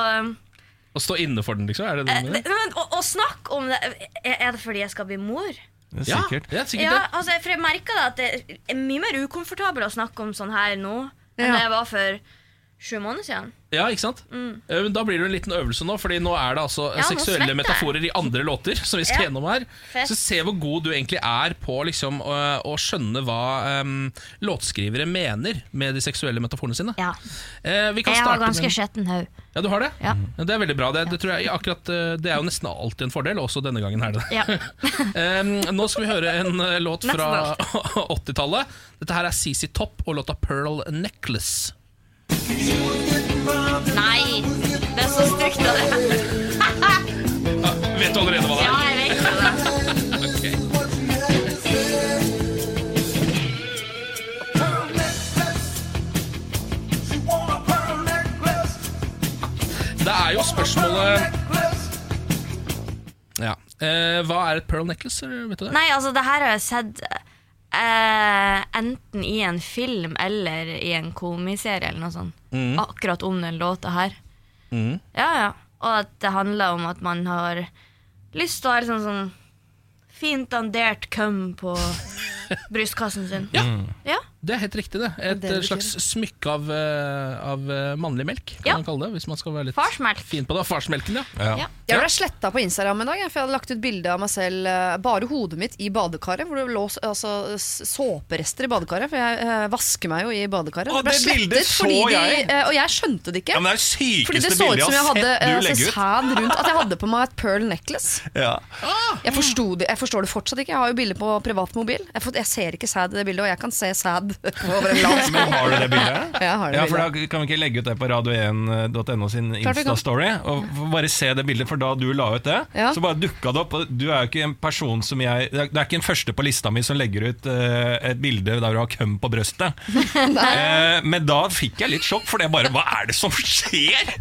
S1: Å stå inne for den, liksom. Er det det
S8: eh,
S1: du
S8: det-
S1: mener?
S8: men å, å snakke om det Er er det fordi jeg skal bli mor?
S2: Det er
S1: Ja,
S2: sikkert.
S1: det er sikkert
S8: Ja,
S1: det.
S8: altså, for jeg merker da at det er mye mer ukomfortabel å snakke om sånn her nå enn
S3: Ja.
S8: det jeg var for sju måneder siden.
S1: Ja, ikke sant? Eh, Men da blir det jo en liten øvelse nå, Fordi nå er det altså
S8: Mm. Ja, nå svetter
S1: seksuelle
S8: jeg.
S1: metaforer i andre låter som vi skal
S8: Ja.
S1: gjennom her.
S8: Fett.
S1: Så se hvor god du egentlig er på liksom, å, å skjønne hva em, låtskrivere mener med de seksuelle metaforene sine.
S8: Ja.
S1: Eh, vi kan
S8: Jeg har
S1: starte
S8: ganske
S1: med
S8: skjetten haug.
S1: Ja, du har det?
S8: Ja.
S1: Det er veldig bra. Det, det, tror jeg, akkurat, eh, det er jo nesten alltid en fordel, også denne gangen er det det.
S8: Ja.
S1: [laughs]
S8: [laughs]
S1: Em, nå skal vi høre en eh, låt
S8: Nesten
S1: fra [laughs] 80-tallet. Dette her er CC Topp og låta 'Pearl Necklace'.
S8: Nei! Det er så stygt av det.
S1: Vet er jo spørsmålet Ja. Eh, hva er et pearl necklace? eller Vet du det?
S8: Nei, altså det her har jeg sett eh, enten i en film eller i en komiserie eller noe sånt. Akkurat om den låta her. Ja, ja. Og at det handler om at man har lyst til å ha liksom sånn fint dandert køm på brystkassen sin.
S1: Ja.
S8: Ja.
S1: Det er helt riktig, det. Et
S3: det
S1: eh,
S3: betyr.
S1: slags smykke av, eh, av eh, mannlig melk, kan
S8: Ja.
S1: man kalle det. Hvis man skal være litt
S8: Farsmelk.
S1: fin på det. Farsmelken, ja.
S8: Ja.
S3: [laughs] Jeg ble sletta på Instagram en dag, jeg, for jeg hadde lagt ut bilde av meg selv, eh, bare hodet mitt, i badekaret. Hvor det lå s- altså, s- såperester i badekaret, for jeg eh, vasker meg jo i badekaret.
S2: Å,
S3: ble
S2: det bildet
S3: slettet
S2: så
S3: fordi
S2: jeg.
S3: eh, og jeg skjønte det ikke.
S2: Ja, men det er det sykeste
S3: fordi det så ut
S2: bildet
S3: som
S2: jeg
S3: jeg
S2: har sett
S3: hadde
S2: du
S3: eh, altså,
S2: legge ut.
S3: sæd rundt. At jeg hadde på meg et pearl necklace.
S2: Ja.
S3: Jeg, forsto det, jeg forstår det fortsatt ikke. Jeg har jo bilde på privat mobil. Jeg, får- jeg ser ikke sæd i det bildet, og jeg kan se [laughs] sæd over en lav sko.
S2: Men har du det bildet?
S3: Ja, jeg har det
S2: ja, for
S3: bildet.
S2: Da kan vi ikke legge ut det på eh, radio1.no sin
S3: Klart vi kan.
S2: Insta-story. Og f- Bare se det bildet, for da du la ut det,
S3: Ja.
S2: så bare dukka det opp. Og du er jo ikke en person som jeg Det er det er ikke en første på lista mi som legger ut eh, et bilde der du har køm på
S3: [laughs]
S2: brøstet. Eh, men da fikk jeg litt sjokk, for det bare Hva er det som skjer?!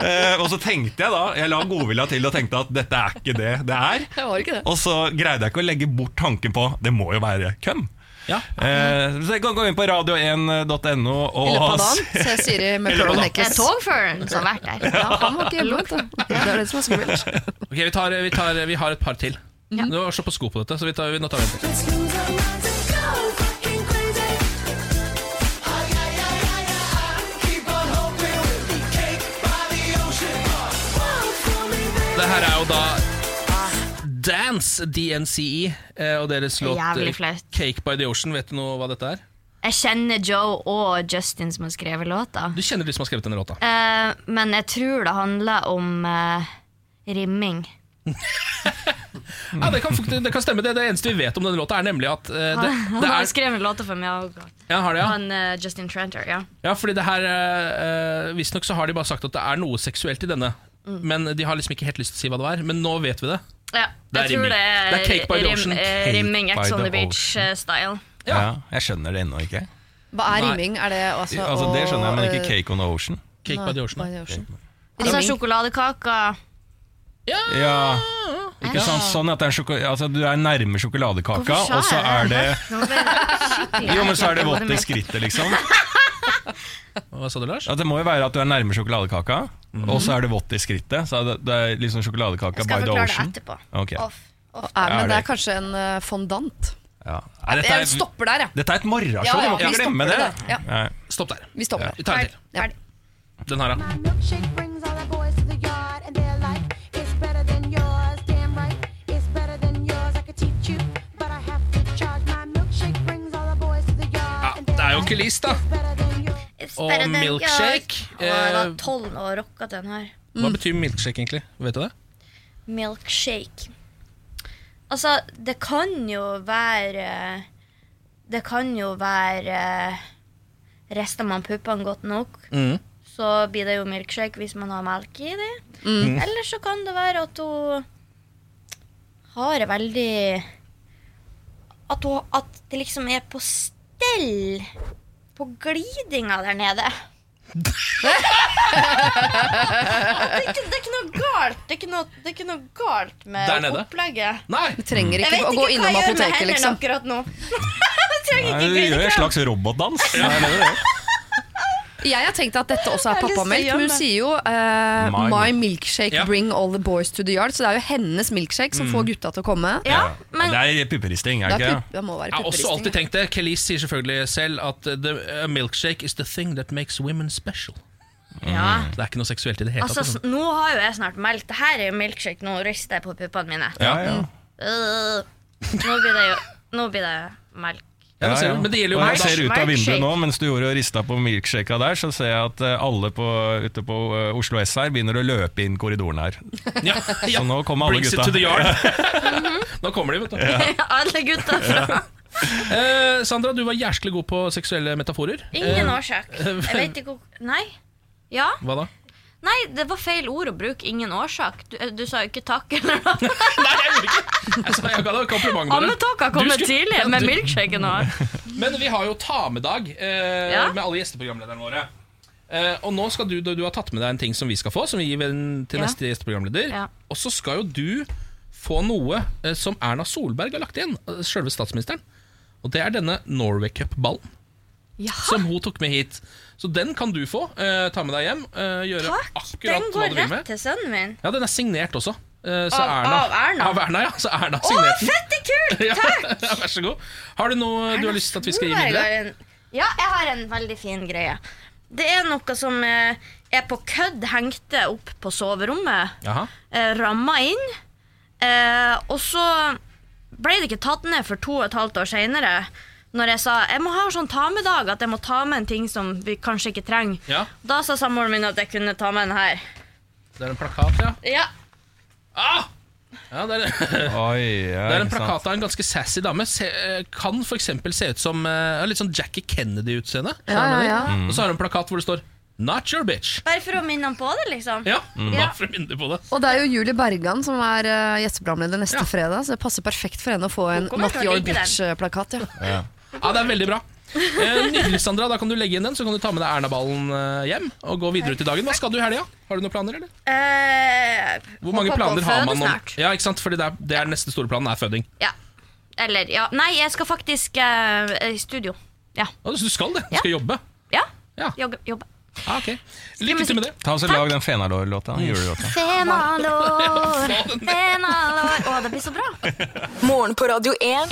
S2: Eh, og så tenkte jeg da Jeg la godvilja til og tenkte at dette er ikke det det er.
S3: Det var ikke det.
S2: Og så greide jeg ikke å legge bort tanken på Det må jo være køm.
S1: Ja.
S2: Eh, så jeg kan gå inn på radio1.no
S3: I
S2: og
S3: løpet av dagen ser
S2: [laughs]
S3: Siri med
S2: Eller da.
S3: pearl
S8: Det er
S3: necklace.
S8: togføreren som har vært der.
S3: Ja, han var ikke hjemme, vet du. Det er det som er skummelt.
S1: Ok, vi, tar, vi, tar, vi har et par til. Du var så på sko på dette, så vi tar, vi, nå tar vi en til. Det her er jo da Dance DNCE eh, og deres låt
S8: Jævlig
S1: eh,
S8: flaut.
S1: Cake by the Ocean. Vet du noe hva dette er?
S8: Jeg kjenner Joe og Justin som har skrevet låta.
S1: Du kjenner de som har skrevet denne låta.
S8: Eh, men jeg tror det handler om eh, rimming.
S1: Ja, det, kan, fakt- det kan stemme. Det, det eneste vi vet om denne låta, er nemlig at eh,
S8: [laughs]
S1: det,
S8: Han
S1: det
S8: har
S1: er,
S8: skrevet låta for meg òg.
S1: ja, har det, ja.
S8: Han eh, Justin Tranter, ja.
S1: ja, fordi det her eh, eh, Visstnok så har de bare sagt at det er noe seksuelt i denne. Men de har liksom ikke helt lyst til å si hva det var. Men nå vet vi det.
S8: ja.
S1: Det er
S8: Jeg tror
S1: rimming.
S8: det er,
S1: Det er Cake by the
S8: rim-
S1: Ocean.
S8: eh,
S2: Cake
S8: rimming
S2: by
S8: Ex on
S2: the
S8: the eh, Beach-style.
S2: Ja. jeg skjønner det ennå ikke.
S3: Hva er
S1: Nei.
S3: rimming? Er det altså,
S2: Altså, det skjønner jeg, men
S3: å,
S2: ikke Cake on the Ocean.
S1: Cake by the Ocean.
S3: Nei, det er ocean.
S8: Altså
S3: Rimming.
S8: sjokoladekaker.
S2: Ja, ikke sant? Sånn at det er sjoko altså, du er nærme sjokoladekaka,
S8: Hvorfor sa
S2: og så
S8: jeg
S2: er det Jo,
S8: Jo,
S2: men så er det vått i skrittet, liksom.
S1: Hva sa du, Lars?
S2: At det må jo være at du er nærme sjokoladekaka, og så er det vått i skrittet. Så er det, det er liksom sjokoladekaka by
S8: Jeg skal
S2: the
S8: forklare det
S2: ocean.
S8: etterpå.
S2: Ok.
S8: Off.
S3: Å, er,
S8: Ah.
S2: Er det
S3: men det er
S2: ikke?
S3: kanskje en eh, fondant.
S2: Ja. Nei, dette,
S3: Jeg
S2: er,
S3: stopper der, jeg.
S2: dette er et morgenshow,
S3: Ja,
S2: du
S3: ja,
S2: må
S3: vi
S2: ikke glemme
S3: stopper
S2: det.
S3: det der. Ja.
S2: Nei.
S1: Stopp der.
S3: Vi stopper der.
S1: Vi tar en til.
S3: Ja.
S1: Den her, da. Ja, det er jo ikke Lis, da. Og milkshake.
S8: Og jeg var
S1: Eh,
S8: tolv og rocka til den her.
S1: Hva betyr milkshake, egentlig? Vet du det?
S8: Milkshake. Altså, det kan jo være eh, Det kan jo være eh, Rister man puppene godt nok,
S1: Mm.
S8: så blir det jo milkshake hvis man har melk i det.
S1: Mm.
S8: Eller så kan det være at hun har en veldig At, hun, at det liksom er på stell på glidinga der nede. det, er ikke, det er ikke noe galt Det er ikke noe, det er ikke noe galt
S1: Der
S8: med
S1: nede?
S8: opplegget.
S1: Nei!
S3: Du trenger
S8: Mm. Jeg vet
S3: ikke å
S8: ikke
S3: gå
S8: hva
S3: innom
S8: jeg gjør med
S3: apoteket,
S8: hendene
S3: liksom.
S8: akkurat nå. [laughs] Jeg trenger
S2: Nei,
S8: ikke
S2: Du gjør en
S8: glidekram.
S2: slags robotdans. Nei, det er det.
S3: Jeg har tenkt at dette også er
S8: Jeg har lyst til å
S3: pappamelk,
S8: gjøre
S3: men hun
S8: det.
S3: sier jo eh,
S2: My
S3: My milkshake
S1: Ja. Mm.
S3: bring all the boys to the yard. Så det er jo hennes milkshake som får gutta til å komme.
S8: Ja, men
S2: Det er pupperisting, er
S3: Det
S2: det ikke?
S3: er
S2: det?
S3: pup- det må være
S1: Jeg har også alltid
S3: pupperisting.
S1: tenkt det. Kelis sier selvfølgelig selv at uh, the a milkshake is the thing that makes women special.
S8: ja.
S1: Så Det er Mm. ikke noe seksuelt i det hele
S8: Altså,
S1: tatt.
S8: s- nå har jo jeg snart melk. Det her er jo milkshake. Nå rister jeg på puppene mine.
S2: Ja, ja.
S1: Mm.
S8: Øh. Nå blir det jo Nå blir det melk. [laughs]
S1: Ja, det ser
S2: Ja,
S1: du.
S2: ja.
S1: Men det gjelder jo
S2: og
S1: meg, da.
S2: jeg ser ut av vinduet
S8: Milkshake.
S2: nå, mens du gjorde og rista på milkshaka der, så ser jeg at eh, alle på, ute på eh, Oslo S her begynner å løpe inn korridoren
S1: [laughs]
S2: her.
S1: liksom. Ja, ja.
S2: Så nå kommer alle
S1: Brings it
S2: gutta.
S1: to the yard.
S2: [laughs]
S1: [laughs] Nå kommer de, vet du.
S8: Alle gutta fra
S1: Eh, Sandra, du var jæsklig god på seksuelle metaforer.
S8: Ingen
S1: Eh,
S8: årsak.
S1: [laughs]
S8: Jeg vet ikke hvor Nei. Ja.
S1: Hva da?
S8: Nei, det var feil ord å bruke. Ingen årsak. Du, eh, du sa jo ikke takk [laughs] eller noe.
S1: Nei, jeg gjorde ikke Jeg sa- jeg ga deg kompliment. dere.
S8: Ammetåka
S1: Du
S8: kommer
S1: skulle-
S8: tidlig
S1: Ja,
S8: med
S1: du-
S8: milkshaken. Og.
S1: Men vi har jo ta med dag eh,
S8: Ja.
S1: med alle gjesteprogramlederne våre. Eh, og nå skal du, du, du har tatt med deg en ting som vi skal få, som vi gir en, til
S8: Ja.
S1: neste gjesteprogramleder.
S8: Ja.
S1: Og så skal jo du få noe eh, som Erna Solberg har lagt igjen, eh, selve statsministeren. Og det er denne Norway Cup-ballen som hun tok med hit. Så den kan du få. eh, ta med deg hjem. eh, gjøre
S8: Takk!
S1: [laughs]
S8: Den
S1: akkurat hva
S8: går
S1: du vil
S8: rett
S1: med.
S8: til sønnen min.
S1: Ja, den er signert også. Eh, så
S8: Av-
S1: Erna,
S8: av Erna?
S1: Av Erna, ja. Så Erna
S8: Å,
S1: signerte den. [laughs]
S8: fette kult!
S1: Ja,
S8: Takk!
S1: [laughs] ja, vær så god. Har du noe du har lyst til at vi skal gi videre?
S8: Solberg har en- Ja, jeg har en veldig fin greie. Det er noe som eh, er på kødd hengt opp på soverommet,
S1: Jaha.
S8: eh, ramma inn, eh, og så ble det ikke tatt ned for to og et halvt år seinere. Når jeg sa jeg må ha sånn ta med-dag, at jeg må ta med en ting som vi kanskje ikke trenger.
S1: Ja.
S8: Da sa samboeren min at jeg kunne ta med den her.
S1: Det er en plakat, ja.
S8: Ja,
S1: Ah! Ja, det er [laughs]
S11: Oi, ja,
S1: Det er en
S11: ikke sant.
S1: plakat av en ganske sassy dame. Se, eh, kan f.eks. se ut som eh, litt sånn Jackie Kennedy-utseende. Skjønner
S3: Ja, ja,
S1: du?
S3: ja.
S11: Mm.
S1: Og så har hun en plakat hvor det står 'Not your bitch'.
S8: Bare for å minne ham på det, liksom.
S1: Ja,
S11: Mm.
S8: Ja.
S1: bare for å minne på det.
S3: Og det er jo Julie Bergan som er uh, gjesteprogramleder neste
S1: Ja.
S3: fredag, så det passer perfekt for henne å få en
S8: kommer
S3: Not
S8: til å
S3: Your
S8: like den.
S3: Bitch-plakat. Ja.
S1: Ja, det er veldig bra. Eh, Nydelig, Sandra. Da kan du legge inn den, så kan du ta med deg Erna-ballen eh, hjem og gå videre ut i dagen. Hva skal du i helga? Har du noen planer, eller?
S8: Eh,
S1: Hvor mange
S8: håper på å
S1: planer har
S8: føde
S1: man om
S8: snart.
S1: Ja, ikke sant? Fordi det er, det er neste store planen er føding.
S8: Ja. Eller, ja. Nei, jeg skal faktisk eh, i studio. Ja.
S1: Ja, så du skal det. Du skal jobbe.
S8: ja.
S1: Ja.
S8: Jogge, jobbe.
S1: Ah, ok. Lykke til med det.
S11: Ta oss og Lag den Fenalår-låta.
S1: Mm.
S11: Julelåta.
S2: [laughs]
S12: [laughs]
S8: Fenalår, fenalår Å, det blir så bra.
S4: Morgen på Radio 1.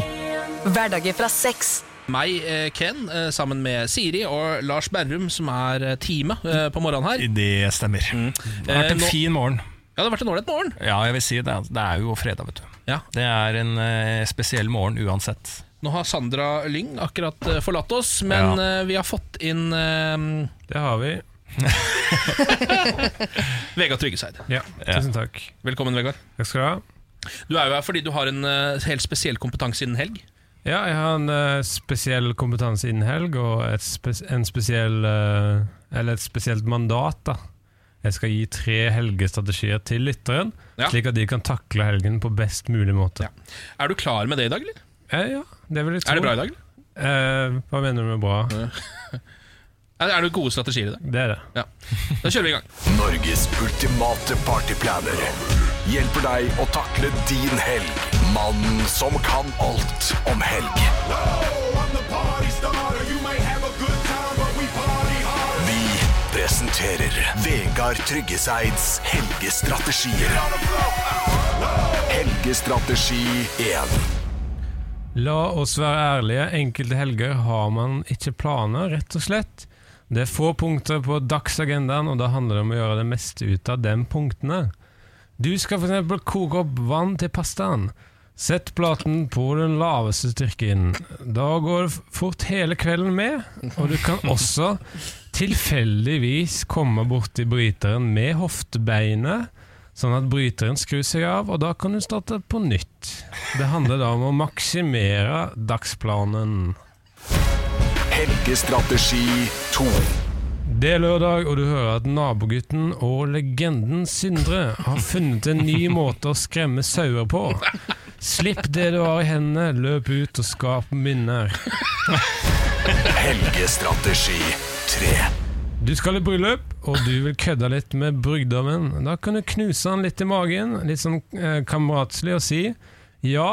S4: Hverdager fra seks.
S1: Meg, eh, Ken, eh, sammen med Siri og Lars Berrum, som er eh, teamet eh, på morgenen her.
S11: Det stemmer. Det har vært en
S1: Eh, nå-
S11: fin morgen.
S1: Ja, det har vært en ålreit morgen.
S11: Ja, jeg vil si det. Det er jo fredag, vet du.
S1: Ja.
S11: Det er en eh, spesiell morgen uansett.
S1: Nå har Sandra Lyng akkurat eh, forlatt oss, men eh, vi har fått inn eh,
S2: Det har vi.
S1: Vegard Tryggeseid.
S2: Ja, tusen takk.
S1: Velkommen, Vegard.
S2: Takk skal du ha.
S1: Du er jo her fordi du har en eh, helt spesiell kompetanse innen helg.
S2: Ja, jeg har en eh, spesiell kompetanse innen helg, og et spes en spesiell eh, Eller et spesielt mandat, da. Jeg skal gi tre helgestrategier til lytteren,
S1: Ja.
S2: slik at de kan takle helgen på best mulig måte.
S1: Ja. Er du klar med det i dag, eller?
S2: Eh, ja det vil jeg tro.
S1: Er det bra i dag? eller?
S2: Eh, hva mener du med bra?
S1: Er, er det gode strategier i dag?
S2: Det er det.
S1: Ja. Da kjører vi i gang.
S7: Norges ultimate partyplaner hjelper deg å takle din helg. Mannen som kan alt om helg. Vi presenterer Vegard Tryggeseids helgestrategier. Helgestrategi 1.
S2: La oss være ærlige, enkelte helger har man ikke planer, rett og slett. Det er få punkter på dagsagendaen, og da handler det om å gjøre det meste ut av de punktene. Du skal f.eks. koke opp vann til pastaen. Sett platen på den laveste styrken. Da går det fort hele kvelden med, og du kan også tilfeldigvis komme borti bryteren med hoftebeinet, sånn at bryteren skrur seg av, og da kan du starte på nytt. Det handler da om å maksimere dagsplanen.
S7: Helgestrategi 2.
S2: Det er lørdag, og du hører at nabogutten og legenden Sindre har funnet en ny måte å skremme sauer på. Slipp det du har i hendene, løp ut og skap minner.
S7: Helgestrategi 3.
S2: Du skal i bryllup, og du vil kødde litt med brygdommen. Da kan du knuse han litt i magen, litt sånn eh, kameratslig, og si ja,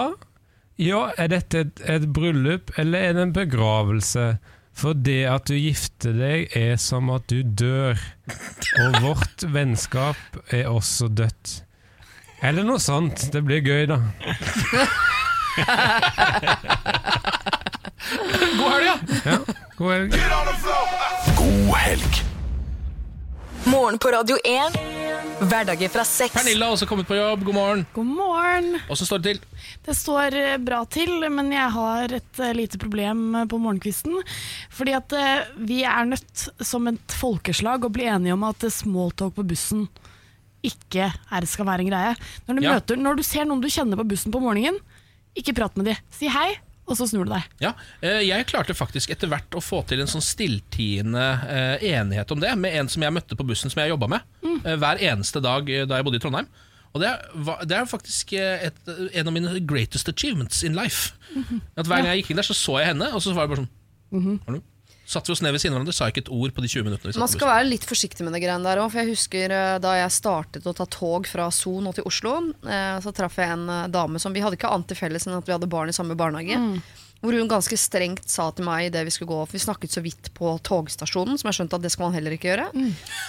S2: ja, er dette et, et bryllup, eller er det en begravelse? For det at du gifter deg, er som at du dør. Og vårt vennskap er også dødt. Eller noe sånt. Det blir gøy, da.
S1: God helg, ja!
S2: God helg.
S7: God helg.
S4: Morgen på Radio 1. Hverdager fra seks.
S1: Pernille har også kommet på jobb. God morgen.
S12: God morgen.
S1: Åssen står det til?
S12: Det står eh, bra til, men jeg har et eh, lite problem eh, på morgenkvisten. Fordi at eh, vi er nødt, som et folkeslag, å bli enige om at eh, smalltalk på bussen ikke er, skal være en greie. Når du,
S1: Ja.
S12: møter, når du ser noen du kjenner på bussen på morgenen, ikke prat med de. Si hei, og så snur du deg.
S1: Ja, eh, Jeg klarte faktisk etter hvert å få til en sånn stilltiende eh, enighet om det med en som jeg møtte på bussen som jeg jobba med
S3: Mm.
S1: eh, hver eneste dag eh, da jeg bodde i Trondheim. Og det er, va- det er faktisk eh, et, en av mine
S3: Mhm.
S1: greatest achievements in life. At Hver gang jeg gikk inn der, så så jeg henne, og så var jeg bare sånn Hallo? Satt vi oss ned ved siden av hverandre, sa ikke et ord på de 20 minuttene vi satt
S3: Man
S1: på
S3: skal være litt forsiktig med det greiene der òg. For jeg husker eh, da jeg startet å ta tog fra Son og til Oslo, eh, så traff jeg en eh, dame som Vi hadde ikke annet til felles enn at vi hadde barn i samme barnehage.
S13: Mm.
S3: Hvor hun ganske strengt sa til meg det vi skulle gå For vi snakket så vidt på togstasjonen, som jeg skjønte at det skal man heller ikke gjøre.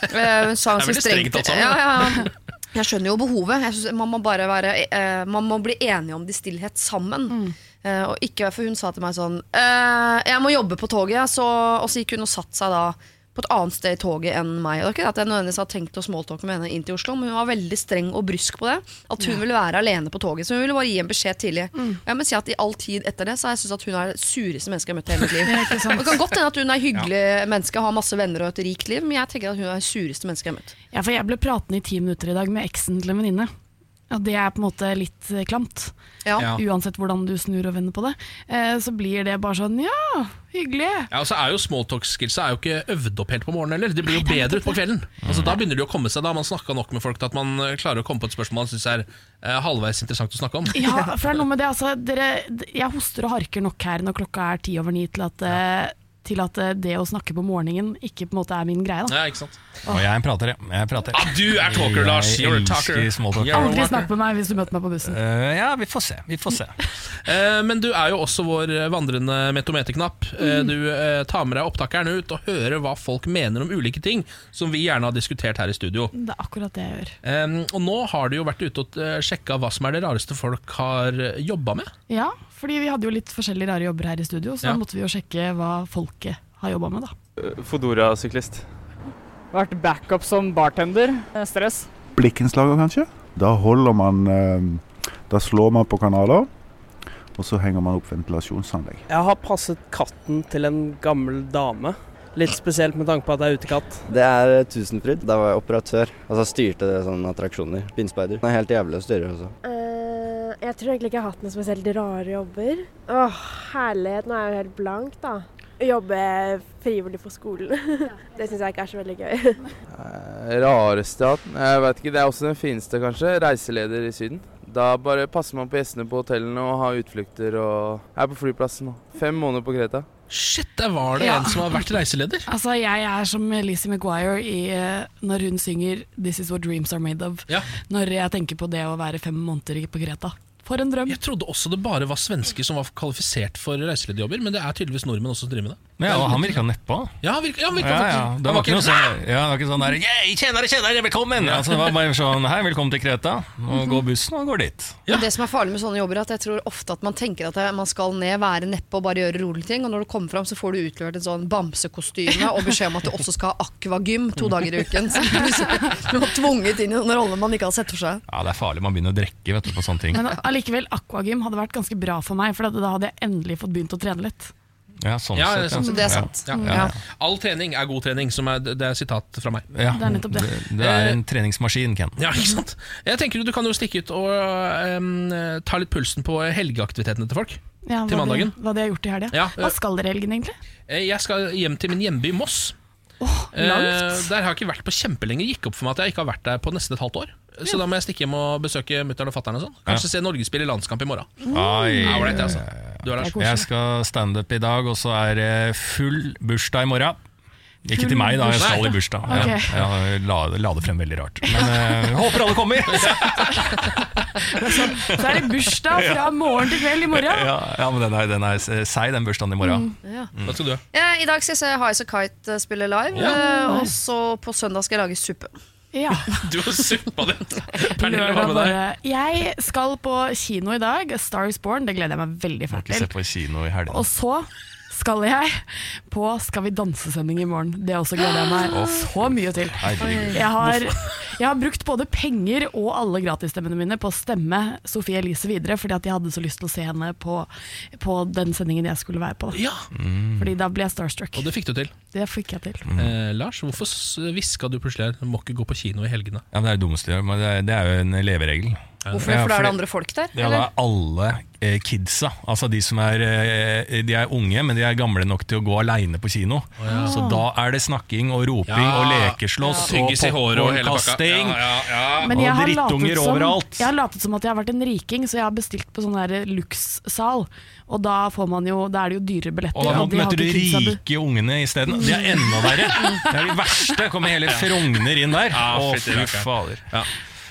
S3: Eh, Hun
S13: [laughs]
S3: sa
S13: Det er
S3: ganske
S13: veldig
S3: strengt,
S13: strengt alt sammen,
S3: ja, ja.
S13: [laughs]
S3: Jeg skjønner jo behovet. Jeg synes, man, må bare være, eh, man må bli enige om det i stillhet sammen.
S13: Mm.
S3: Eh, og ikke, for hun sa til meg sånn eh, Jeg må jobbe på toget. Så, og så gikk hun og satte seg da på et annet sted i toget enn meg. Og Det er ikke det at jeg nødvendigvis hadde tenkt å smalltalke med henne inn til Oslo, men hun var veldig streng og brysk på det. At hun
S13: Ja.
S3: ville være alene på toget. Så hun ville bare gi en beskjed tidlig.
S13: Mm.
S3: Og jeg må si at I all tid etter det så har jeg syntes at hun er det sureste mennesket jeg har møtt i hele mitt liv.
S13: [laughs] Ja, ikke sant.
S3: det kan godt hende at hun er hyggelig menneske, har masse venner og et rikt liv, men jeg tenker at hun er det sureste mennesket jeg har møtt.
S12: Ja, for jeg ble pratende i ti minutter i dag med eksen til en venninne. Og det er på en måte litt eh, klamt.
S1: Ja.
S12: Uansett hvordan du snur og vender på det. Eh, Så blir det bare sånn ja, hyggelig.
S1: Ja, og så er jo Smalltalk-skillsa er jo ikke øvd opp helt på morgenen heller. De blir jo bedre utpå kvelden. Altså, da begynner de å komme seg, da har man snakka nok med folk til at man eh, klarer å komme på et spørsmål man syns er eh, halvveis interessant å snakke om. [laughs]
S12: Ja, for det er noe med det. Altså, dere, d- jeg hoster og harker nok her når klokka er ti over ni til at, eh, til at eh, det å snakke på morgenen ikke på en måte er min greie. Da.
S1: Ja, ikke sant?
S2: Og jeg er en prater, ja. Jeg prater.
S1: du er talker, Lars. You're a
S2: Jeg
S1: talker.
S2: elsker smalltalk.
S12: Aldri snakk med meg hvis du møter meg på bussen.
S2: Eh, ja, vi får se. Vi får se.
S1: Eh, men du er jo også vår eh, vandrende metometerknapp. Eh,
S2: Mm.
S1: Du eh, tar med deg opptakeren ut og hører hva folk mener om ulike ting, som vi gjerne har diskutert her i studio.
S12: Det er akkurat det jeg gjør.
S1: Eh, og nå har du jo vært ute og eh, sjekka hva som er det rareste folk har jobba med.
S12: Ja, fordi vi hadde jo litt forskjellige rare jobber her i studio, så
S1: Ja.
S12: da måtte vi jo sjekke hva folket har jobba med, da.
S14: Fodora-syklist. Vært backup som bartender. Stress.
S15: Blikkenslager, kanskje. Da holder man eh, Da slår man på kanaler, og så henger man opp ventilasjonsanlegg.
S16: Jeg har passet katten til en gammel dame. Litt spesielt med tanke på at det er utekatt.
S17: Det er Tusenfryd. Da var jeg operatør. Altså styrte sånne attraksjoner. Blindspeider. Det er helt jævlig å styre også.
S18: Jeg tror egentlig ikke jeg har hatt noen spesielt rare jobber. Åh, herlighet, nå er jeg jo helt blank, da. Å jobbe frivillig på skolen. Det syns jeg ikke er så veldig gøy.
S19: Rareste jeg har hatt? Jeg vet ikke, det er også den fineste, kanskje. Reiseleder i Syden. Da bare passer man på gjestene på hotellene og har utflukter og er på flyplassen. nå. Fem måneder på Kreta.
S1: Shit, der var det
S12: Ja.
S1: en som har vært reiseleder.
S12: Altså, jeg er som Lizzie McGuire i, eh, når hun synger 'This is what dreams are made of'. Når jeg tenker på det å være fem måneder på Kreta. For en drøm.
S1: Jeg trodde også det bare var svensker som var kvalifisert for reiselederjobber, men det er tydeligvis nordmenn også som driver med det.
S2: Ja, og han virka nedpå.
S1: Ja, han virka, ja, han virka
S2: Ja, ja.
S1: faktisk.
S2: Det
S1: Han
S2: var ikke noe sånn,
S1: "Hæ?"
S2: ja, det var ikke sånn der «Yay, tjenere, tjenere, velkommen! Altså, det var bare sånn Hei, velkommen til Kreta. Nå går bussen og går dit.
S3: Men Det som er farlig med sånne jobber, er at jeg tror ofte at man tenker at man skal ned, være neppe og bare gjøre rolige ting. Og når du kommer fram, så får du utlevert en sånn bamsekostyme og beskjed om at du også skal ha akvagym
S2: Mm.
S3: to dager i uken. Så du du var tvunget inn i en rolle man ikke hadde sett for seg.
S2: Ja, det er farlig. Man begynner å drikke vet du, på sånne ting.
S12: Men allikevel, aquagym hadde vært ganske bra for meg, for da- da hadde jeg endelig fått begynt å trene litt.
S2: Ja, sånn
S1: Ja,
S2: sett, ja.
S1: sant.
S12: Det er sant.
S1: Ja.
S12: Mm.
S1: Ja.
S12: Ja.
S1: All trening er god trening, som er, det er sitat fra meg.
S2: Ja, Det, det er en treningsmaskin, Ken.
S1: Ja, ikke sant? Jeg tenker Du kan jo stikke ut og ehm, ta litt pulsen på helgeaktivitetene til folk.
S12: Ja, hva
S1: til mandagen.
S12: De, hva de har gjort i helga.
S1: Ja, eh.
S12: hva skal dere i helgen, egentlig?
S1: Eh, Jeg skal hjem til min hjemby Moss. Eh,
S12: langt.
S1: der har jeg ikke vært på kjempelenge. Gikk opp for meg at jeg ikke har vært der på nesten et halvt år. Så da må jeg stikke hjem og besøke mutter'n og fatter'n. Sånn. Kanskje se Norge spille landskamp i morgen.
S2: Oi.
S1: Ja, ålreit, det, altså.
S2: Eh,
S1: Du er Lars.
S2: Jeg skal standup i dag, og så er det full bursdag i morgen. Ikke
S1: Full
S2: til meg, da. Jeg
S1: bursdag?
S2: skal i bursdag.
S1: Ok.
S2: Ja, jeg la, la det frem veldig rart. Men eh, håper alle kommer!
S12: Så er det bursdag fra
S2: Ja.
S12: morgen til kveld i morgen.
S2: [laughs] Ja, ja men den er, den er seig, den bursdagen i morgen.
S3: Ja.
S1: Hva skal du gjøre?
S3: Eh, I dag skal jeg se Highas and Kite eh, spille live,
S2: Ja.
S3: eh, og så på søndag skal jeg lage suppe.
S2: Mm.
S1: [laughs] Du har suppa
S2: [laughs]
S1: den! Pernille, hva
S12: Lørdag
S1: med deg?
S12: bare- Jeg skal på kino i dag. A Star is Born, det gleder jeg meg veldig fælt
S2: Ikke se
S12: til.
S2: på kino i helgen.
S12: Og så skal jeg på Skal vi danse-sending i morgen. Det også gleder jeg meg
S2: Å,
S12: så mye til.
S2: herregud.
S12: Jeg har, jeg har brukt både penger og alle gratisstemmene mine på å stemme Sofie Elise videre, fordi at jeg hadde så lyst til å se henne på, på den sendingen jeg skulle være på. Da.
S2: Mm.
S12: Fordi da ble jeg starstruck.
S1: Og det fikk du til.
S12: Det fikk jeg til.
S1: Eh, Lars, hvorfor s- hviska du plutselig her? Du må ikke gå på kino i helgene.
S2: Ja, men Det er det dummeste jeg gjør, men det er, det er jo en leveregel.
S3: Hvorfor det? For da er det andre folk der?
S2: Ja, da
S3: eller?
S2: er alle eh, kidsa. Altså de som er, eh, de er unge, men de er gamle nok til å gå aleine på kino.
S1: ja.
S2: Så da er det snakking og roping
S1: Ja.
S2: og lekeslåss
S1: Ja.
S2: og
S1: Tygges i håret og hele pakka. Ja,
S2: popcornkasting.
S1: ja, ja.
S12: Men jeg
S2: Og
S12: har, latet
S2: drittunger
S12: som,
S2: overalt.
S12: jeg har latet som at jeg har vært en riking, så jeg har bestilt på sånn der lukssal. Og da, får man jo, da er det jo dyre billetter.
S2: Og da
S12: de har
S2: møter du
S12: ikke kidsa bu-
S2: rike ungene isteden. De er enda verre! Det er de verste. Kommer hele Frogner inn der.
S1: Ja,
S2: Å,
S1: fytti
S2: fy
S1: rakkeren.
S2: fader.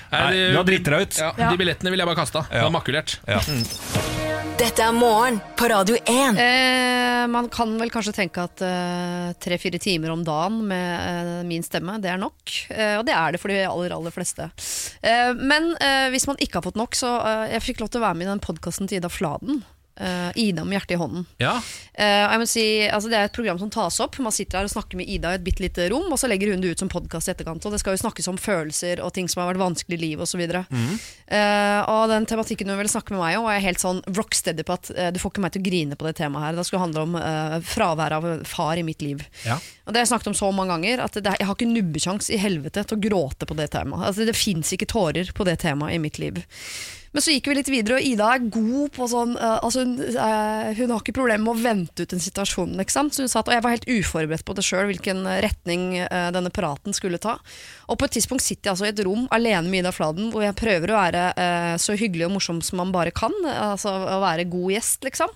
S1: Er
S2: Nei,
S1: det-
S2: du har dritt deg ut.
S1: Ja, de billettene ville jeg bare kasta. Det var makulert.
S2: Ja.
S4: Dette er Morgen på Radio 1.
S3: Eh, man kan vel kanskje tenke at eh, tre-fire timer om dagen med eh, min stemme, det er nok. Eh, og det er det for de aller, aller fleste. Eh, men eh, hvis man ikke har fått nok, så eh, Jeg fikk lov til å være med i den podkasten til Ida Fladen. eh, Ida med hjertet i hånden.
S1: Ja.
S3: Eh, og jeg må si, altså det er et program som tas opp. Man sitter her og snakker med Ida i et bitte lite rom, og så legger hun det ut som podkast i etterkant. Og det skal jo snakkes om følelser og ting som har vært vanskelig i livet osv. Eh, og den tematikken hun ville snakke med meg om, var jeg helt sånn rocksteady på at eh, du får ikke meg til å grine på det temaet her. Det skulle handle om eh, fravær av far i mitt liv.
S1: Ja.
S3: Og det har jeg snakket om så mange ganger at det, er- jeg har ikke nubbekjangs i helvete til å gråte på det temaet. Altså, det fins ikke tårer på det temaet i mitt liv. Men så gikk vi litt videre, og Ida er god på sånn eh, altså hun, eh, hun har ikke problemer med å vente ut en situasjon. Ikke sant? Så hun sa at, og jeg var helt uforberedt på det sjøl, hvilken retning eh, denne praten skulle ta. Og på et tidspunkt sitter jeg altså i et rom alene med Ida Fladen, hvor jeg prøver å være eh, så hyggelig og morsom som man bare kan. Altså å være god gjest, liksom.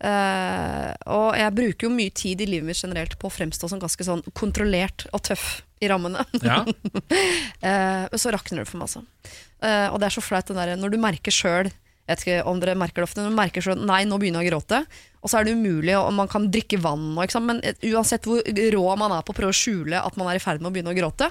S3: Eh, og jeg bruker jo mye tid i livet mitt generelt på å fremstå som ganske sånn kontrollert og tøff i rammene.
S1: Ja.
S3: Eh, men så rakner det for meg, altså. Eh, og det er så flaut den derre når du merker sjøl jeg vet ikke om dere merker det ofte, når du merker selv, nei, nå begynner jeg å gråte. Og så er det umulig, og man kan drikke vann. Og, ikke sant? Men eh, uansett hvor rå man er på å prøve å skjule at man er i ferd med å begynne å gråte,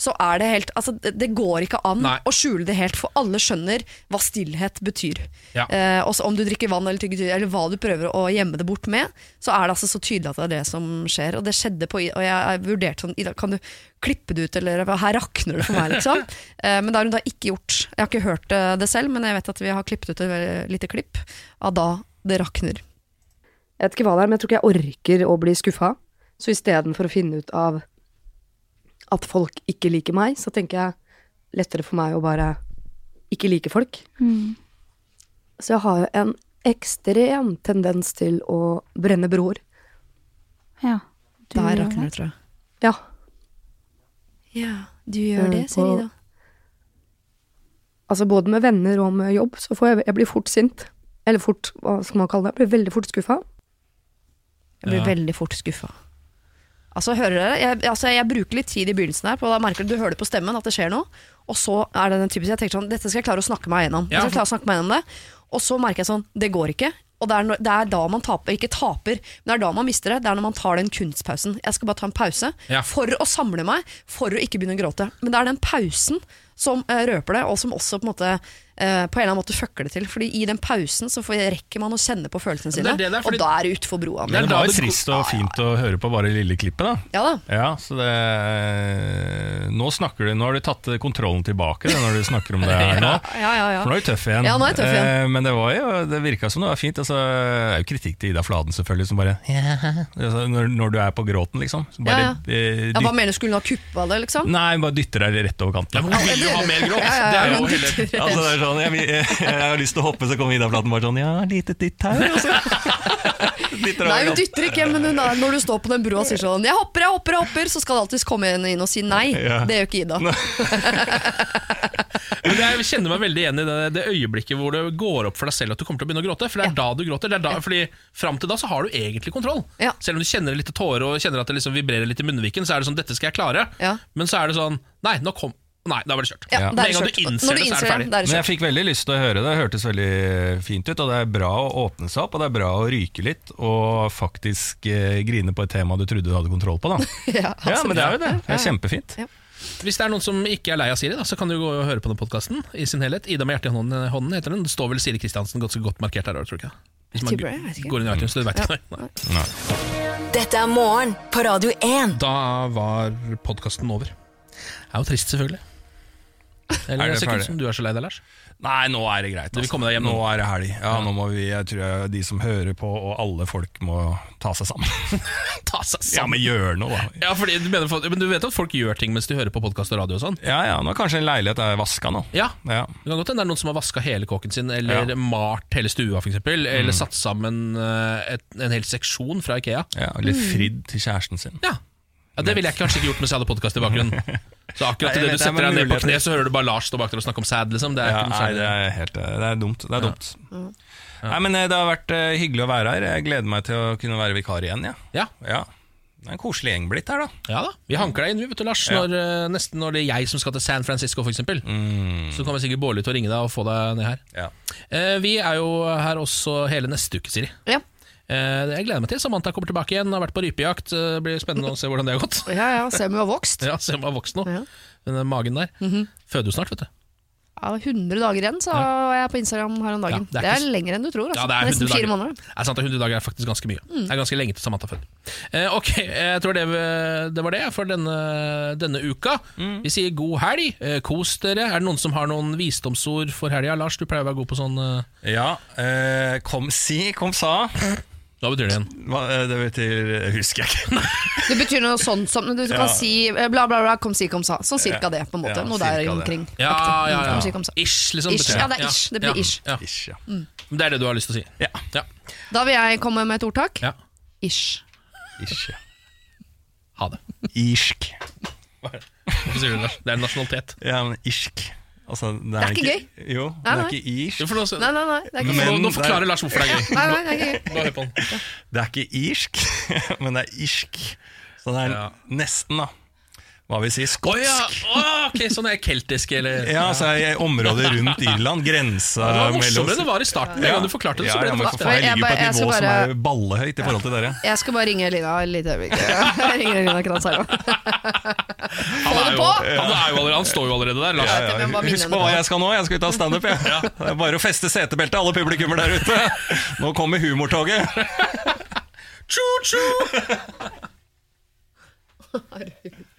S3: så er det helt altså, Det det går ikke an
S1: Nei.
S3: å skjule det helt, for alle skjønner hva stillhet betyr.
S1: Ja.
S3: Eh, og så om du drikker vann eller tyggetøy, eller hva du prøver å gjemme det bort med, så er det altså så tydelig at det er det som skjer. Og det skjedde på Og jeg, jeg vurderte sånn Ida, kan du klippe det ut, eller her rakner det for meg, liksom. eh, men det har hun da ikke gjort. Jeg har ikke hørt eh, det selv, men jeg vet at vi har klippet ut et veldig lite klipp av da det rakner. Jeg vet ikke hva det er, men jeg tror ikke jeg orker å bli skuffa. Så istedenfor å finne ut av at folk ikke liker meg, så tenker jeg lettere for meg å bare ikke like folk. Mm. Så jeg har jo en ekstrem tendens til å brenne broer.
S13: Ja. du
S3: Der
S13: gjør
S3: rakner det,
S13: det.
S3: tror jeg. Ja. Ja, du gjør det, sier Ida.
S13: Eh, Altså både med venner og med jobb, så får jeg, jeg blir fort sint. Eller fort, hva skal man kalle det, jeg blir veldig fort skuffa.
S3: Jeg blir
S13: Ja.
S3: veldig fort skuffa. Altså, hører dere? Jeg, altså, jeg bruker litt tid i begynnelsen her, på, da merker du, du hører det på stemmen at det skjer noe. Og så er det den typiske, jeg tenker sånn, dette skal jeg klare å snakke meg gjennom. Jeg
S13: Ja.
S3: skal klare å snakke meg gjennom det. Og så merker jeg sånn, det går ikke. Og det er, når, det er da man taper, ikke taper, men det er da man mister det. Det er når man tar den kunstpausen. Jeg skal bare ta en pause
S13: Ja.
S3: for å samle meg, for å ikke begynne å gråte. Men det er den pausen som eh, røper det, og som også på en måte eh, på en eller annen måte fucker det til. Fordi i den pausen så får, rekker man å kjenne på følelsene
S1: Det
S3: sine,
S1: er det der, fordi-
S3: og da er det utfor broa.
S2: Men det var jo trist og fint å høre på bare det lille klippet, da.
S3: Ja da.
S2: Ja, så det Nå snakker du Nå har du tatt kontrollen tilbake det, når du snakker om det her
S3: [laughs]
S2: nå.
S3: Ja, ja, ja.
S2: For nå er du tøff igjen.
S3: Ja, nå er jeg tøff igjen.
S2: Eh, Men det, var jo, det virka som det var fint. Altså, det er jo kritikk til Ida Fladen, selvfølgelig, som bare [laughs] altså, når, når du er på gråten, liksom. Så bare,
S3: Ja,
S2: eh,
S3: Ja, hva
S2: dytt-
S3: mener du, skulle hun ha kuppa det, liksom?
S2: Nei, bare dytter deg rett over kanten.
S1: hun vil jo ha mer gråt.
S3: Ja, ja, ja,
S1: det er
S3: hun
S1: jo hele
S3: dytter
S2: Altså, det er sånn, jeg, vil- jeg, jeg har lyst til å hoppe, så kommer Ida Fladen bare sånn Ja, lite dytt her, og så
S3: [laughs]
S2: dytter
S3: Nei,
S2: over
S3: hun
S2: kanten.
S3: dytter ikke, men hun er, når du står på den brua og sier sånn 'jeg hopper, jeg hopper, jeg hopper', så skal det alltid komme en inn og si nei.
S1: Ja.
S3: Det gjør ikke Ida.
S2: [laughs]
S1: Men det er- jeg kjenner meg veldig igjen i det, det øyeblikket hvor det går opp for deg selv at du kommer til å begynne å gråte. For det er da du gråter. Det er da, fordi Fram til da så har du egentlig kontroll. Selv om du kjenner litt tårer og kjenner at det liksom vibrerer litt i munnviken, så er det sånn 'dette skal jeg klare'. Men så er det sånn Nei, nå kom Nei, da var det kjørt.
S3: Ja,
S1: Med
S3: da er
S1: en
S3: det
S1: gang du
S3: kjørt.
S1: innser,
S3: Når du
S1: det, så
S3: innser
S1: er
S3: det,
S1: det
S3: da er
S1: ferdig.
S2: Men jeg fikk veldig lyst til å høre det. Det hørtes veldig fint ut. Og det er bra å åpne seg opp, og det er bra å ryke litt og faktisk eh, grine på et tema du trodde du hadde kontroll på. Da.
S1: [laughs]
S3: Ja,
S2: Ja, men det er jo det.
S1: Ja,
S2: Det er
S1: ja.
S2: kjempefint.
S1: Hvis det er noen som ikke er lei av Siri, da, så kan du gå og høre på den podkasten i sin helhet. Ida med hjertet i hånden, hånden heter den. Det står vel Siri Kristiansen godt, godt markert her òg, tror du ikke? Hvis man
S4: Jeg tror det, jeg vet ikke.
S1: går inn i iTunes, du vet ikke. Nei. Nei.
S4: Dette er Morgen på Radio 1.
S1: Da var podkasten over. Det er jo trist, selvfølgelig. Eller
S2: Er det
S1: er det ikke
S2: ferdig?
S1: som du er så lei deg, Lars?
S2: Nei, nå er det greit.
S1: Du
S2: altså.
S1: vil komme deg hjem
S2: nå.
S1: nå?
S2: er det helg. Ja, nå må vi, jeg tror jeg, de som hører på, og alle folk må ta seg [laughs] sammen.
S1: Ta seg sammen.
S2: ja, men gjør noe, da.
S1: Ja, fordi du mener, folk- men du vet at folk gjør ting mens de hører på podkast og radio og sånn?
S2: Ja, ja, nå er kanskje en leilighet er vaska nå.
S1: Ja.
S2: Ja.
S1: Det kan godt hende det er noen som har vaska hele kåken sin, eller
S2: Ja.
S1: malt hele stua, f.eks. Eller
S2: Mm.
S1: satt sammen eh, et, en hel seksjon fra Ikea.
S2: Ja, eller
S1: Mm.
S2: fridd til kjæresten sin.
S1: Ja. Ja, Det ville jeg kanskje ikke gjort mens jeg hadde podkast i [laughs] bakgrunnen. Så akkurat
S2: Nei,
S1: idet du
S2: jeg vet, det er
S1: setter deg
S2: mange
S1: ned på
S2: muligheter.
S1: kne, så hører du bare Lars stå bak der og snakke om sæd, liksom. Det er
S2: Ja,
S1: ikke noe
S2: nei,
S1: særlig.
S2: det er helt Det er dumt. Det
S1: Ja.
S2: er dumt. Nei, men eh, Det har vært eh, hyggelig å være her. Jeg gleder meg til å kunne være vikar igjen. Ja.
S1: Ja.
S2: Det er en koselig gjeng blitt her, da.
S1: Ja da, Vi hanker deg inn, vi, vet du, Lars.
S2: Ja.
S1: Når, eh, nesten når det er jeg som skal til San Francisco, f.eks. eksempel Så kommer sikkert Bårli til å ringe deg og få deg ned her. Eh, vi er jo her også hele neste uke, Siri. Eh, det jeg gleder meg til. Samantha kommer tilbake igjen, har vært på rypejakt. Eh, Det blir spennende å se hvordan det har gått. [laughs]
S3: Ja, ja, se om hun har vokst.
S1: Ja, se om hun har vokst nå. Men den magen der. Føder jo snart, vet du.
S3: Ja, 100 dager igjen, så jeg er på Instagram her om dagen.
S1: Ja, det er
S3: det, er
S1: ikke s-
S3: lenger enn du tror. Altså.
S1: Ja, det er
S3: Nesten
S1: 100
S3: fire
S1: dager.
S3: måneder.
S1: Det er sant, det er 100 dager er faktisk ganske mye.
S3: Mm.
S1: Det er ganske lenge til Samantha føder. Eh, ok, jeg tror det, eh, det var det for denne, denne uka.
S3: Mm.
S1: Vi sier god helg, eh, kos dere. Er det noen som har noen visdomsord for helga? Lars, du pleier å være god på sånn eh,
S2: Ja. eh, kom si, kom sa. eh,
S1: Hva betyr det igjen?
S2: det betyr Husker jeg ikke. [laughs]
S3: Det betyr noe sånn som Du
S2: Ja.
S3: kan si eh, bla, bla, bla, kom si, kom sa. Sånn cirka
S2: Ja.
S3: det, på en måte.
S2: Ja,
S3: noe der
S2: cirka det.
S3: omkring.
S1: Ja, ja,
S3: Aktig.
S1: ja.
S3: Kom si, kom sa.
S1: Ish, liksom.
S3: Ish,
S1: betyr
S3: ja, det er ish. Det blir ish.
S1: Ja.
S3: Mm.
S1: Men Det er det du har lyst til å si?
S2: Ja.
S3: Da vil jeg komme med et ordtak.
S1: Ja.
S3: Ish.
S2: Ish, ja.
S1: Ha det.
S2: Irsk.
S1: Hvorfor sier du det? Lars? Det er en nasjonalitet.
S2: Ja, men irsk. Altså, det,
S3: er ikke
S2: gøy. Jo,
S3: Nei,
S2: det
S3: nei.
S2: er ikke irsk.
S3: Nei, nei, nei. Det er ikke sånn.
S2: Men-
S1: nå, nå forklarer Lars hvorfor det er gøy.
S3: Nei, nei, det er ikke gøy.
S1: Hør på den.
S2: Det er ikke irsk, [laughs] men det er irsk. Så det er nesten, da. Hva vil si
S1: Å ja,
S2: skotsk?
S1: å, ok, sånn er jeg keltisk, eller
S2: Ja, altså i
S1: [laughs]
S2: området rundt Irland. Grensa
S1: Ja, det var
S2: mellom
S1: morsommere det var i starten. Med en gang du forklarte det, så
S2: Eh, Ja,
S1: ble
S2: ja,
S1: det
S2: men
S1: fast.
S2: for faen, Jeg
S3: Jeg
S2: ligger på
S3: bare-
S2: et
S3: jeg skal
S2: nivå
S3: bare-
S2: som er ballehøyt i forhold til dere.
S3: Jeg skal bare ringe Elina et lite øyeblikk. [laughs] Jeg ringer Elina Kranzaro.
S1: Han, er jo,
S2: på!
S1: han, er jo allerede, han står jo allerede der. Lars.
S2: Ja, ja, ja. Husk på hva jeg skal nå, jeg skal ut av standup. [laughs] jeg. Det er bare å feste setebeltet, alle publikummer der ute. [laughs] Nå kommer humortoget.
S1: Tjo, tjo!